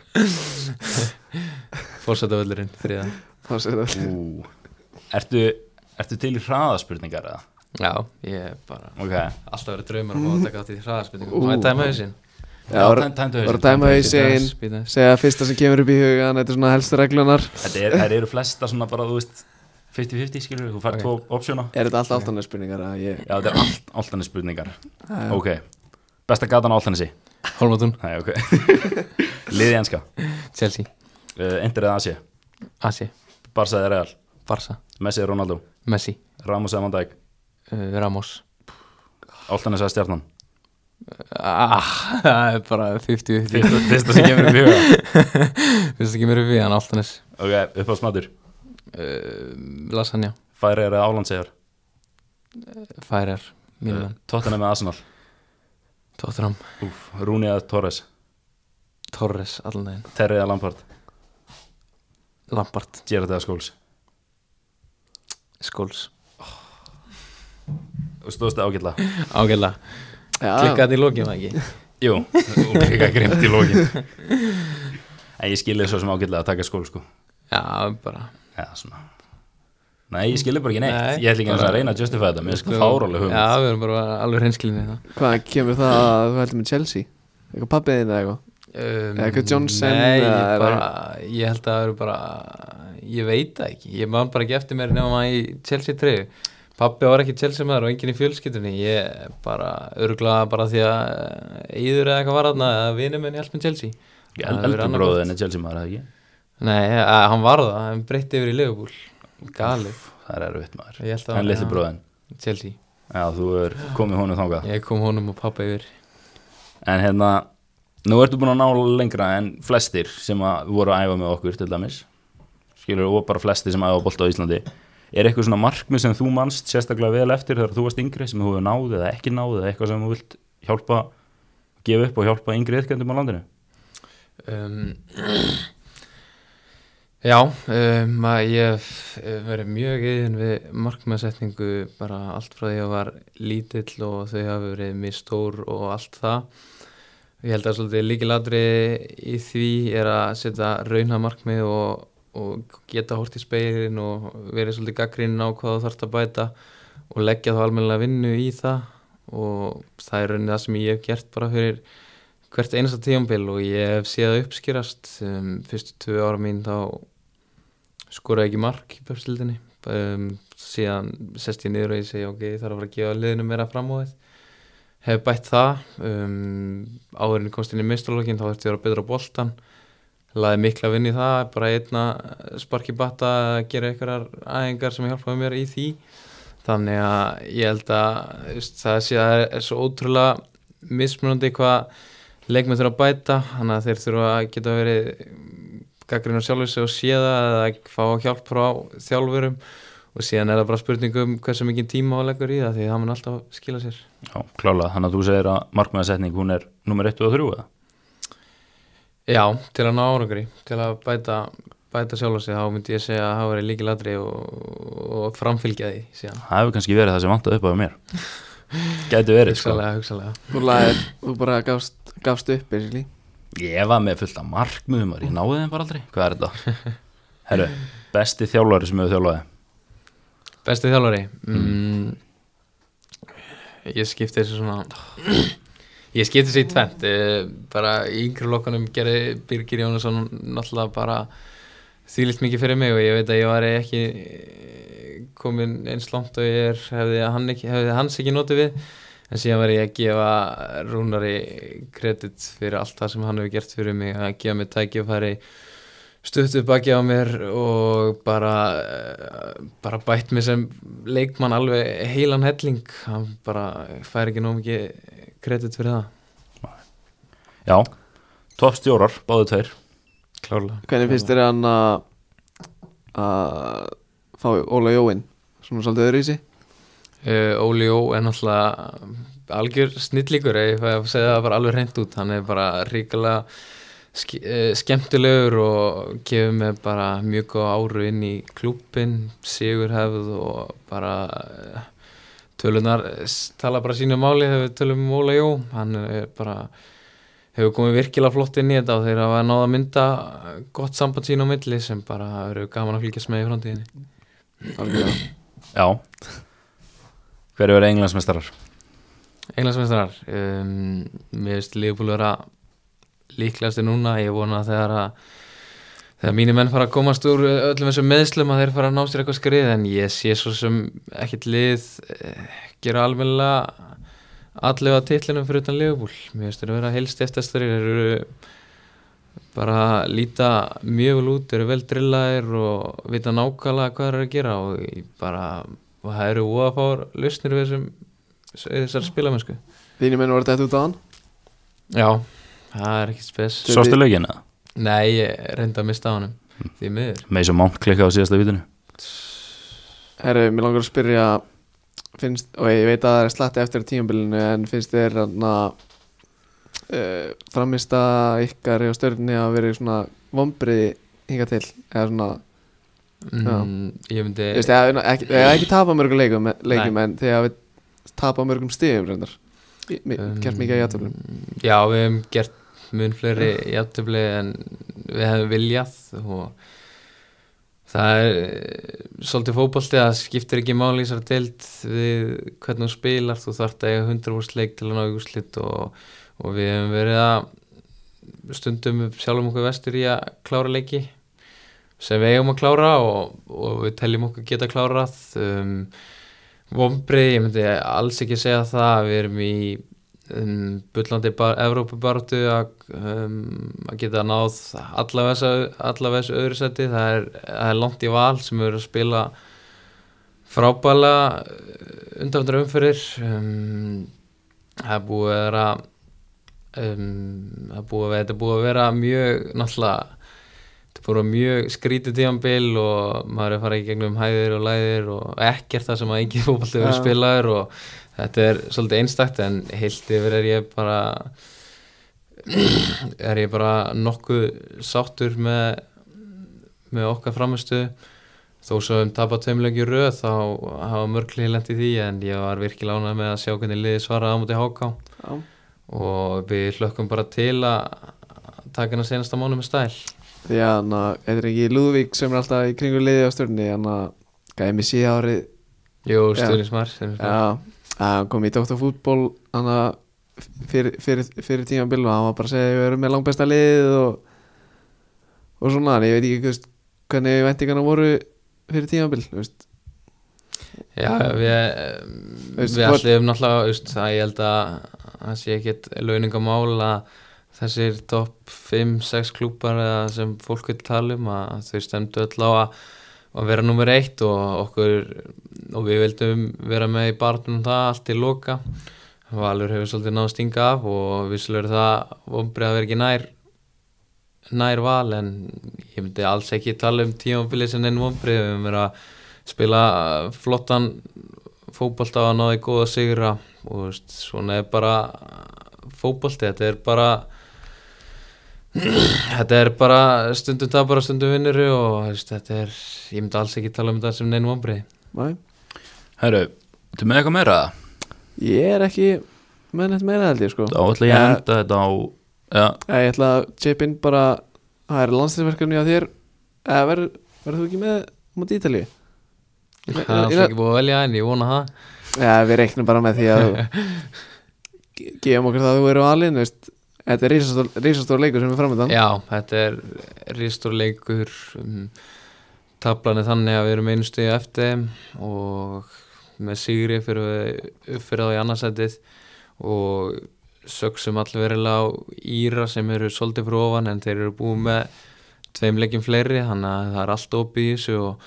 [SPEAKER 3] Fórsætavöldurinn þriða
[SPEAKER 1] Þá sér það
[SPEAKER 2] Ú. Ertu, ertu til í hraðaspurningar eða?
[SPEAKER 3] Já, ég er bara
[SPEAKER 2] Ok,
[SPEAKER 3] Alltaf verið draumar um að taka átt í hraðarspilningu
[SPEAKER 1] Ú.
[SPEAKER 3] Það er dæma hausinn
[SPEAKER 2] Já,
[SPEAKER 1] var-
[SPEAKER 2] tæm- tæmdu hausinn,
[SPEAKER 1] var að dæma
[SPEAKER 2] tæmdu
[SPEAKER 1] hausinn
[SPEAKER 3] Bíddu aðeins,
[SPEAKER 1] Segja fyrsta sem kemur upp í hugan Þetta er svona helstu reglunar
[SPEAKER 2] þetta er, þær eru flesta svona bara, þú veist 50-50 skilur, þú fær
[SPEAKER 3] Ok.
[SPEAKER 2] tvo opsjóna
[SPEAKER 1] Er þetta alltaf allt annað spurningar að ég
[SPEAKER 2] Já, þetta er allt, allt hann spurningar Ok, besta gatan á allt hann þessi
[SPEAKER 3] bíddu. Hólmatún,
[SPEAKER 2] Nei, ok Liði enska
[SPEAKER 3] Chelsea,
[SPEAKER 2] uh, Inter eða Asi
[SPEAKER 3] Asi,
[SPEAKER 2] Barca eða Real
[SPEAKER 3] Barca,
[SPEAKER 2] Messi eða Ronaldo
[SPEAKER 3] Messi,
[SPEAKER 2] Ramos eða Van Dijk
[SPEAKER 3] uh, Ramos
[SPEAKER 2] Altanis eða Stjarnan
[SPEAKER 3] ah, Það er bara 50-50
[SPEAKER 2] Fyrsta fyrsta sem kemur upp í huga
[SPEAKER 3] Fyrst ekki mér upp í hann alltaf næst
[SPEAKER 2] Ok, upp á smadur
[SPEAKER 3] Lasagna,
[SPEAKER 2] Færi eða Álandsegjar
[SPEAKER 3] Færer, Mílan,
[SPEAKER 2] Tottenham eða Arsenal
[SPEAKER 3] Tottenham,
[SPEAKER 2] Úf, Rúni eða Torres
[SPEAKER 3] Torres, allan daginn
[SPEAKER 2] Terri eða Lampard
[SPEAKER 3] Lampard,
[SPEAKER 2] Gerard eða Scholes
[SPEAKER 3] Scholes
[SPEAKER 2] Og stóðst eða ágætla
[SPEAKER 3] Ágæðlega,
[SPEAKER 1] Já,
[SPEAKER 3] klikkaði í lókjum ekki
[SPEAKER 2] Jú, og líka grimt í lókin En ég skilði svo sem ágætla að taka Scholes sko
[SPEAKER 3] Já, bara
[SPEAKER 2] Já, svona Nei, ég skilði bara ekki neitt
[SPEAKER 3] Nei,
[SPEAKER 2] Ég ætla ekki einu sinni að
[SPEAKER 3] bara-
[SPEAKER 2] reyna að justify þetta Mér sko fárálega hugum
[SPEAKER 3] Já, við erum bara alveg hreinskilinni það
[SPEAKER 1] hvað kemur það að þú heldur með Chelsea? Eitthvað pappið þinn eða eitthvað?
[SPEAKER 3] um,
[SPEAKER 1] Eða hvað Johnson,
[SPEAKER 3] Nei, ég,
[SPEAKER 1] eða-
[SPEAKER 3] bara, ég held að það eru bara Ég veit það ekki Ég man bara ekki eftir mér nefnum að í Chelsea 3 Pappi var ekki Chelsea maður og enginn í fjölskyldunni Ég bara örglaða bara því að Íður eða eitthvað var aðna að vinur minn hjálp með Chelsea
[SPEAKER 2] Ég
[SPEAKER 3] Það hefur verið
[SPEAKER 2] eldur
[SPEAKER 3] annað
[SPEAKER 2] bróðin er Chelsea maður, eða ekki?
[SPEAKER 3] gott. Nei, að, hann var það, hann breytti yfir í Liverpool Galið,
[SPEAKER 2] Það er erfitt maður
[SPEAKER 3] Ég held að-
[SPEAKER 2] En litli
[SPEAKER 3] já.
[SPEAKER 2] bróðin
[SPEAKER 3] Chelsea
[SPEAKER 2] Já, þú er komið honum þangað
[SPEAKER 3] Ég kom honum og pappa yfir
[SPEAKER 2] En hérna, nú ertu búin að ná lengra en flestir sem að voru að æfa með okkur til dæmis Skilur, og bara flestir sem æfa bolta á Íslandi Er eitthvað svona markmið sem þú manst sérstaklega vel eftir þegar þú varst yngri sem þú hefur náð eða ekki náð eða eitthvað sem þú vilt hjálpa gefa upp og hjálpa yngri yðkendum á landinu?
[SPEAKER 3] um, Já, um, að ég hef hef verið mjög yðin við markmæðsetningu bara allt frá því að ég var lítill og þau hafi verið mér stór og allt það Ég held að svolítið líkilatri í því er að setja rauna markmið og, og geta hort í speilin og verið svolítið gaggrinn á hvað þú þarft að bæta og leggja þá almennilega vinnu í það og það er raunin það sem ég hef gert bara fyrir hvert einasta tíumbil og ég hef séð það uppskýrast um, fyrstu tvö ára mín þá skoraði ég ekki mark í pöpsildinni um, síðan sest ég niður og ég segi ok, ég þarf að fara að gefa liðinu meira fram á þið hef bætt það um, áðurinn komst inn í mistralókin þá þurfti ég að vera betra á boltan laði mikla vinn í það, bara einna sparki batta, gera einhverjar aðingar sem hjálpaði mér í því þannig að ég held að þú veist, það sé að það er svo ótrúlega mismunandi hvað leikmenn þurfa að bæta þannig að þeir þurfa að geta verið gaggrinn á sjálfis og séða eða fá hjálp frá þjálfurum og síðan er það bara spurning um hversu mikið tíma á leggur í það því það mun alltaf skila sér
[SPEAKER 2] Já, klálega, þannig að þú segir að markmæðasetning hún er nummer 1 og 3 eða?
[SPEAKER 3] Já, til að ná árangri til að bæta, bæta sjálfa sig þá myndi ég segja að það verið líkilatri og, og framfylgja því síðan
[SPEAKER 2] Það hefur kannski verið það sem vantaði upp á hjá mér Gæti verið sko
[SPEAKER 3] hugsalega, hugsalega
[SPEAKER 1] þú, laðir, þú bara gafst, gafst upp basically.
[SPEAKER 2] Ég var með fullt af markmiðum og ég náði þeim bara aldrei Hvað er þetta? Herru, besti þjálfari sem hefur þjálfaði
[SPEAKER 3] Besti þjálfari mm. Ég skipti þessu svona Ég skipti sér í tvent eh, bara í yngri lokanum gerði Birgir Jónasson náttúrulega bara þýlilt mikið fyrir mig og ég veit að ég var ekki eh, kominn eins langt og ég er hefði, hann ekki, hefði hans ekki notið við en síðan var ég að gefa Rúnari kredit fyrir allt það sem hann hefur gert fyrir mig að gefa mér tækifæri stuttu baki á mér og bara, eh, bara bætt mig sem leikmann alveg heilan helling hann bara fær ekki nóg mikið kredit fyrir það
[SPEAKER 2] Já, toppstjórar, báðu tveir
[SPEAKER 3] Klárlega
[SPEAKER 1] Hvernig finnst þér hann að að fá Óla Jóin svona svolítið öðru í sig
[SPEAKER 3] uh, Óli Ó er náttúrulega um, algjör snillíkur ef ég fæ að segja það bara alveg reynd út hann er bara ríkilega ske, uh, skemmtilegur og gefur mig bara mjög góð áru inn í klúppin sigurhefð og bara uh, tölunar tala bara sínu máli þegar við tölum um Óla Jó hann er bara hefur komið virkilega flott inn í þetta og þeir hafa náð að mynda eh, gott samband sín á milli sem bara eru gaman að fylgjast með í framtíðinni
[SPEAKER 1] Algjörlega.
[SPEAKER 2] Já Hverju eru englandsmestarar?
[SPEAKER 3] Englandsmeistarar um, Mér finnst Liverpool vera líklegasti núna Ég vona að þegar að þegar mínir menn fara að komast úr eh, öllum þessum meðslum að þeir fara að ná sér eitthvað skrið en ég sé svo sem ekkit lið eh, gera almennilega allega titlinum fyrir utan Liverpool Mér finnst þeir vera helst eftir þeir eru bara líta mjög vel út, eru vel drillaðir og vita nákvæmlega hvað þeir eru að gera og ég bara, og það eru óafár lausnir við þessum þessar spilamennsku
[SPEAKER 1] Þínir menn voru dætt út á hann
[SPEAKER 3] Já, það er ekki spes
[SPEAKER 1] Tveir-
[SPEAKER 2] Sástu lögin eða?
[SPEAKER 3] Nei, ég reynda að mista á honum Því miður
[SPEAKER 2] Með þessu mánk klikka á síðasta vítinu
[SPEAKER 1] Herru, mér langar að spyrja finnst, og ég veit að það er slatti eftir tímabilinu en finnst þér hann að uh, framista ykkar og stjörni að vera svona vombriði hinga til eða svona,
[SPEAKER 3] mm, Ég myndi
[SPEAKER 1] þú veist, eða ekki, eða ekki tapa mörgum leikum, leikum en þegar við tapa mörgum stigum reyndar Í- mi-
[SPEAKER 3] um,
[SPEAKER 1] gert mikið að játöflum
[SPEAKER 3] Já, við hefum gert mun fleiri játtöfli en við hefum viljað og það er eh, svolítið fótbolti að það skiptir ekki máli í þessari deild við hvernig þú spilar þú þarft að eiga 100 úrsleik til að ná í úrslit og, og við hefum verið að stundum sjálfum okkur vestur í að klára leiki sem við eigum að klára og, og við teljum okkur geta klárað um, vombrið, ég myndi alls ekki segja það við erum í um, bullandi bar, Evrópubartu að, um, að geta náð allavega þessu- allavega þessu öðru seti það er, það er langt í val sem eru að spila frábæla undanfandra umfyrir um, það er búið að vera um, það er búið að vera þetta er búið að vera mjög náttúrulega þetta er búið að vera mjög skrítið tíðanbil og maður er að fara í gegnum hæðir og læðir og ekkert það sem að engin fótbolti verið
[SPEAKER 1] Já.
[SPEAKER 3] spilaður og Þetta er svolítið einstakt en heilt yfir er ég bara er ég bara nokkuð sáttur með, með okkar framistu þó svo um tapa tveimlegi röð þá hafa mörgli lent í því en ég var virkilega ánægð með að sjá hvernig liði svaraði á móti háká
[SPEAKER 1] Já.
[SPEAKER 3] og við hlökkum bara til að taka hennar senasta mánu með stæl
[SPEAKER 1] því að hann að, þetta er ekki Lúðvík sem er alltaf í kringu liði á stjörni hann að, gæði mig síða árið
[SPEAKER 3] Jú,
[SPEAKER 1] Já.
[SPEAKER 3] stuðnismar ja.
[SPEAKER 1] Já, að hann kom í doktorfútból hann að fyrir, fyrir, fyrir tímabil og hann var bara að segja við erum með langbesta lið og, og svona, en ég veit ekki þú veist, hvernig vendingarna voru fyrir tímabil þú veist.
[SPEAKER 3] Já, við,
[SPEAKER 1] Veist,
[SPEAKER 3] við
[SPEAKER 1] hvor-
[SPEAKER 3] allir náttúrulega, veist, það ég held að það sé ekkit launingamál að þessir topp 5-6 klúpar eða sem fólk vil tala um að þau stemdu öll á að, að vera nummer eitt og okkur og við vildum vera með í barnum það allt í loka Valur hefur svolítið náð að stinga af og vissulega er það vombrið að vera ekki nær nær val en ég myndi alls ekki tala um tímanfili sem enn vombrið við höfum verið að spila eh, flottan fótbolta að náði góða sigra og þú veist, svona er bara fótbolti, þetta er bara þetta er bara stundum tapar og stundum vinnuru og þú veist, þetta er, ég myndi alls ekki tala um þetta sem neinn vombrið
[SPEAKER 1] Næ,
[SPEAKER 2] Herru, þú með eitthvað meira?
[SPEAKER 1] ég er ekki með neitt meira held ég sko
[SPEAKER 2] Þá ætla ég að
[SPEAKER 1] Ja.
[SPEAKER 2] enda þetta á Já,
[SPEAKER 1] Æ, Ég ætla að chip in bara það er landslýsverkefni á þér eða verður verð þú ekki með mútið Ítalíu?
[SPEAKER 3] það er alls ekki búið að velja en ég vona það
[SPEAKER 1] Já, við reiknum bara með því að þú- ge- gefum okkur það að þú eru alinn veist, þetta er risastór- risastór leikur sem er framöndan
[SPEAKER 3] Já, þetta er rístur leikur um, tablan er þannig að við erum einu stuði eftir þeim og með sigri fyrir við upp fyrir þá í annarsætið og söksum allverilega á Íra sem eru svolítið fyrir ofan en þeir eru búið með tveim leikjum fleiri þannig að það er allt opið í þessu og,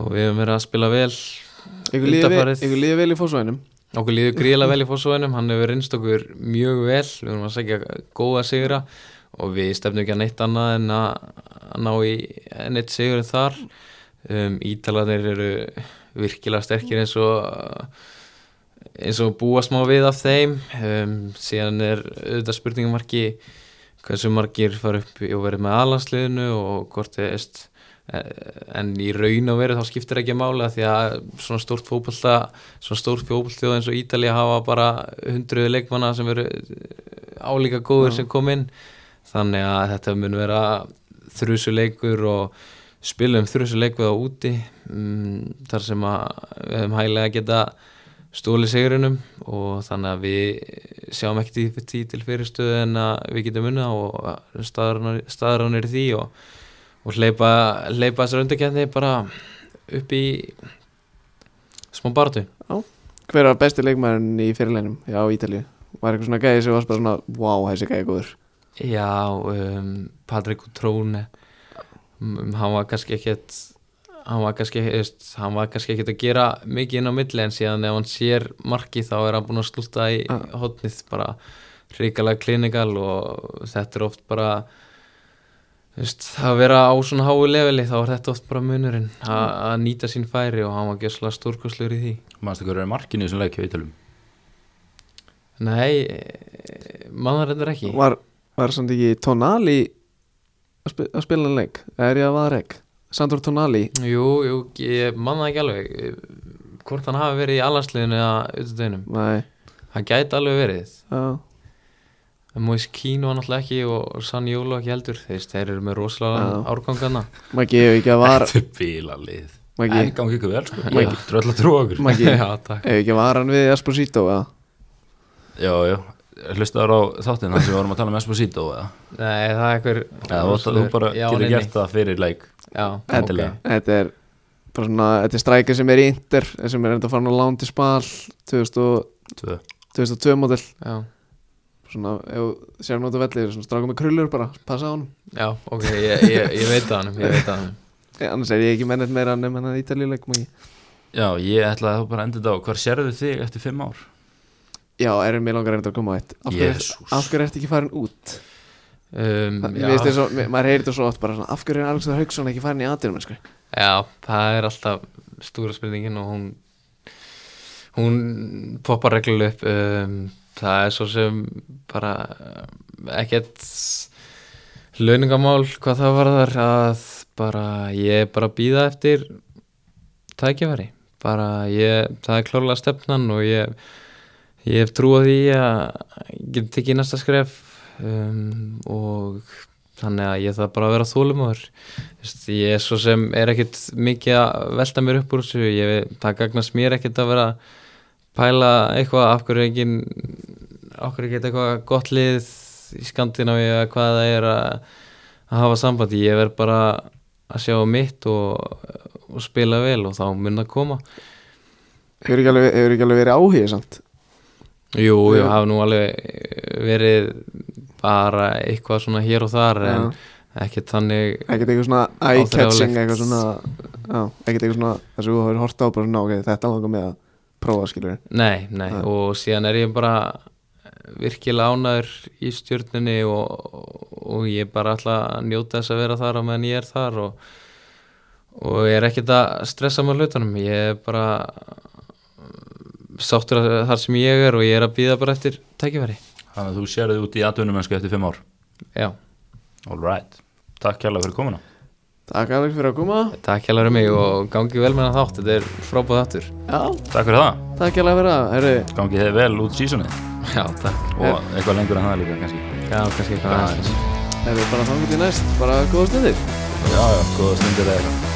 [SPEAKER 3] og við höfum verið að spila vel
[SPEAKER 1] ykkur líður vel-
[SPEAKER 3] Undanfarið-
[SPEAKER 1] ykkur líður vel í fósvæðinum
[SPEAKER 3] Okkur líður gríðlega vel í fósóinum, hann hefur reynst okkur mjög vel, við erum að segja góða sigra og við stefnum ekki að neitt annað en að að ná í enn eitt sigur þar. Um, Ítalanir eru virkilega sterkir eins og, eins og búa smá við af þeim, um, síðan er auðvitað spurningamarki hversu margir fara upp og verið með alansliðinu og hvort þið eist en í raun og veru þá skiptir ekki mála því að svona stórt fótbolta svona stórt fjóðbóltjóð eins og Ítalija hafa bara hundruðu leikmanna sem eru álíka góður sem kom inn þannig að þetta mun vera þrjusuleikur og spilum þrjusuleikur á úti mm, þar sem að við hefum hæglega geta stóli sigurinnum og þannig að við sjáum ekkert í því til fyrirstöðu en að við getum unna og staðránir í því og, og hleypa, hleypa þessar undarkenni bara upp í smá barðu
[SPEAKER 1] hver var besti leikmærin í fyrirleinum á Ítalíu var eitthvað svona gæði sem var bara svona wow, þessi gæði er góður
[SPEAKER 3] Já, um, Patrik Tróne um, hann var kannski ekkert hann var kannski, þú veist, hann var kannski ekkert að gera mikið inn á milli en síðan ef hann sér markið þá er hann búin að slúta í
[SPEAKER 1] Ah.
[SPEAKER 3] hotnið bara hrikalega klinikal og þetta er oft bara þú veist, að vera á svona háu leveli þá er þetta oft bara munurinn að að nýta sín færi og hann var gjössalega stórkoslegur í því
[SPEAKER 2] Manstu hverju er markinu í þessum leik hjá Ítalum?
[SPEAKER 3] Nei, eh, maður reyndar ekki
[SPEAKER 1] var, var samt ekki Tonali að, spi að spila hann leik eða er ég að vaða reik Sandor Tonali
[SPEAKER 3] Jú, jú, ég manna ekki alveg hvort hann hafi verið í allansliðinu eða auðvitaðinum,
[SPEAKER 1] nei,
[SPEAKER 3] hann gæti alveg verið
[SPEAKER 1] já,
[SPEAKER 3] en Moise Keane var náttúrulega ekki og Sanni Jólu ekki heldur þeir, þeir eru með rosalega
[SPEAKER 1] Já.
[SPEAKER 3] árgangana
[SPEAKER 1] maður gefur ekki að var
[SPEAKER 2] Þetta er bílalið
[SPEAKER 1] Maggi.
[SPEAKER 2] En gangi ykkur vel sko
[SPEAKER 1] Já.
[SPEAKER 2] Maggi, Tröll að trúa okkur
[SPEAKER 1] maður gefur
[SPEAKER 3] Já, takk
[SPEAKER 1] ekki að var hann við Esposito eða
[SPEAKER 2] Já, já Hlustaður á þáttinn þar sem við vorum að tala með Esposito eða
[SPEAKER 3] Nei, það er einhver
[SPEAKER 2] Já, þú, þú bara
[SPEAKER 3] Já,
[SPEAKER 2] getur
[SPEAKER 3] nei, nei.
[SPEAKER 2] gert það fyrir leik
[SPEAKER 3] Já,
[SPEAKER 2] Endilega.
[SPEAKER 3] ok.
[SPEAKER 1] þetta er bara svona, þetta er strækir sem er í Inter sem er enda farin á lán til spal 2000 og-
[SPEAKER 2] Tvö
[SPEAKER 1] 2002 model
[SPEAKER 3] Já,
[SPEAKER 1] svona, ef sér náttu vellið, svona stráka með krullur bara, passa á hann
[SPEAKER 3] já, ok, ég, ég, ég veit að hann ég veit að hann
[SPEAKER 1] annars er ég ekki mennett meira nefn hann að Ítalíuleik Maggi.
[SPEAKER 2] Já, ég ætlaði þá bara að enda þetta á Hvar sérðu þig eftir fimm ár?
[SPEAKER 1] já, erum mér langar reyndar að koma á eitt af hverju
[SPEAKER 2] Jesús.
[SPEAKER 1] ert- af hverju ertu ekki farin út
[SPEAKER 3] um,
[SPEAKER 1] Mér
[SPEAKER 3] já.
[SPEAKER 1] finnst þér svo, mér- maður heyrir þetta svo oft bara svona, af hverju er Alexander Hauksson ekki farin í aðdýrum sko?
[SPEAKER 3] Já, það er alltaf stúra spurningin og hún hún poppar reglulega upp um, það er svo sem bara um, ekkert launingamál hvað það var þar að bara ég er bara að býða eftir tækifæri bara ég, það er klárlega stefnan og ég ég hef trúið því að ég get tekið næsta skref um, og þannig að ég þarf bara að vera þólumöður ég er svo sem er ekkit mikið að velta mér upp úr þessu ég, það gagnast mér ekkit að vera að pæla eitthvað af hverju engin okkur geta eitthvað gott lið í Skandinavíu eða hvað það er að, að hafa sambandi ég verð bara að sjá mitt og, og spila vel og þá mun það koma
[SPEAKER 1] hefur ekki alveg, hefur ekki alveg verið áhugið samt
[SPEAKER 3] Jú,
[SPEAKER 1] Hefur-
[SPEAKER 3] ég hafa nú alveg eh, verið bara eitthvað svona hér og þar en ekkert þannig
[SPEAKER 1] ekkert eitthvað svona
[SPEAKER 3] Áþreifanlegt.
[SPEAKER 1] eye-catching eitthvað svona, já, ekkert eitthvað svona þess að þú hefur hort á bara svona, ok, þetta langar mig að prófa skilur
[SPEAKER 3] Nei, nei,
[SPEAKER 1] Nei.
[SPEAKER 3] og síðan er ég bara virkilega ánæður í stjórninni og, og ég er bara alltaf að njóta þess að vera þar á meðan ég er þar og, og ég er ekkert að stressa með hlutunum, ég er bara sáttur að- þar sem ég er og ég er að býða bara eftir tækifæri,
[SPEAKER 2] Þannig að þú sérðu út í atvinnumennsku eftir fimm ár
[SPEAKER 3] já
[SPEAKER 2] All right Takk kjærlega fyrir komuna
[SPEAKER 1] Takk Alex fyrir að koma
[SPEAKER 3] Takk hjá um mig og gangi vel með hann þátt, þetta er frábæð þáttur
[SPEAKER 1] Já,
[SPEAKER 2] Takk fyrir það
[SPEAKER 1] takk hérlega fyrir það Herri,
[SPEAKER 2] Gangi þið vel út sísunni
[SPEAKER 3] Já, takk
[SPEAKER 2] Og eitthvað lengur en það líka kannski
[SPEAKER 3] Já, kannski eitthvað aðeins
[SPEAKER 1] herri, bara þangur til næst Bara góða stundir
[SPEAKER 2] Já, já, góða stundir eða eitthvað